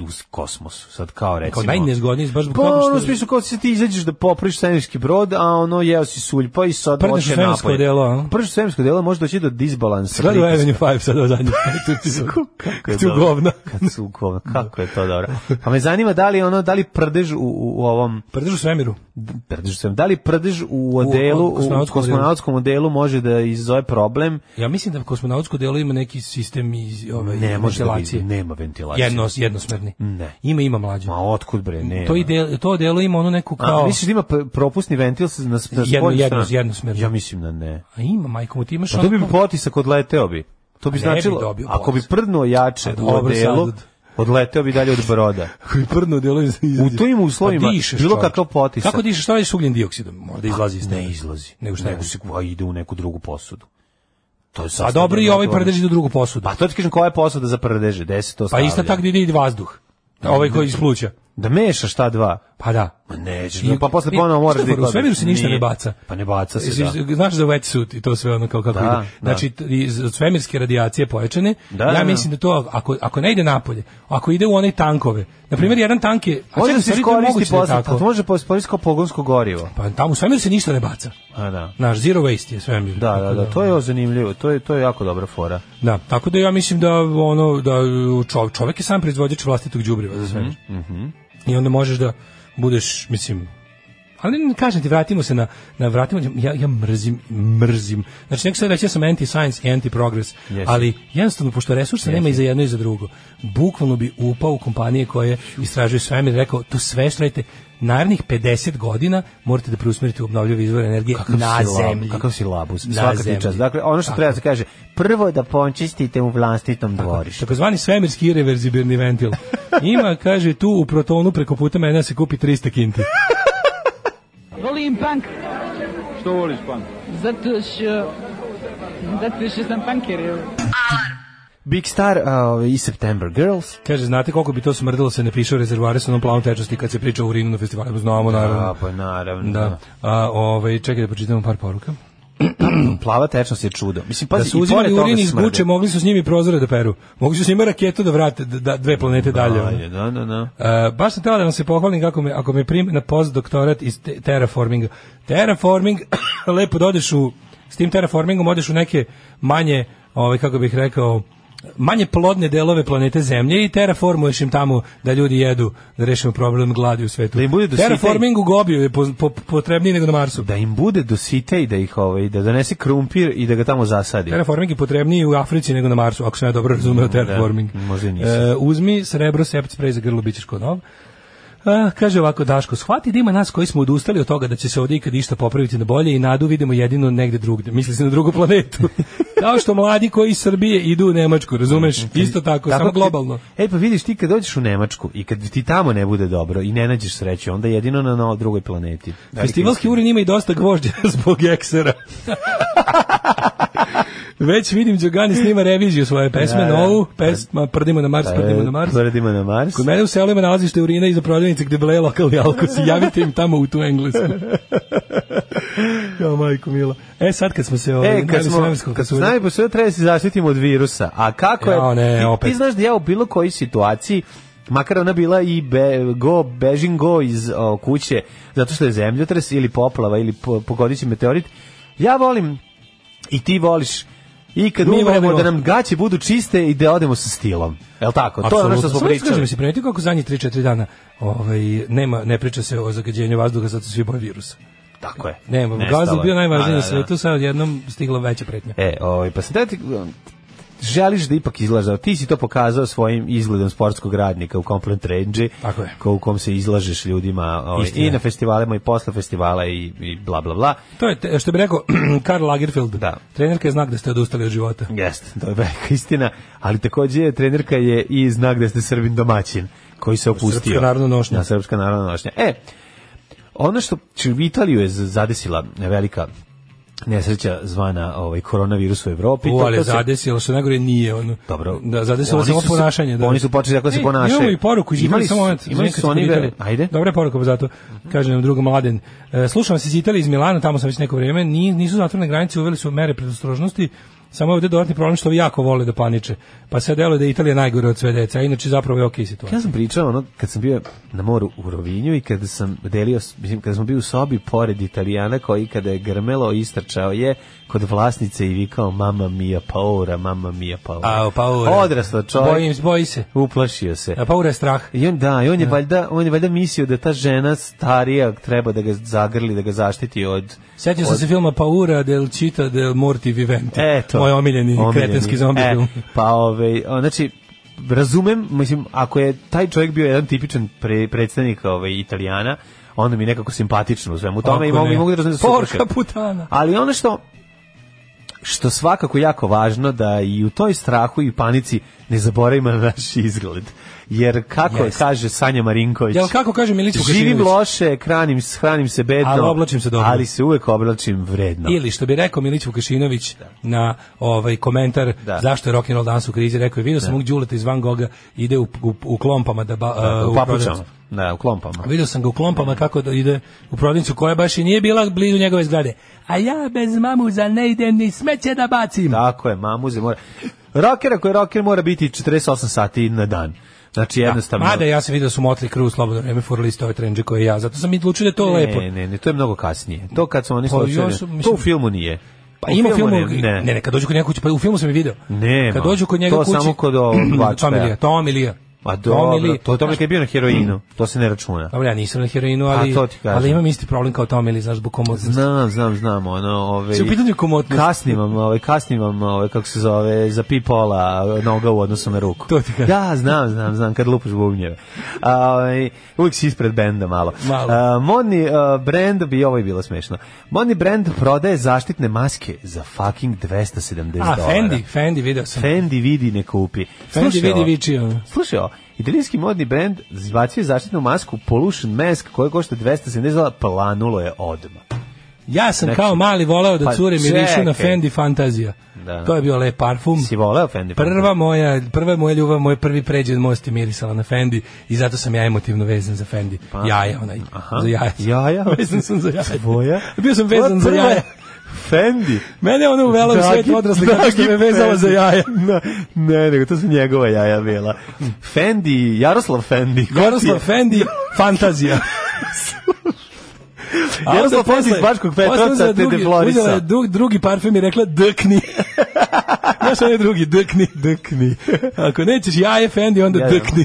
u kosmosu, sad kao recimo.
Kao najnezgodniji, baš zbog
E, Pa
toga
ono u
što...
smislu kao si ti izađeš da popriš svemirski brod, a ono jeo si suljpa i sad
Prdneš u
hoće napolje.
svemirsko odelo, a?
Prvo svemirsko delo može doći do disbalansa.
Gledaj u
pritiska.
Avenue 5 sad ovo zadnje. Tu si-
Kako je
Ti u
dobro.
govna.
Kad su u govna, kako je to dobro. Pa me zanima da li ono, da li prdež u, u, u ovom,
Prdeš u svemiru.
prdež sam, da li prdež u odelu, u,
kosmonautskom
kosmonautskom odelu može da izazove problem?
Ja mislim da kosmonautsko delo ima neki sistem iz ove
Ne može da
ventilacije.
bi, nema ventilacije.
Jedno, jednosmerni.
Ne.
Ima, ima mlađe.
Ma otkud bre, ne.
To, ide, to delo ima ono neku
A,
kao...
misliš da ima pr- propusni ventil sa- na, na spoljnu
Jedno- jedno-
stranu?
jednosmerno.
Ja mislim da ne.
A ima, majko mu, ti imaš
Pa
ono
dobio bi
kao-
potisak, odleteo bi. To bi
A ne bi
značilo,
dobio
ako bi
potisak.
prdnuo jače
A
u
dobro,
odelu,
sad-
odleteo bi dalje od broda.
koji prdno delo iz
U tim uslovima, Pa bilo kakav potisak. Pa
Kako dišeš? Šta je s ugljen dioksidom? Možda izlazi iz tebe.
Ne izlazi.
Nego šta je?
Nego se a ide u neku drugu posudu. To je
A
sasvim
dobro i ovaj
odgovor.
prdeži do drugu posudu.
Pa to ti kažem koja je posuda za prdeže, gde se to
Pa
stavlja.
isto tak gdje ide i vazduh. Ovaj koji iz pluća.
Da mešaš ta dva.
Pa da.
Ma nećeš,
I-
pa posle
i-
ponovo
šta
moraš
je
da ih
fora, U svemiru se
gledaš.
ništa ne
Nije.
baca.
Pa ne baca se,
Jesi-
da.
Znaš za wetsuit i to sve ono kao kako
Da,
ide.
da.
Znači, t- iz od svemirske radijacije pojačane,
Da,
ja
da, da.
mislim da to, ako, ako ne ide napolje, ako ide u one tankove, na primjer, jedan tank je... a
Da.
čekaj,
Može da
u
se
stvari to je
iskoristi
moguće da je
posle,
tako.
pa može posle kao pogonsko gorivo.
Pa tamo u svemiru se ništa ne baca.
A da.
Naš zero waste je svemir.
Da, da,
Tako
da, to je zanimljivo, to je, to je jako dobra fora.
Da, tako da ja mislim da ono da čov, čovjek je sam proizvođač vlastitog đubriva za sve.
Mhm,
I onda možeš da budeš, mislim, ali ne kažem ti, vratimo se na, na vratimo, ja, ja mrzim, mrzim. Znači, neko sad reći, ja sam anti-science i anti-progress,
Jesi.
ali jednostavno, pošto resursa nema i za jedno i za drugo, bukvalno bi upao u kompanije koje istražuju svemir i rekao, to sve što radite, narednih 50 godina morate da preusmerite u obnovljive izvore energije na
si lab-
zemlji.
Kakav si labus,
Na
svaka ti
zemlji.
čast. Dakle, ono što
Tako
treba se kaže, prvo da počistite u vlastitom dvorištu.
takozvani svemirski irreverzibilni ventil. Ima, kaže, tu u protonu preko puta mene da se kupi 300 kinti.
Volim punk,
Što voliš, pan?
zato što... Zato što sam punker, evo.
Big Star uh, i September Girls.
Kaže, znate koliko bi to smrdilo se ne piše u rezervare sa onom plavom tečnosti kad se priča o urinu na festivalu? Znamo,
A,
naravno.
pa naravno.
Da. A, ovaj, čekaj da pročitamo par poruka.
da. Plava tečnost je čudo. Mislim,
da
pazi,
su
i pored
uzimali
toga
urin iz
smrde.
buče, mogli su s njimi prozore da peru. Mogli su s njima raketu da vrate da, da- dve planete dalje. ono.
Dalje, da, da, da.
E, baš sam teo da vam se pohvalim kako me, ako me prime na postdoktorat iz te, terraforminga. Terraforming, lepo da odeš u, s tim terraformingom odeš u neke manje, ovaj, kako bih rekao, manje plodne delove planete Zemlje i terraformuješ im tamo da ljudi jedu, da rešimo problem gladi u svetu.
Da im bude do svita i-
Terraforming u Gobiju je po, po- potrebniji nego na Marsu.
Da im bude do site i da ih ovaj, da donese krumpir i da ga tamo zasadi.
Terraforming je potrebniji u Africi nego na Marsu, ako sam ja dobro razumeo terraforming.
Mm, da, možda i nisam.
E, uzmi srebro, sept spray za grlo, bit ćeš kod nov. E, kaže ovako Daško, shvati da ima nas koji smo odustali od toga da će se ovdje ikad išta popraviti na bolje i nadu vidimo jedino negde drugde, misli se na drugu planetu. Kao što mladi koji iz Srbije idu u Nemačku, razumeš? Isto tako, samo
Mhm, ti-
globalno.
E pa vidiš ti kad dođeš u Nemačku i kad ti tamo ne bude dobro i ne nađeš sreću, onda jedino na, na drugoj planeti. Da
Festivalski urin ima i dosta gvožđa zbog eksera. Već vidim Đogani snima reviziju svoje pesme,
Da, da.
novu, pesma Prdimo na Mars, Prdimo na Mars.
Tvrdimo na Mars.
Kod mene u selima nalazište urina iza prodavnice gde bleje lokalni alkosi, javite im tamo u tu englesku. Kao majko mila. E sad kad smo se... ovaj,
E, kad
najeli
smo,
svemirskog
kad smo
pasulja-
znali posvuda, treba da se zaštitimo od virusa. A kako je,
Jao, ne,
ti,
opet.
ti znaš da ja u bilo kojoj situaciji, makar ona bila i be, go, bežim go iz o, kuće, zato što je zemljotres ili poplava ili po, pogodit će meteorit, ja volim i ti voliš i kad
Mi
mi umremo
volimo.
da nam gaće budu čiste i da odemo sa stilom. Jel tako? To je ono što smo
Samo ti Kažem,
pričali.
si primetio kako zadnjih 3-4 dana ovaj, nema, ne priča se o zagađenju vazduha, zato se svi boje virusa.
Tako je.
Nema,
Nestalo
gazda
je.
bio najvažniji
Da, da,
na
da.
svetu, sad odjednom stigla veća pretnja.
E, ovaj, pa sam tati, želiš da ipak izlažeš, ali ti si to pokazao svojim izgledom sportskog radnika u Complant Range,
Tako je.
ko, u kom se izlažeš ljudima ovaj,
Istina.
i na festivalima i posle festivala i, i bla bla bla.
To je, te- što bi rekao Karl Lagerfeld,
Da.
trenerka je znak da ste odustali od života.
Jeste, to je velika istina, ali takođe je trenerka je i znak da ste srbin domaćin koji se opustio.
Srpska narodna nošnja.
Da, srpska narodna nošnja. E, ono što će- Italiju je zadesila velika nesreća zvana ovaj koronavirus u Evropi.
U, ali
Tako se-
zadesilo se najgore nije ono.
Dobro.
Da, zadesilo
Oni
se samo
su se-
ponašanje. Da.
oni su počeli tako se
E,
ponašaju.
Imamo i poruku,
Imali
imali
su-
samo moment.
imali su
Kad smo
oni
kod
vele-
Italije.
Ajde.
Dobra je poruka, pa zato kaže nam drug mladen. E, slušam vas iz Italije, iz Milana, tamo sam već neko vrijeme. Ni- nisu zatvorene granice, uveli su mere predostrožnosti. Samo je ovdje dodatni problem što ovi jako vole da paniče. Pa sve deluje da je Italija najgore od sve dece, a inače zapravo je okej situacija.
Ja sam pričao ono kad sam bio na moru u Rovinju i kada sam delio, s- mislim, kada smo bili u sobi pored Italijana koji kada je grmelo istrčao je kod vlasnice i vikao mama mia paura, mama mia paura.
A, paura.
Odrasla čovjek.
Bojim, boji se.
Uplašio se.
A paura je strah.
I on da, i on je valjda, on je valjda mislio da ta žena starija treba da ga zagrli, da ga zaštiti od
Sjetio sam
od-
se filma Paura del Cita del Morti Viventi.
Eto.
Moj omiljeni,
Omiljeni.
kretenski zombi
E,
film.
Pa ove, znači, razumem, mislim, ako je taj čovjek bio jedan tipičan pre, predstavnik ove, Italijana, onda mi je nekako simpatično u svemu tome i
Ako
mogu,
ne.
i mogu da razumem da se
Porka
uplaše.
putana.
Ali ono što što svakako jako važno da i u toj strahu i panici ne zaboravimo na naš izgled. Jer kako
Jeste.
kaže Sanja Marinković,
Jel kako kaže Milić
živim
Vukasinović?
loše, hranim, hranim se bedno,
Ali oblačim se dobro.
ali se uvek oblačim vredno.
Ili što bi rekao Milić Vukašinović na ovaj komentar
Da.
zašto je rock and roll danas u krizi, rekao je video sam mog Đuleta iz Van Goga ide u, u, u klompama da ba,
Da,
a,
u papučama,
prodavnicu.
da, u klompama.
Video sam ga u klompama kako da ide u prodavnicu koja baš i nije bila blizu njegove zgrade. A ja bez mamuza ne idem ni smeće da bacim.
Tako je, mamuze mora. Rocker, ako je rocker, mora biti 48 sati na dan. Znači, jednostavno...
Mada ja sam video da su Motley Crue slobodno vreme furali iste ove trendže koje ja, zato sam i odlučio da je to lepo.
Ne, ne, ne, to je mnogo kasnije. To kad su oni
Pa
slučajno...
još, mislim-
to u filmu nije.
Pa ima u filmu,
ne.
ne, ne, kad dođu kod njega kući, pa u filmu sam je video.
Nema.
Kad dođu kod njega
To
kući.
samo kod ovog Vlačka.
Tommy Lee, Tommy Lee.
Pa
Tommy
dobro,
Lee.
to, to mi kad je bio na heroinu, to se ne računa.
Dobro, ja nisam na heroinu,
A,
ali,
to ti kažem.
ali imam isti problem kao Tommy Lee, znaš, zbog komotnosti.
Znam, znam, znam, ono, ovaj- ove...
Si u pitanju komotnost.
Kasnim vam, ovaj, kasnim vam, ovaj, kako se zove, za pi pola noga u odnosu na ruku.
To ti kažem.
Da, znam, znam, znam, kad lupaš bubnjeve. A, ovaj, uvijek si ispred benda malo.
Malo.
A, modni a, brand, bi ovo je bilo smešno, modni brand prodaje zaštitne maske za fucking 270
A,
dolara.
Fendi, Fendi, video sam.
Fendi vidi ne kupi.
Fendi
Slušaj
vidi
ovo.
viči, ono.
Slušaj, ovo, italijanski modni brend izbacio je zaštitnu masku Pollution Mask koja košta 270 dolara, planulo je odmah.
Ja sam
Znači,
kao mali voleo da
pa
cure mi
čekaj.
na Fendi Fantazija.
Da.
To je bio lep parfum.
Si voleo Fendi?
Prva moja, prva moja ljubav, moj prvi pređen most je mirisala na Fendi i zato sam ja emotivno vezan za Fendi. Jaja onaj,
Aha.
za jaja.
Jaja?
Vezan sam za jaja.
Tvoja?
Bio sam vezan za
Tvoja prva
jaja.
Fendi.
Mene je ona uvela u svijet
Dragi-
odraslih zato što
dragi
me vezala za
Fendi.
jaja.
Na- ne, nego to su njegova jaja bila. Fendi, Jaroslav Fendi. ko ti je?
Jaroslav Fendi, fantazija. A
Pa, Jaroslav
onda
Fendi iz Bačkog
posle
Petrovca
uzela
te
drugi-
deflorisao.
Uzela je dug, drugi parfem i rekla dkni. Znaš onaj drugi, dkni. Dkni. Ako nećeš jaje Fendi, onda
Ja, ja.
dkni.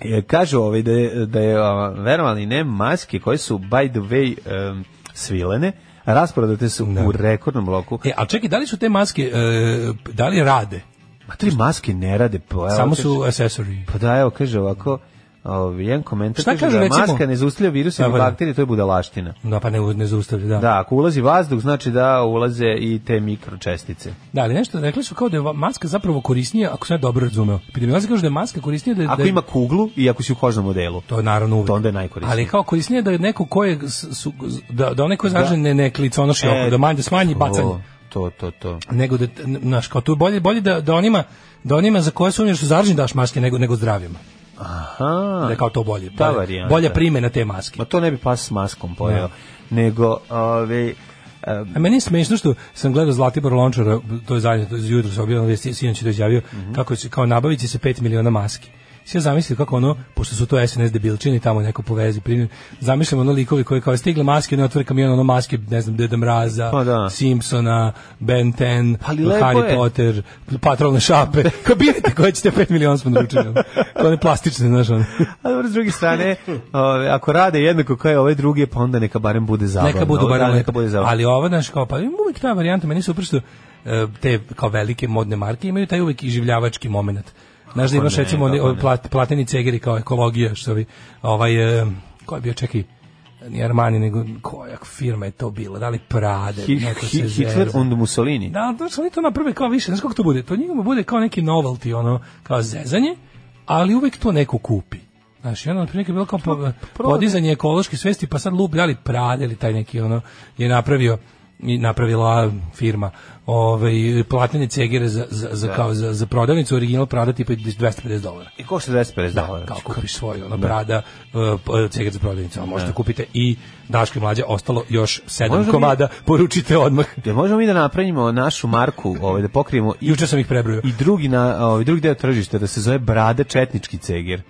E, Kažu ovaj da je, da je a, verovali ne, maske koje su by the way em, svilene, rasprodate su
Da.
u rekordnom bloku.
E, ali čekaj, da li su te maske, e, da li rade?
Ma tri maske ne rade. Pa, evo,
Samo
kaže-
su accessory.
Pa da, evo, kaže ovako, ovaj, jedan komentar
Šta
kaže,
kažu,
da
recimo?
maska ne zaustavlja viruse i
Dobar.
bakterije, to je budalaština.
Da, pa ne, ne zaustavlja, da.
Da, ako ulazi vazduh, znači da ulaze i te mikročestice.
Da, ali nešto, rekli su kao da je va- maska zapravo korisnija, ako sam ja dobro razumeo. Epidemiolozi kažu da je maska korisnija da je...
Ako
da je-
ima kuglu i ako si u kožnom modelu.
To je naravno uvijek.
To onda je najkorisnije.
Ali kao korisnije da je neko ko je, s- su, da, da onaj ko je zaražen ne, ne kliconoši
E,
oko, da manje da smanji
to,
bacanje.
To, to, to.
Nego da, znaš, kao tu je bolje, bolje da, da onima, da onima za koje sumnjaš su zaraženi daš maske nego, nego zdravima.
Aha.
Da je kao to bolje.
Ta
bolje,
varijanta.
bolja primjena te maske.
Ma to ne bi pas s maskom pojeo.
Da.
Nego, ove,
A meni je smešno što sam gledao Zlatibor Lončara, to je zajedno, to je jutro se objavljeno, vesti, sinoć je to izjavio,
Mhm.
kako će, kao nabavit će se 5 miliona maski. Sve ja zamislio kako ono, pošto su to SNS debilčini, tamo neko po vezi primjer, zamišljam ono likovi koji kao stigle maske, ne otvore kamion, ono maske, ne znam, Deda Mraza,
Pa da.
Simpsona, Ben 10,
Ali lepo
Harry
je.
Potter, patrolne šape, kao birajte koje ćete 5 miliona smo naručili, ono. one plastične, znaš, ono.
a dobro, s druge strane, ove, ako rade jednako kao i ove druge, pa onda neka barem bude zabavno.
Neka budu
Da,
barale.
Neka bude zabavno.
Ali ovo, znaš, kao, pa uvijek ta varijanta, meni su pršto e, te kao velike modne marke imaju taj uvijek iživljavački moment. Znaš da imaš
ne,
recimo oni,
kako
ovi
ne.
plat, plateni cegeri kao ekologija, što vi, ovaj, e, ko je bio, čekaj, ni Armani, nego koja firma je to bila, da li Prade,
Hi-
neko se
hi- Hitler
zezao.
und Mussolini.
Da, ali to su oni to naprave kao više, znaš kako to bude? To njima bude kao neki novelty, ono, kao zezanje, ali uvek to neko kupi. Znaš, i onda otprilike je bilo kao po- podizanje ekološke svesti, pa sad lup, da li prade ili taj neki, ono, je napravio i napravila firma ovaj platanje cegire za za za
Da.
kao za za prodavnicu original Prada tipa 250 dolara.
I košta 250 dolara.
Kao kupiš svoju ono Prada uh, p- ceger za prodavnicu, a možete kupite i Daško i mlađa ostalo još 7
Možemo mi-
komada, poručite odmah.
Jel možemo mi da napravimo našu marku, ovaj da pokrijemo i
Juče sam ih prebrojao.
i drugi na ovaj drugi deo tržišta da se zove Brade četnički ceger.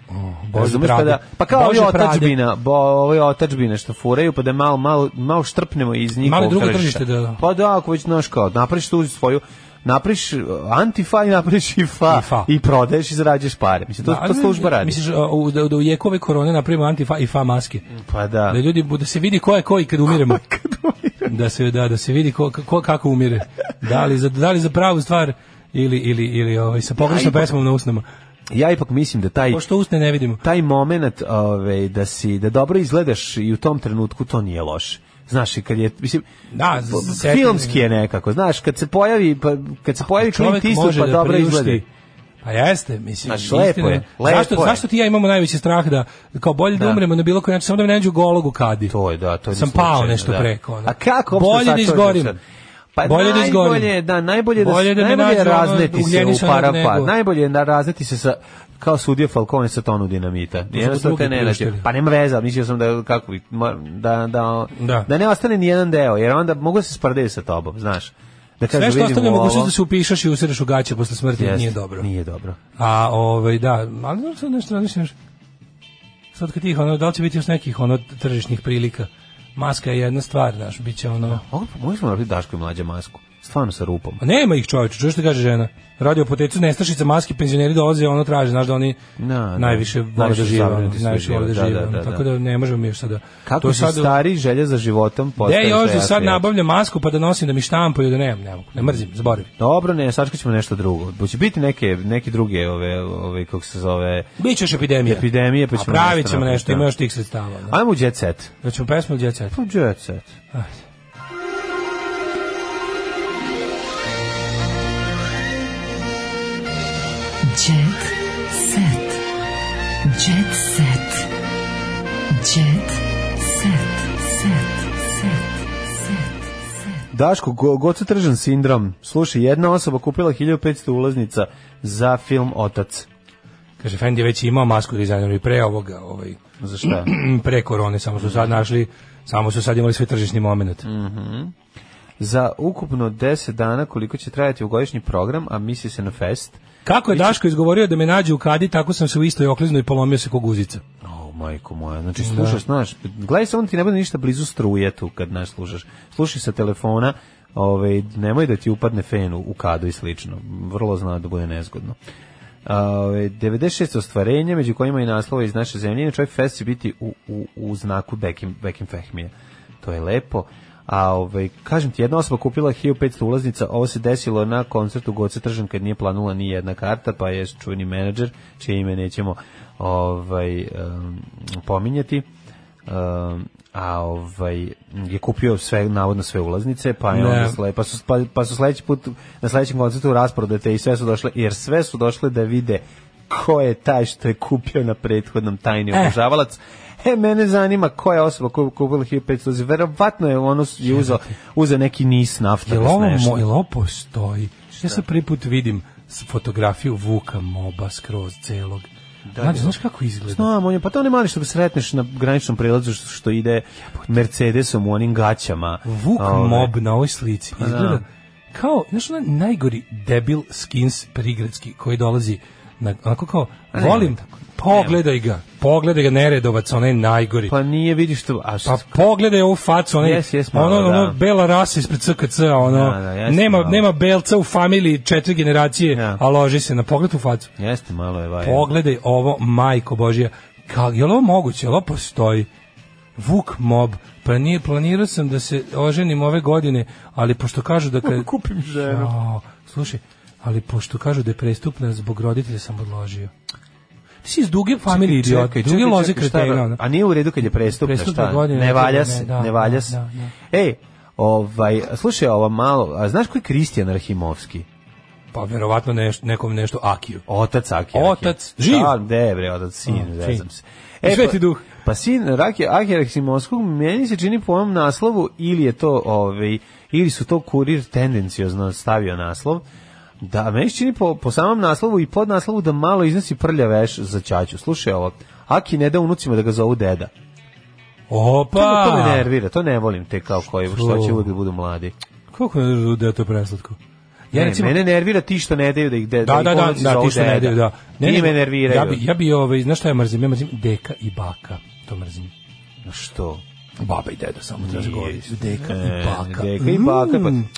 Bože
Razumeš,
Brade.
pa da, pa kao
Bože
ovi
Brade.
otadžbina, bo ovaj otadžbine što furaju pa da malo malo malo štrpnemo iz njihovog
Malo drugo
tržišta.
tržište, da.
Pa da, ako već znaš kao, napraviš tu svoju napraviš uh, antifa i napraviš i fa,
I fa.
i prodaješ i zarađuješ pare. Mislim, to,
Da,
to
ali
služba radi.
Misliš a, u- da, da u jeku ove korone napravimo antifa i fa maske.
pa da.
Da ljudi da se vidi ko je ko i kad umiremo. da se da da se vidi ko, ko kako umire. Da li za da li za pravu stvar ili ili ili ovaj sa pogrešnom
ipak-
pesmom na usnama.
Ja ipak mislim da taj
Pošto usne ne vidimo.
taj moment ovaj da si da dobro izgledaš i u tom trenutku to nije loše. Znaš, i kad je mislim
Da,
po-
s- setim-
filmski je nekako, znaš, kad se pojavi pa kad se pojavi Clint
Čovjek
Eastwood
može
pa
da
dobro
priušti-
izgleda.
Pa jeste, mislim.
Znaš, lepo je, lepo
zašto,
je.
zašto ti i ja imamo najveći strah da, kao bolje da,
Da.
umremo na bilo koji način, samo da me ne nađu golog u kadi.
To je da, to je
Sam
slučajno,
pao nešto
da.
preko, ono.
A kako? uopšte
Bolje da
sačuvaš
izgorim.
sad? Pa
Bolje da
najbolje,
izgorim.
je, da, najbolje da,
Bolje da me
najbolje je
nađu, ono,
razneti se u
ugljenisanog
parapad.
nego.
Najbolje je da razneti se sa kao sudija Falcone sa tonu dinamita. Jednostavno
drugi
te ne nađe.
priuštili.
Pa nema veza, mislio sam da kako bi, ma- da, da,
Da.
da, ne ostane ni jedan deo, jer onda mogu da se sprdaju sa tobom, znaš. Da kažu,
Sve što
vidimo
ostavlja
ovo,
mogućnost da se upišaš i usereš u gaće posle smrti
jest,
nije dobro.
Nije dobro.
A ovaj da, ali znaš sad nešto razmišljaš. Sad kad tih ono, da li će biti još nekih ono tržišnih prilika? Maska je jedna stvar, znaš, bit će ono...
Mogu- Možemo napraviti Daško i mlađa masku. Stvarno sa rupom.
A nema ih čovječe, čuješ što kaže žena? Radio potecu nestašica maski, penzioneri dolaze, ono traže, znaš da oni
Da, da.
najviše vole
Najviše
da žive,
zabrinuti
ono,
su
najviše
ljudi,
vole da
da,
žive.
da,
ono,
da,
Tako
da.
da ne možemo mi još sada.
Kako se
sad-
stari želja za životom postaje
Gde još
sve
da sad
jačija.
nabavljam masku pa da nosim da mi štampaju da nemam, ne mogu, ne mrzim, zaboravim.
Dobro, ne, sačkaćemo nešto drugo. Hoće biti neke neke druge ove ove kako se zove
Biće još epidemija.
epidemije, pa
A
ćemo
pravit ćemo nešto,
napraviti,
ima
da.
još tih sredstava. ono.
Ajmo u jet set.
Hoćemo pesmu od djeceta.
Pa jet set.
Jet set. Jet set. Jet set. Set. Set. Set.
Daško, go, gocotržan sindrom. Slušaj, jedna osoba kupila 1500 ulaznica za film Otac.
Kaže, Fendi je već imao masku dizajneru i pre ovoga, ovaj,
Za šta?
pre korone, samo su sad našli, samo su sad imali svoj tržišni moment.
za ukupno 10 dana koliko će trajati godišnji program, a misli se na fest.
Kako je Daško izgovorio da me nađe u kadi, tako sam se u istoj okliznuo i polomio se ko guzica.
O, majko moja, znači slušaš, znaš, gledaj se, on ti ne bude ništa blizu struje tu kad znaš slušaš. Slušaj sa telefona, ovaj, nemoj da ti upadne fen u, u kadu i slično. Vrlo zna da bude nezgodno. A, ovaj, 96 ostvarenja, među kojima i naslova iz naše zemlje, inače ovaj fest će biti u, u, u znaku Bekim, Bekim Fehmije. To je lepo. A ovaj, kažem ti, jedna osoba kupila 1500 ulaznica, ovo se desilo na koncertu Goce Tržan kad nije planula ni jedna karta, pa je čuveni menadžer, čije ime nećemo ovaj, em, pominjati. Em, a ovaj je kupio sve navodno sve ulaznice pa je
Ne.
onda sle, pa su pa, pa su sledeći put na sledećem koncertu rasprodate i sve su došle jer sve su došle da vide ko je taj što je kupio na prethodnom tajni
E.
obožavalac E, mene zanima koja je osoba koja je kupila 1500 dozi. Verovatno je ono s- je uzeo, uzeo neki nis nafta.
Jel
bez
ovo,
nešto.
mo, jel ovo postoji? Ja sad prvi put vidim s- fotografiju Vuka Moba skroz celog. Da, znači, znaš kako izgleda?
Znam, on je, pa to ne mali što ga sretneš na graničnom prelazu što, što ide Mercedesom u onim gaćama.
Vuk
Ovaj,
Mob na ovoj slici izgleda
da.
kao, znaš, onaj najgori debil skins prigradski koji dolazi na, onako kao,
nemoj
volim, pogledaj ga, pogledaj ga neredovac, onaj najgori.
Pa nije, vidiš to, a
Pa pogledaj ovu facu, onaj,
Jes, jes, malo,
ono, ono,
da.
bela rasa ispred CKC, ono,
Da, da, jeste
nema,
malo.
nema belca u familiji četiri generacije,
Da.
a loži se na pogled u facu.
Jeste, malo je vajno.
E. Pogledaj ovo, majko Božja, ka, je li ovo moguće, je li ovo postoji? Vuk mob, pa nije, planirao sam da se oženim ove godine, ali pošto kažu da... Kad... Kupim ženu. slušaj, ali pošto kažu da je prestupna zbog roditelja sam odložio. Ti si iz duge familije
Čekaj,
idiota,
čekaj,
duge
čekaj,
loze
čekaj, šta
kretena.
ra-
ono.
A nije u redu kad je prestupna,
Prestupna
šta?
godina,
ne valja
ne,
se,
da,
ne valja se.
da, da,
Ej, ovaj, slušaj ovo malo, a znaš ko je Kristijan Rahimovski?
Pa verovatno neš, nekom nešto Akiju.
Otac Akija.
Otac, živ.
Da, de bre, otac, sin,
Mm,
ne
sin.
znam se. E,
Sveti duh.
Pa sin Raki Akija Raksimoskog, meni se čini po ovom naslovu ili je to, ovaj, ili su to kurir tendenciozno stavio naslov, Da, meni se čini po, po samom naslovu i pod naslovu da malo iznosi prlja veš za ćaću. Slušaj ovo, Aki ne da unucima da ga zovu deda.
Opa!
To, to me nervira, to ne volim te kao koji, što će uvek da budu mladi.
Kako ne da je to preslatko? Ja
ne,
recimo,
mene nervira ti što ne daju da ih de,
da,
ih
da, da,
unuci
da,
zovu
ti što ne daju, da.
Ne, ti me nerviraju.
Ja bi, ja bi ovaj, znaš šta ja mrzim? Ja mrzim deka i baka. To mrzim.
Što?
Baba i deda samo treba Da se govoriti.
Nije.
Deka
E,
i baka.
Deka i baka, pa...
Mm.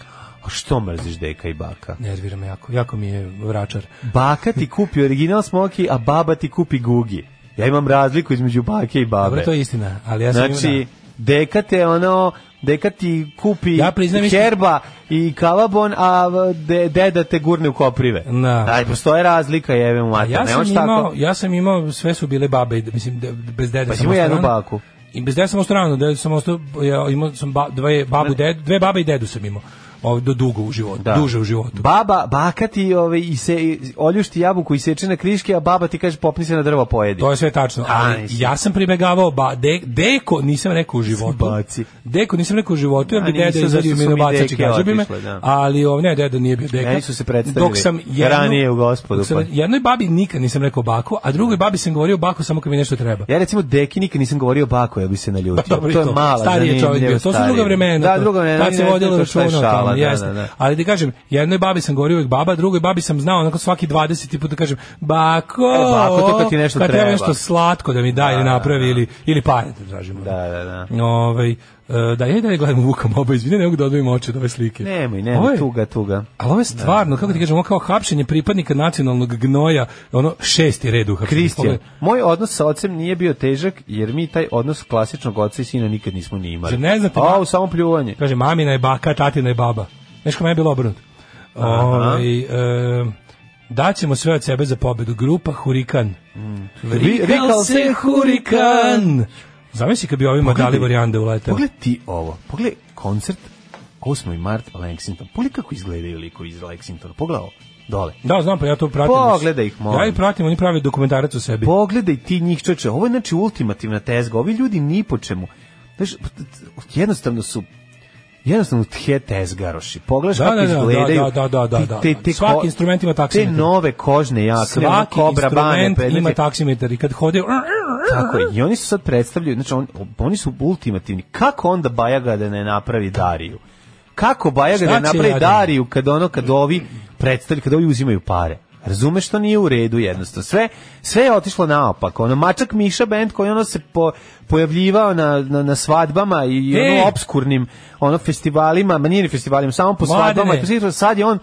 A što mrziš deka i baka?
Nervira me jako, jako mi je vračar.
Baka ti kupi original smoki, a baba ti kupi gugi. Ja imam razliku između bake i babe.
Dobro, to je istina, ali ja sam
Znači,
imao- da.
deka te ono, deka ti kupi
Ja priznam isto-
herba i kalabon, a v- de, deda te gurne u koprive.
Na.
Aj, postoje razlika, jebe mu
Da. A
mater.
da. ja
nemoš
sam,
tako.
imao, ja sam imao, sve su bile babe, i de- mislim, de, bez dede
Pa si
sam
imao
ostao
jednu
rano.
baku.
I bez dede sam ostao rano, dede sam ostao, ja imao sam ba, dve, babu, ded, dve babe i dedu sam imao. Ovo, do dugo u životu,
Da.
duže u životu.
Baba, baka ti ove, i se, i- oljušti jabuku i seče na kriške, a baba ti kaže popni se na drvo pojedi.
To je sve tačno, ali
Aj,
ja sam pribegavao ba, de, deko nisam rekao u životu.
Baci.
Deko nisam rekao u životu, jer
A
bi
nisu,
deda izvadio
zašto
mi
su
na
mi
bacači
deke
kaže bi me,
otišle, da.
ali ovo ne, deda nije bio deka.
Meni su se predstavili
Dok sam jednu,
ranije u gospodu,
dok sam
pa.
jednoj babi nikad nisam rekao baku, a drugoj babi sam govorio baku samo kad mi nešto treba.
Ja recimo deki nikad nisam govorio bako, ja bi se naljutio.
Pa dobro,
to je
isto.
mala
Stariji je čovjek
zanimljiva,
bio. To su
stariji.
druga vremena.
Da,
to.
druga vremena.
Tad se
ne,
vodilo
to šta je
računa o
šala,
tome,
da,
jeste.
da, da.
Ali ti kažem, jednoj babi sam govorio uvek baba, drugoj babi sam znao onako svaki 20. put da kažem bako.
E, bako, to kad ti nešto
kad
treba.
nešto slatko da mi da, ili napravi ili ili pare da tražimo.
Da, da, da.
Ovaj e, da ja i dalje gledam Vuka Moba, izvini, ne mogu da odvojim oči od ove slike.
Nemoj,
Ovo
nemoj,
je-
tuga, Da, tuga.
Ali ovo je stvarno, kako ti kažem, ovo kao hapšenje pripadnika nacionalnog gnoja, ono šesti red uhapšenja.
Kristijan, moj odnos sa ocem nije bio težak, jer mi taj odnos klasičnog oca i sina nikad nismo ni imali.
Zar ne znate,
A,
ma-
u samo pljuvanje.
Kaže, mamina je baka, tatina je baba. Znaš kako meni je bilo obrnuto? Ovaj, e, daćemo sve od sebe za pobedu. Grupa Hurikan.
Ri-
Rikal se Hurikan! Zamisli kad bi ovima dali varijande uletao.
Pogledaj ti ovo. Pogledaj koncert 8. mart Lexington. Pogledaj kako izgledaju likovi iz Lexingtona. Pogledaj ovo. Dole.
Da, znam, pa ja to pratim.
Pogledaj ih, molim.
Ja ih pratim, oni prave dokumentarac o sebi.
Pogledaj ti njih čoče, ovo je znači ultimativna tezga, ovi ljudi ni po čemu. Znaš, jednostavno su jednostavno te tezgaroši. Pogledaš
Da,
kako
da, da,
izgledaju.
da, da, da, da, da.
Te, te, te
Svaki
ko-
instrument ima taksimetar.
Te nove kožne jakne, ono
Svaki
kobra bane, pa
instrument ima
predmeti.
taksimetar i kad hode...
Tako je, i oni su sad predstavljaju, znači on, oni su ultimativni. Kako onda Bajaga da ne napravi Dariju? Kako Bajaga
Šta
da
će
ne napravi
raditi?
Dariju kad ono kad ovi predstavljaju, kad ovi uzimaju pare? Razumeš što nije u redu jednostavno. Sve, sve je otišlo naopako. Ono Mačak Miša band koji ono se po, pojavljivao na, na, na svadbama i
E!
ono obskurnim ono festivalima, ma nije ni festivalima, samo po
Mladene.
svadbama. i po svih- Sad je on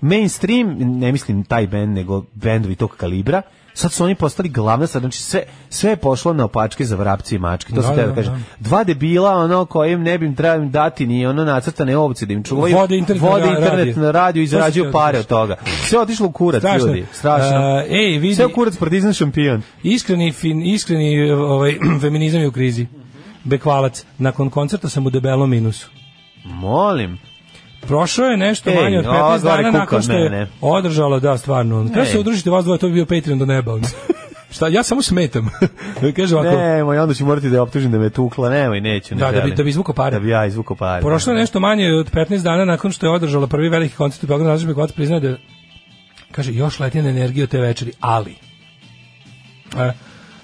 mainstream, ne mislim taj bend, nego bendovi tog kalibra, sad su oni postali glavna sad, znači sve, sve je pošlo na opačke za vrapce i mačke, to
Da,
sam teo
da,
da kažem. Dva debila, ono, kojim ne bi im trebalo im dati ni ono nacrtane ovce da im čuvaju,
Vode internet na ra-
internet
radio.
na radio i
To sam
zarađuju
teo da
pare
kažem.
od toga. Sve otišlo u kurac,
Strašno.
ljudi, strašno.
E, ej, vidi-
Sve u kurac, partizan šampion.
Iskreni, fin, iskreni ovaj, feminizam je u krizi. Bekvalac, nakon koncerta sam u debelom minusu.
Molim.
Prošao je nešto
Ej,
manje od
ova
15
gore
dana
kuka
nakon
od
što je
mene.
održalo, da, stvarno. Kada
Ej.
se udružite vas dvoje, to bi bio Patreon do neba. ono. Šta, ja samo smetam. Kaže ovako,
Nemoj, onda ću morati da je optužim da me tukla, nemoj, neću, ne
Da, da bi-
želim.
da bi izvukao pare.
Da bi ja izvukao pare.
prošlo je nešto manje od 15 dana nakon što je održala prvi veliki koncert u Beogradu, Nađe Bekvalac priznaje da kaže, još letim energiju te večeri, ali... E,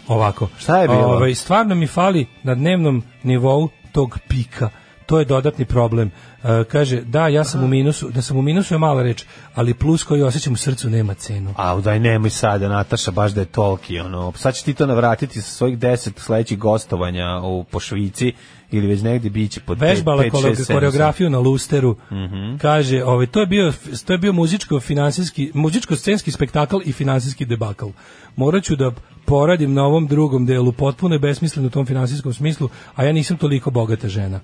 ovako.
Šta je bilo?
Ovaj, stvarno mi fali na dnevnom nivou tog pika. To je dodatni problem. E, kaže, da, ja sam u minusu, da sam u minusu je mala reč, ali plus koji osjećam u srcu nema cenu.
A daj nemoj sada Nataša baš da je tolki ono. Sad će ti to navratiti sa svojih 10 sledećih gostovanja u po Švici ili već negde biće pod
Vežbala
5
kole- koreografiju na lusteru.
Mhm.
Kaže, ovaj to je bio to je bio muzičko finansijski muzičko scenski spektakl i finansijski debakl. Moraću da poradim na ovom drugom delu, potpuno je besmisleno u tom finansijskom smislu, a ja nisam toliko bogata žena.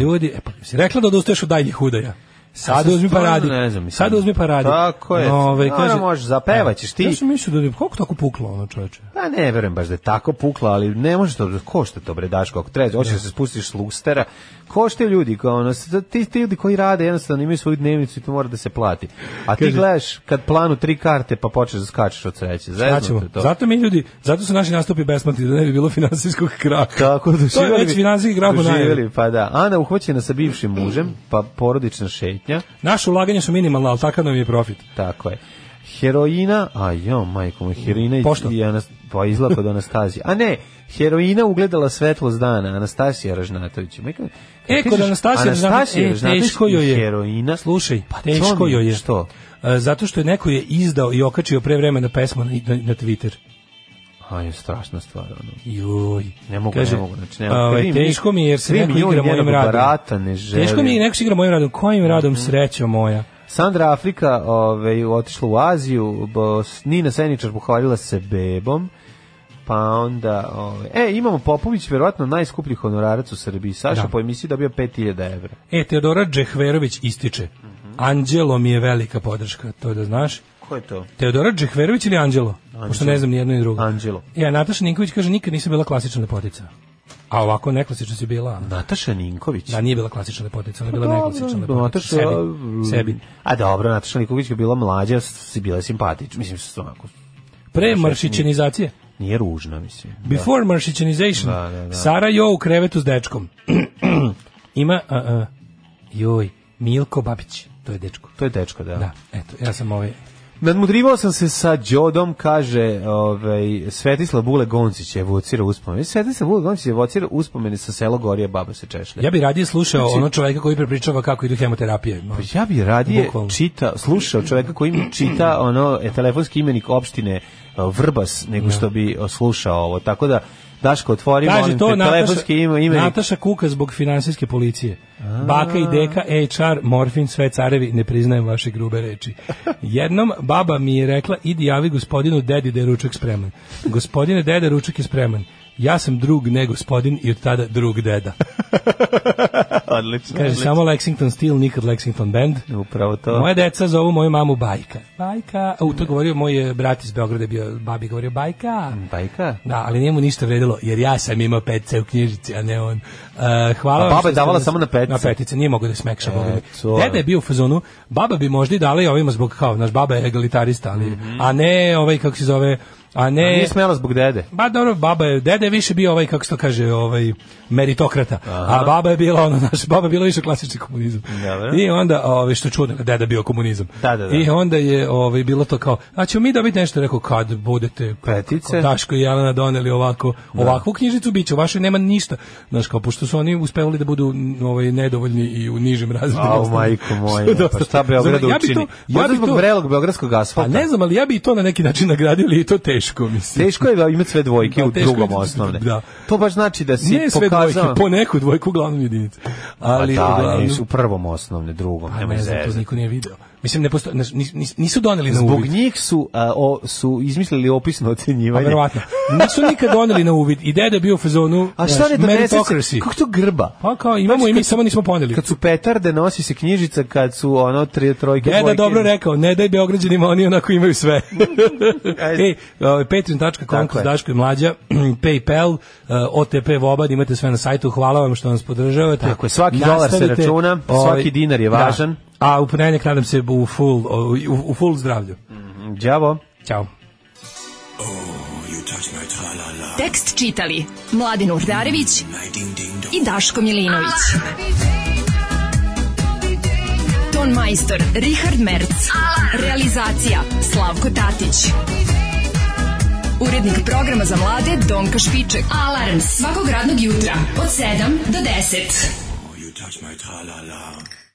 Ljudi, e pa si rekla da odustaješ od daljih hudaja. Sad
sad
uzmi pa
stvarno
radi.
ne znam, mislim.
Sad uzmi pa radi.
Tako je.
Ovaj,
Naravno, možeš, zapevaćeš ti.
Ja sam mislio da je koliko tako puklo ono čoveče.
Pa ne verujem baš da je tako pukla, ali ne može to, košta to bre Daško, ako treba, hoćeš da se spustiš s lustera, košta ljudi, kao ono, s- ti, ti ljudi koji rade jednostavno imaju svoju dnevnicu i to mora da se plati. A ti
Kaže-
gledaš kad planu tri karte pa počneš da skačeš od sreće,
Šta
zezno
ćemo?
te to.
Zato mi ljudi, zato su naši nastupi besplatni da ne bi bilo finansijskog kraha. to
Tako,
je
doživjeli
već
bi-
finansijski krah u najavi.
doživjeli, Pa da, Ana uhvaćena sa bivšim mužem, pa porodična šetnja,
Naše ulaganje su minimalna, ali takav nam je profit. E,
tako je. Heroina, a jo, majko moj, heroina i,
Pošto?
i Anas, pa izgleda kod Anastasije. A ne, heroina ugledala svetlost dana, Anastasija Ražnatović. Majko, kad
E,
kažeš
kod Anastasije,
Anastasija
Anastasije e,
Ražnatović
teško
i
joj je.
Heroina,
Slušaj,
pa to mi
teško joj je.
Što?
E, Zato što je neko je izdao i okačio pre vremena pesmu na, na, na Twitter.
Aj, strašna stvar. Ono.
Joj.
Ne mogu,
Kaže,
ne mogu. Znači, ne mogu.
ovaj,
Kad vidim
teško mi je jer se
vidim
neko
joj
igra mojim
njenog
radom.
Barata, ne želim.
Teško mi je neko se igra mojim radom. Kojim
Mhm.
radom srećo moja?
Sandra Afrika ovaj, otišla u Aziju, bo, s- Nina Seničar pohvalila se bebom, pa onda... Ovaj, e, imamo Popović, verovatno najskuplji honorarac u Srbiji. Saša
Da.
po emisiji dobio 5000 evra.
E, Teodora Džehverović ističe.
Mhm.
Anđelo mi je velika podrška, to da znaš.
Ko je to?
Teodora Džehverović ili Anđelo? Pošto ne znam ni jedno ni drugo.
Anđelo.
Ja, Nataša Ninković kaže, nikad nisam bila klasična lepotica. A ovako neklasična si bila. Ana.
Nataša Ninković.
Da, nije bila klasična lepotica, ona je bila
Dobro,
neklasična lepotica.
Nataša, mm, um,
sebi, sebi.
A dobro, Nataša Niković je bila mlađa, si bila simpatična. Mislim, s- onako,
Pre maršićenizacije.
nije ružna, mislim.
Before maršićenization.
Da, da, da.
Sara Jo u krevetu s dečkom. Ima, a, a, joj, Milko Babić, to je dečko.
To je dečko, da.
Da, eto, ja sam ovaj...
Nadmudrivao sam se sa Đodom, kaže ovaj, Svetislav Bule Goncić je evocira uspomene. Svetislav Bule Goncić je evocira uspomene sa selo Gorije, baba se češlja.
Ja bi radije slušao
Znači-
ono čoveka koji prepričava kako idu hemoterapije.
Pa ja bi radije
Bukvalno.
čita, slušao čoveka koji mi čita ono e, telefonski imenik opštine e, Vrbas nego što bi e, slušao ovo. Tako da Daško otvori
Kaže
molim
to
te
Nataša,
telefonski ime, imenik.
Nataša Kuka zbog finansijske policije. Baka i deka, HR, morfin, sve carevi, ne priznajem vaše grube reči. Jednom baba mi je rekla, idi javi gospodinu dedi da je ručak spreman. Gospodine deda, ručak je spreman. Ja sam drug ne gospodin i od tada drug deda.
Odlično.
Kaže,
odlično.
samo Lexington Steel, nikad Lexington Band.
Upravo to.
Moja deca zovu moju mamu Bajka. Bajka, u to govorio moj eh, brat iz Beograda, je bio, babi govorio Bajka.
Bajka?
Da, ali nije mu ništa vredilo, jer ja sam imao petce u knjižici, a ne on. Uh, hvala
A
vam
Pa baba
što
je davala
ste nas-
samo na petce.
Na petice, nije mogo da smekša. Boga mi.
to je.
Deda je bio u fazonu, baba bi možda i dala i ovima zbog kao, naš baba je egalitarista, ali, a ne ovaj, kako se zove, a ne...
Mhm. Nije smela zbog dede.
Ba dobro, baba je, dede je više bio ovaj, kako se to kaže, ovaj, meritokrata, a baba je bila ono, naš, baba je bila više klasični komunizam.
Dobro.
I onda, ovaj, što je čudno, deda je bio komunizam.
Da, da, da.
I onda je ovaj, bilo to kao, a ćemo mi dobiti nešto, rekao, kad budete
Petice.
kao Daško i Jelena doneli ovako,
Da.
ovakvu knjižicu, bit će, u vašoj nema ništa. Znaš, kao, pošto su oni uspevali da budu n- ovaj, nedovoljni i u nižim razredima.
Au, majko moja,
Što je dosta-
pa šta Beograd
Znam, ja bi to-
učini?
Ja
Možda
bi
zbog
to,
vrelog beogradskog
pa
asfalta.
ne znam, ali ja bi i to na neki način nagradio, ali je to teško, mislim.
Teško je imati sve dvojke
Da,
u
teško je
drugom
da-
osnovne.
da.
To baš znači da si
ne sve
pokazao...
dvojke, po neku dvojku, uglavnom jedinice. Ali,
Pa da,
uglavnom,
nisu u prvom osnovne, drugom,
pa
nemoj
ne znam, to
zezati.
niko nije video. Mislim, ne posto, znaš, nis- nis- nisu doneli na
Zbog
uvid.
njih su, a, o, su izmislili opisno
Pa
ocenjivanje.
verovatno. Nisu nikad doneli na uvid. I deda je bio u fazonu,
A šta
znaš,
ne donese?
meritocracy.
Kako to grba?
Pa kao, imamo i mi, samo nismo poneli.
Kad su petarde, nosi se knjižica, kad su ono tri, trojke,
Deda
dvojke.
dobro rekao, ne daj Beograđanima, oni onako imaju sve.
Ajde.
Ej, ovaj, patreon.com
Tako je.
kroz Daško i Mlađa, Paypal, eh, OTP Vobad, imate sve na sajtu, hvala vam što nas podržavate.
Tako je, svaki dolar se
Nastavite,
računa,
ovaj,
svaki dinar je
da.
važan.
A u ponedjeljak nadam se u full, u, u full zdravlju.
Đavo.
Ćao.
Tekst čitali Mladin Urdarević i Daško Milinović. Ton majstor Richard Merc. Realizacija Slavko Tatić. Urednik programa za mlade Donka Špiček. Alarms svakog radnog jutra od 7 do 10.
You touch my tra-la-la.